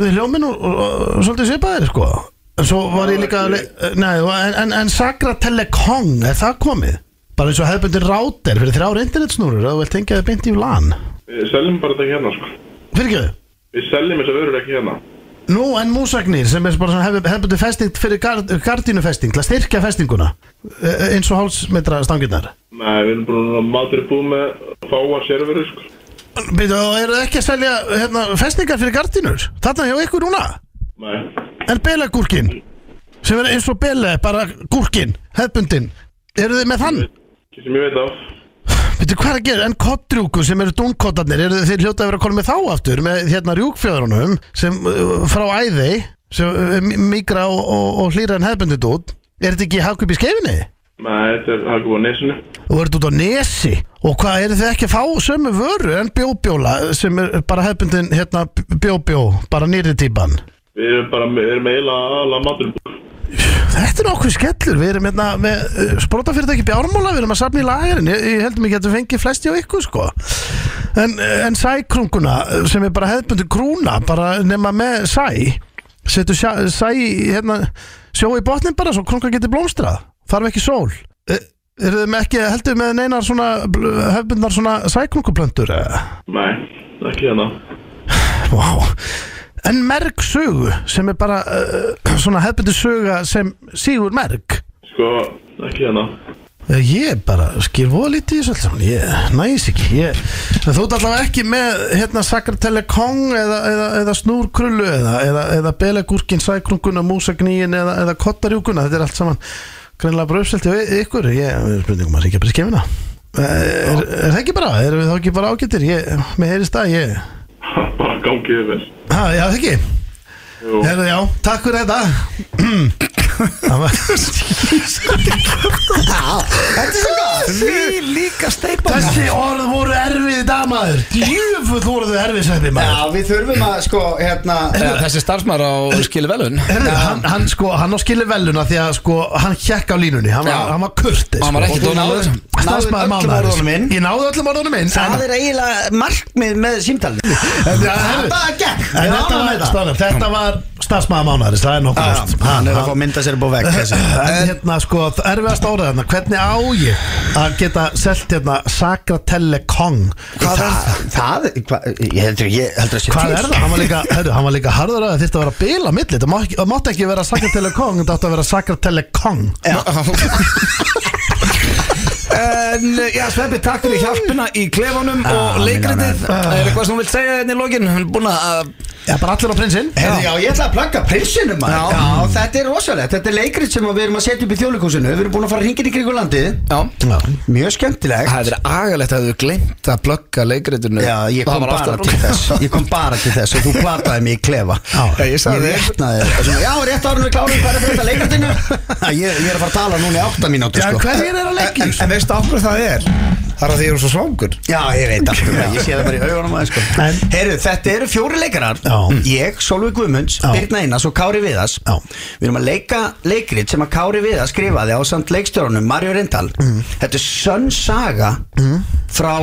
C: við hljómin og, og, og svolítið svipaðir, sko En svo var ég líka að le- eh, Nei, og- en, en, en Sagra Telecom, er það komið? Bara eins og hefðbundi ráter fyrir þrjár internetsnúrur að þú vilt tengja þig beint í LAN
K: Við seljum bara þetta ekki hérna sko
C: Fyrir
K: Við seljum þessar vörur ekki hérna
C: Nú, en músagnir sem er bara svona hefðbundi festing fyrir gard, gardínufesting til að styrkja festinguna eh, eins og hálsmetra stangirnar
K: Nei, við erum búin að matur búið með fáa serverur sko
C: Býtu, og eru þið ekki að selja hérna, festingar fyrir gardínur? Þarna hjá ykkur núna?
K: Nei,
C: En belagúrkin sem er eins og bele, bara gúrkin hefðbundin, eru þið með þann?
K: ekki sem ég veit af
C: Býtu, hvað er að gera? En kottrjúku sem eru dúnkottarnir, eru þið hljóta að vera að koma með þá aftur með hérna rjúkfjöðrunum sem uh, frá æði sem uh, mi- migra og, og, og hlýra en hefðbundin út Er þetta ekki hagkvip í skeifinni?
K: Nei, þetta er hafði búið á nesinu
C: Þú ert út á nesi og hvað eru þið ekki að fá sömu vöru en bjóbjóla sem er bara hefbundin hérna bjóbjó, bara nýri típan
K: Við erum bara, við erum eiginlega aðalega matur búið
C: Þetta er nokkuð skellur, við erum hérna með uh, sprótafyrirtæki bjármála, við erum að safna í lagerinn ég, ég heldum ekki að þetta fengi flesti á ykkur sko en, uh, en sækrunguna uh, sem er bara hefbundin krúna bara nema með sæ setu sæ, sæ í, hérna, sjó í botnin bara svo krunga getur blómstrað þarf ekki sól uh, Eru þið með ekki, heldur þið með neinar svona hefbundnar svona sækrunguplöntur eða?
K: Nei, ekki hérna
C: Vá En merg sögu sem er bara uh, svona hefbundu söga sem sígur merg
K: Sko, ekki hérna
C: Eh, Ég bara skil voða lítið í þessu allt saman Ég næs ekki ég, en Þú ert allavega ekki með hérna Sakra Telekong eða, eða, eða Snúrkrullu eða, eða, eða Belegúrkin, Sækrunguna, Músagníin eða, eða Kottarjúkuna Þetta er allt saman greinlega bara uppselt til ykkur Ég er spurningum að ríkja bara í skefina Eh, Er, er það ekki bara? Erum við þá ekki bara ágættir? Ég, mér heyrist það, ég
K: Bara gangið yfir
C: Ha, já, það ekki
K: Jú.
C: Herðu, já, takk fyrir þetta *clears throat* Það var
A: Því líka steipa
C: Þessi orð voru erfið í dag maður Djöfull voru þau erfið sætti maður
J: Já, við þurfum að, sko, hérna
A: Eh, Þessi starfsmæður á skili velun
C: Herðu, hann, hann sko, hann á skilið veluna því að sko, hann hjekk á línunni Hann var,
A: Já.
C: hann var sko. kurtis
A: Hann var ekki dónaður
J: náður öllum orðunum inn.
C: Ég náði öllum orðunum inn en-
J: Það er eiginlega markmið með símtalið
C: en-
J: Það
C: herðu,
J: er bara gegn,
C: en
J: ég
C: þetta
J: ánægð með
C: var-
J: það
C: strákar, Þetta var starfsmaður mánaðarins, það er nokkuð
J: Já,
C: ljóst.
J: Ah, Hann er að fá mynda sér búið vekk þessi
C: En hérna sko, erfiðast árið hérna Hvernig á ég að geta selt hérna Sakra Telekong
J: Hvað er það? Það, hva, ég heldur ég heldur að sé
C: Hvað
J: til.
C: er það? Hann var líka, herru, hann var líka harður að þetta var að bila milli Það má ekki- það mátti ekki vera Sakra Telekong Þetta átti að vera Sakra Telekong
J: Já.
A: En, eh, já, Sveppi, takk fyrir hjálpina í klefanum og leikritið Er eitthvað sem hún vil segja hérna í lokin? Hún er búin að,
C: Já, bara allir á prinsinn
J: Herri, já, ég ætla að plugga prinsinum maður já. þetta er rosalegt, þetta er leikrit sem við erum að setja upp í þjóðleikúsinu Við erum búin að fara hringin í kringu landið
A: já
J: Mjög skemmtilegt
A: Það hefði verið agalegt að þú glemt að plugga leikritinu
J: Já, ég kom
A: Það var
J: bara
A: ástæðan. *laughs*
J: til þess Ég kom bara til þess og þú plataði mig í klefa
A: Já, ég sagði
J: Ég réttnaði þér Svona, Já, rétt árum við klárum hvað er þetta
A: *laughs*
J: leikritinu ég, ég er að fara að tala núna í átta mínútu sko.
C: Hverjir er að leggja?
F: En, en veistu af hverju það er? Það er að því ég er svo svangur
J: Já, ég veit allt um það, ég sé það bara í augunum aðeins sko.
C: En-
J: Herru, þetta eru fjóri leikarar
C: Já.
J: Ég, Solveig Guðmunds,
C: Já.
J: Birna Einars og Kári Viðas
C: Já.
J: Við erum að leika leikrit sem að Kári Viðas skrifaði á samt leikstjórunum Marjó Reyndal
F: Mm.
J: Þetta er sönn saga frá,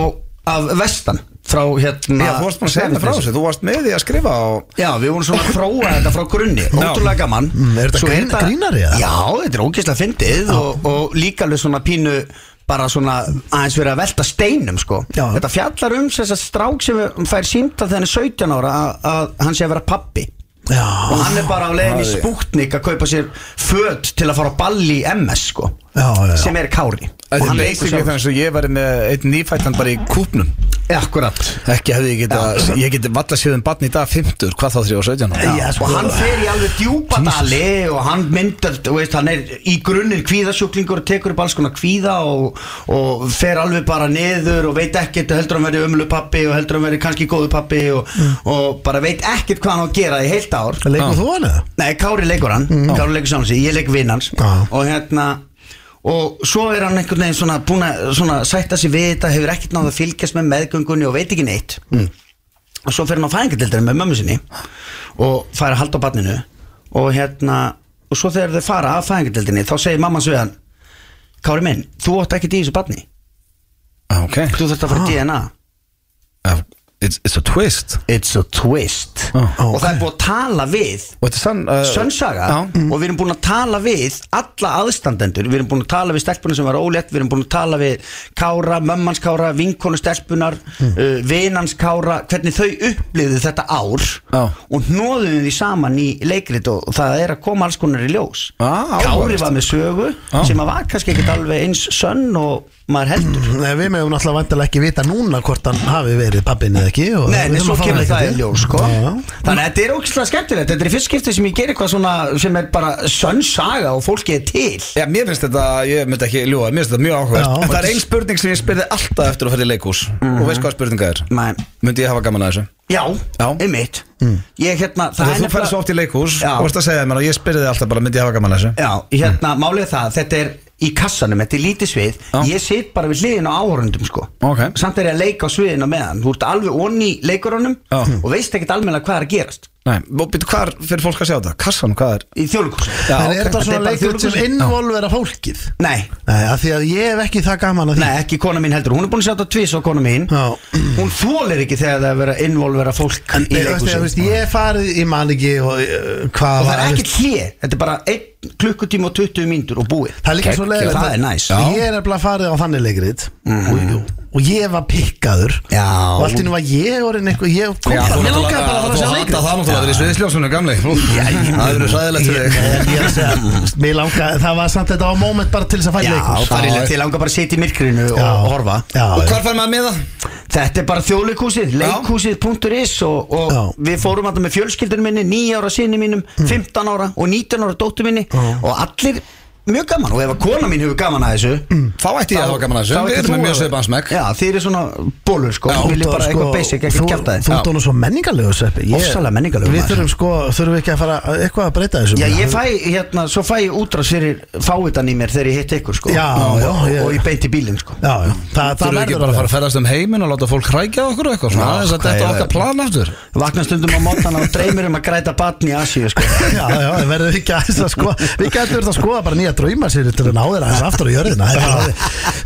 J: af vestan Frá hérna
F: Já, þú varst bara að segja mér frá þessu Þú varst með því að skrifa á
J: Já, við vorum svona að prófa þetta frá grunni Ótrúlega gaman
C: Mm, er þetta
J: Svo hérna-
C: grín- grínari, eða?
J: Já, þetta er ógeðslega fyndið og, og líka alveg svona pínu bara svona aðeins verið að velta steinum sko.
C: Já.
J: Þetta fjallar um þess að strák sem fær símt að þenni 17 ára að, að hann sé að vera pappi
C: Já,
J: og hann Ah, er bara á leiðin í spúknik að kaupa sér föt til að fara á ball í MS sko,
C: Já, já, já.
J: sem er Kári Og
F: Þetta er
J: hann leikur
F: basically
J: sjálf-
F: þannig að ég væri með einn nýfættan bara í kúpnum
J: Akkurat
F: Ekki hefði ég geta, ég geti valla síðan barn í dag 50, hvað þá 3 og 17 ára?
J: Já, og hann
C: Sko,
J: fer í alveg djúpa dali og hann myndar, þú veist, hann er í grunninn kvíðasjúklingur og tekur upp alls konar kvíða og, og fer alveg bara niður og veit ekkert og heldur hann verið ömlu pappi og heldur hann verið kannski góðu pappi og, og bara veit ekkert hvað hann á að gera í heilt ár
C: leikur þú hann eða?
J: Nei, Kári leikur hann, Kári leikur sjálf sig, ég leik vinn hans
C: Já.
J: og hérna og svo er hann einhvern veginn svona búin að svona sætta sig við þetta, hefur ekkert náða að fylgjast með meðgöngunni og veit ekki neitt og svo fer hann á fæðingatildinu með mömmu sinni og fær að halda á barninu og hérna, og svo þegar þau fara af fæðingatildinu þá segir mamma svo við hann Kári minn, þú átt ekki í þessu barni
F: Ah, Ok,
J: þú þurft að fara ah. DNA
F: Ah, it's, it's a twist
J: It's a twist
F: Ah,
J: og það er búið að tala við
F: Og þetta er sann uh,
J: Sönnsaga
F: Já.
J: Eh, og við erum búin að tala við alla aðstandendur, við erum búin að tala við stelpunar sem var ólétt, við erum búin að tala við Kára, mömmans Kára, vinkonu stelpunar
F: Mm.
J: uh, vinans Kára hvernig þau upplifðu þetta ár
F: Já.
J: og hnóðum því saman í leikrit og, og það er að koma alls konar í ljós
F: Ah,
J: Kári
F: áhugavert.
J: var með sögu
F: Já. Mm.
J: sem að var kannski ekkert alveg eins sönn og maður heldur
C: Mm, Nei, við meðum náttúrulega vantilega ekki vita núna hvort hann hafi verið pappin eða ekki og
J: Nei,
C: við
J: en
C: þurfum að
J: svo
C: fá
J: kemur
C: hann
J: það í
C: eitthvað til.
J: ljós sko.
C: Já, já.
J: Þannig að þetta er ógislega skemmtilegt Þetta er í fyrst skipti sem ég ger eitthvað svona sem er bara sönn saga og fólki er til
F: Já, mér finnst þetta, ég myndi ekki ljúa, mér finnst þetta mjög áhugast
C: Já.
F: En það er einn spurning sem ég spyrði alltaf eftir að ferði í leikhús
J: Mhm.
F: Og veist hvað spurninga er?
J: Nei.
F: Myndi ég hafa gaman að þessu?
J: Já,
F: Já.
J: einmitt Ég hérna, það
F: Þegar þú ferð svo oft í leikhús
J: Já.
F: og vorst að segja mér og ég spyrði þig alltaf bara, myndi ég hafa gaman að þessu?
J: Já, hérna, málið er það, þetta er í kassanum, þetta er lítið svið
F: Já.
J: Ég sit bara við hliðin á áhörundum sko
F: Ok.
J: Samt er ég að leika á sviðin á meðan Þú ert alveg onni í leikurunum
F: Já.
J: Og veist ekkert almennilega hvað er að gerast
F: Nei, og býttu, hvað er- fyrir fólk að sjá þetta? Kassan, hvað er?
J: Í þjóðlíkúsi
C: En er þetta svona leikur sem involvera fólkið?
J: Nei,
C: Nei, af því að ég hef ekki það gaman að því
J: nei, ekki kona mín heldur Hún er búin að sjá þetta tvís á kona mín
C: Já.
J: Hún þólir ekki þegar það er að vera involvera fólk
C: En ég,
J: í
C: veist, ég,
J: leikhúsi.
C: veist, ég farið í man ekki og uh, hvað
J: Og það
C: var-
J: er ekkert hlið, þetta er bara 1 klukkutíma og 20 mínútur og búið
C: Það er líka svo leiðilegt
J: Það er næs
C: að- Ég er nefnilega farið á þannig leikrit og, og ég var pikkaður
J: Já.
C: Og allt innum var ég orðin eitthvað Ég kom
F: Já,
C: bara,
F: þú
C: ég langaði bara að fara að sjá
F: Þú hata
C: leikrit
F: það náttúrulega að vera í sviðisljósunum gamli Það eru sæðilegt fyrir
C: Ég-
F: þig
C: en ég er að segja, Mér langaði, það var samt þetta á moment bara til þess að fara í
J: Mm. Já,
C: leikrit
J: bara ég langar bara að sitja í myrkrinu og,
C: Já.
J: og horfa
C: Já,
F: Og
C: já.
F: hvar fær maður með það?
J: Þetta er bara þjóðleikúsið, leikúsið.is og, og
C: Já.
J: við fórum alltaf með fjölskyldunum minni 9 ára sinni mínum, 15 ára og 19 ára dóttu minni og allir mjög gaman og ef að kona mín hefur gaman að þessu
F: Þá ætti ég að hafa gaman að
J: þá
F: þessu Við
J: ættir
F: erum
J: þú
F: með mjög
J: að-
F: svipaðan smekk
J: Já, þið eru svona bólur sko,
F: Já,
J: já, vilja
C: Þú-
J: bara eitthvað basic,
C: þú-
J: eitthvað kjartaði
C: Þú ert honum svo menningarlegu sveppi Ég-
J: Ofsalega menningarlegur,
C: Við
J: maður.
C: þurfum sko, þurfum við ekki að fara eitthvað að breyta þessu
J: Já, ég fæ, hérna, svo fæ ég útrás fyrir fáitan í mér þegar ég hitt ykkur, sko
C: Já,
J: og,
C: já, ég-
J: og ég beinti bílinn, sko
C: Já, já, það, það
F: Þurfum við ekki
C: verður
F: bara að
C: að
F: fara að ferðast um heiminn og láta fólk hrækja á okkur og eitthvað svona
C: Já,
F: aðeins að
C: hvað
F: þetta
C: ég-
F: okkar plan aftur
J: Vakna stundum á mótana og dreymir um að græta batn í Asíu, sko
C: Já, já, við verðum ekki aðeins að skoða Við gætum verið að skoða bara nýja drauma sér til að ná þér aðeins aftur á jörðina Þetta er alveg-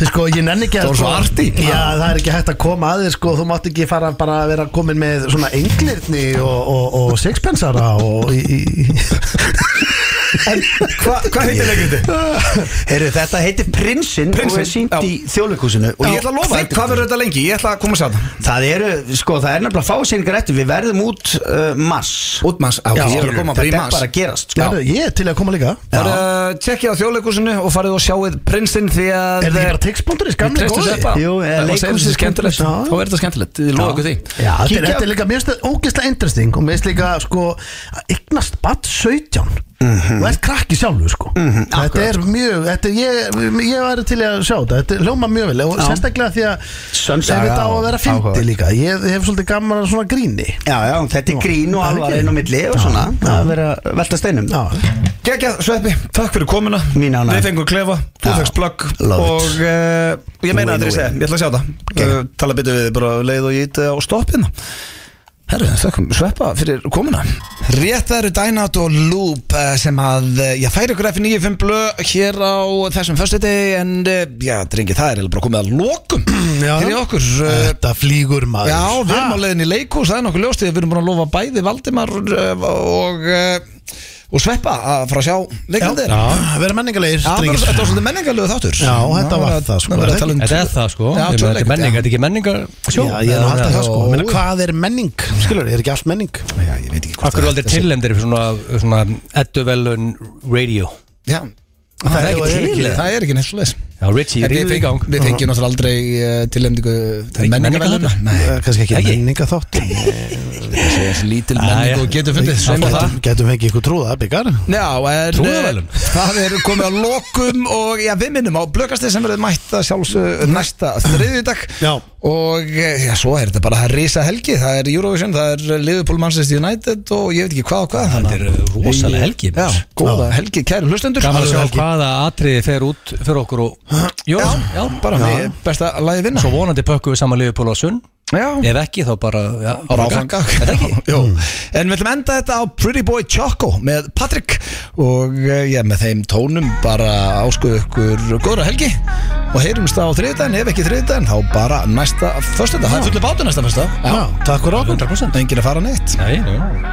C: Sko, ég nenni ekki að
F: Það var svo
C: sko-
F: arty.
C: Já, það er ekki hægt að koma að þér sko Þú mátt ekki fara bara að vera komin með svona englirni og, og, og sixpensara og í, í,
J: En hvað hva heitir leikritið? *laughs* Heyrðu, þetta heitir Prinsinn og
I: Prinsinn,
J: er sínt
I: já.
J: í þjóðleikhúsinu
I: Og ég ætla að lofa þér, hvað verður þetta lengi? Ég ætla að koma sér
J: Það eru, sko, það er nefnilega fásýningar eftir Við verðum út uh, mars
I: Útmanns, á, ég
J: Já,
I: er að
J: skilur,
I: koma bara í
J: Þetta er
I: mass
J: bara að gerast sko.
C: Herru, Ég er til að koma líka
I: Það er tjekkið á þjóðleikusinu og farið og sjáið prinsinn því að
C: Er þetta ekki bara tix.is,
I: Ég
C: gamli
I: treysti
C: góði?
I: þessu upp á.
J: Jú, eða
I: Það var segir
J: leikhúsið
I: þessi skemmtilegt
J: Já.
I: Þá er þetta skemmtilegt, ég lofa ykkur því
C: Já, þetta er,
J: Kíkja-
C: þetta er líka, mér finnst þetta ógeðslega interesting og mér finnst líka, sko, að eignast badd 17
I: Mhm.
C: og ert krakki sjálfu, sko Þetta er mjög, þetta er, ég, ég væri til í að sjá þetta, þetta er ljóma mjög vel og sérstaklega því að ef
J: Sönsaga
C: þetta á að
J: og
C: vera fyndi
J: áhuga.
C: líka, ég hef svolítið gaman að svona gríni
J: Já, já, þetta er grín og
C: það er
J: alvar
C: ekki.
J: inn á milli og svona Það verður að velta steinum
C: Já,
I: Gekja, Sveppi, takk fyrir komuna
J: Mín ánægja.
I: Við fengum klefa, þú
J: Já.
I: fengst plugg
J: Love it.
I: Og uh, ég meina þetta er ég segja, ég ætla að sjá það okay. Tala bitur við bara um leið og ít á stoppina Herru, þökkum Sveppa fyrir komuna Rétt það eru Dynat og Loop eh, sem að, eh, já, færi ykkur F95 blöð hér á þessum föstudegi en, eh, já, drengi, það er eiginlega bara komið að lokum
C: Já.
I: hér í okkur eh,
C: þetta flýgur maður
I: Já, við erum á leiðin í leikús, það er nokkuð ljóst því að Við erum búin að lofa bæði Valdimar uh, og, uh, og Sveppa að fara að sjá
C: Já,
I: leikandi þeirra
C: já, vera menningarlegir
I: Já, bara-
C: drengir.
I: þetta var svolítið menningarlegu þáttur
C: Já, þetta var það, sko.
I: sko Það var að tala um
B: Þetta er það sko,
I: Já,
B: Ég meina, þetta
I: tölvuleikrit,
B: er menning,
I: já.
B: þetta er ekki menningar sjó
C: Já, ég er nú alltaf það sko,
I: Já,
C: menna
I: já.
C: hvað er menning, skilur, er ekki allt menning?
I: Já, ég veit ekki hvort
B: Akkur er aldrei tillendir fyrir svona, svona edduvelun radio
I: Já, það, er ekki
C: er
I: til
C: ekki-
I: Það er ekki neitt svolítið
B: Já, Richie,
I: Við
B: ríður í gang
I: feng- við fengjum náttúrulega aldrei uh, tilhemdingu til menningarlega
B: menningarverðlauna?
I: Nei,
C: Eh, Kannski ekki,
B: Ekki?
C: menninga þátt
I: það er lítil
B: já.
I: menning og getur fundið Sveim og það
C: Getum fengið ykkur trúða, byggar
I: Já, en
B: Trúðarverðlaun.
I: eh, það er komið að lokum og já, við minnum á blökastið sem verður mætta sjálfsög næsta þriðjudag
C: Já.
I: og eh, já, svo er þetta bara það risa helgi, það er Eurovision, það er Liverpool Manchester United og ég veit ekki hvað og hvað
B: Þetta er rosalega helgi
I: Já, góða helgi, kæru hlustendur
B: Gaman að
I: Alveg
B: sjá
I: helgi.
B: hvaða atriði fer út fyrir okkur og Jó,
I: Já, já, bara
C: Já.
I: já. besta lagi vinna
B: Svo vonandi pökkum við saman Liverpool og Sunn
I: Já,
B: Ef ekki þá bara já,
I: ára áfanga
B: Er það ekki?
I: Jú. En við ætlum að enda þetta á Pretty Boy Choco með Patrick og eh, já, með þeim tónum bara áskuðu ykkur góðra helgi og heyrumst á þriðdæn, ef ekki þriðdæn þá bara næsta föstudag, það er fullu bátu næsta föstudag
C: Takk fyrir okkur
B: 100%
I: engin að fara neitt
B: Nei, já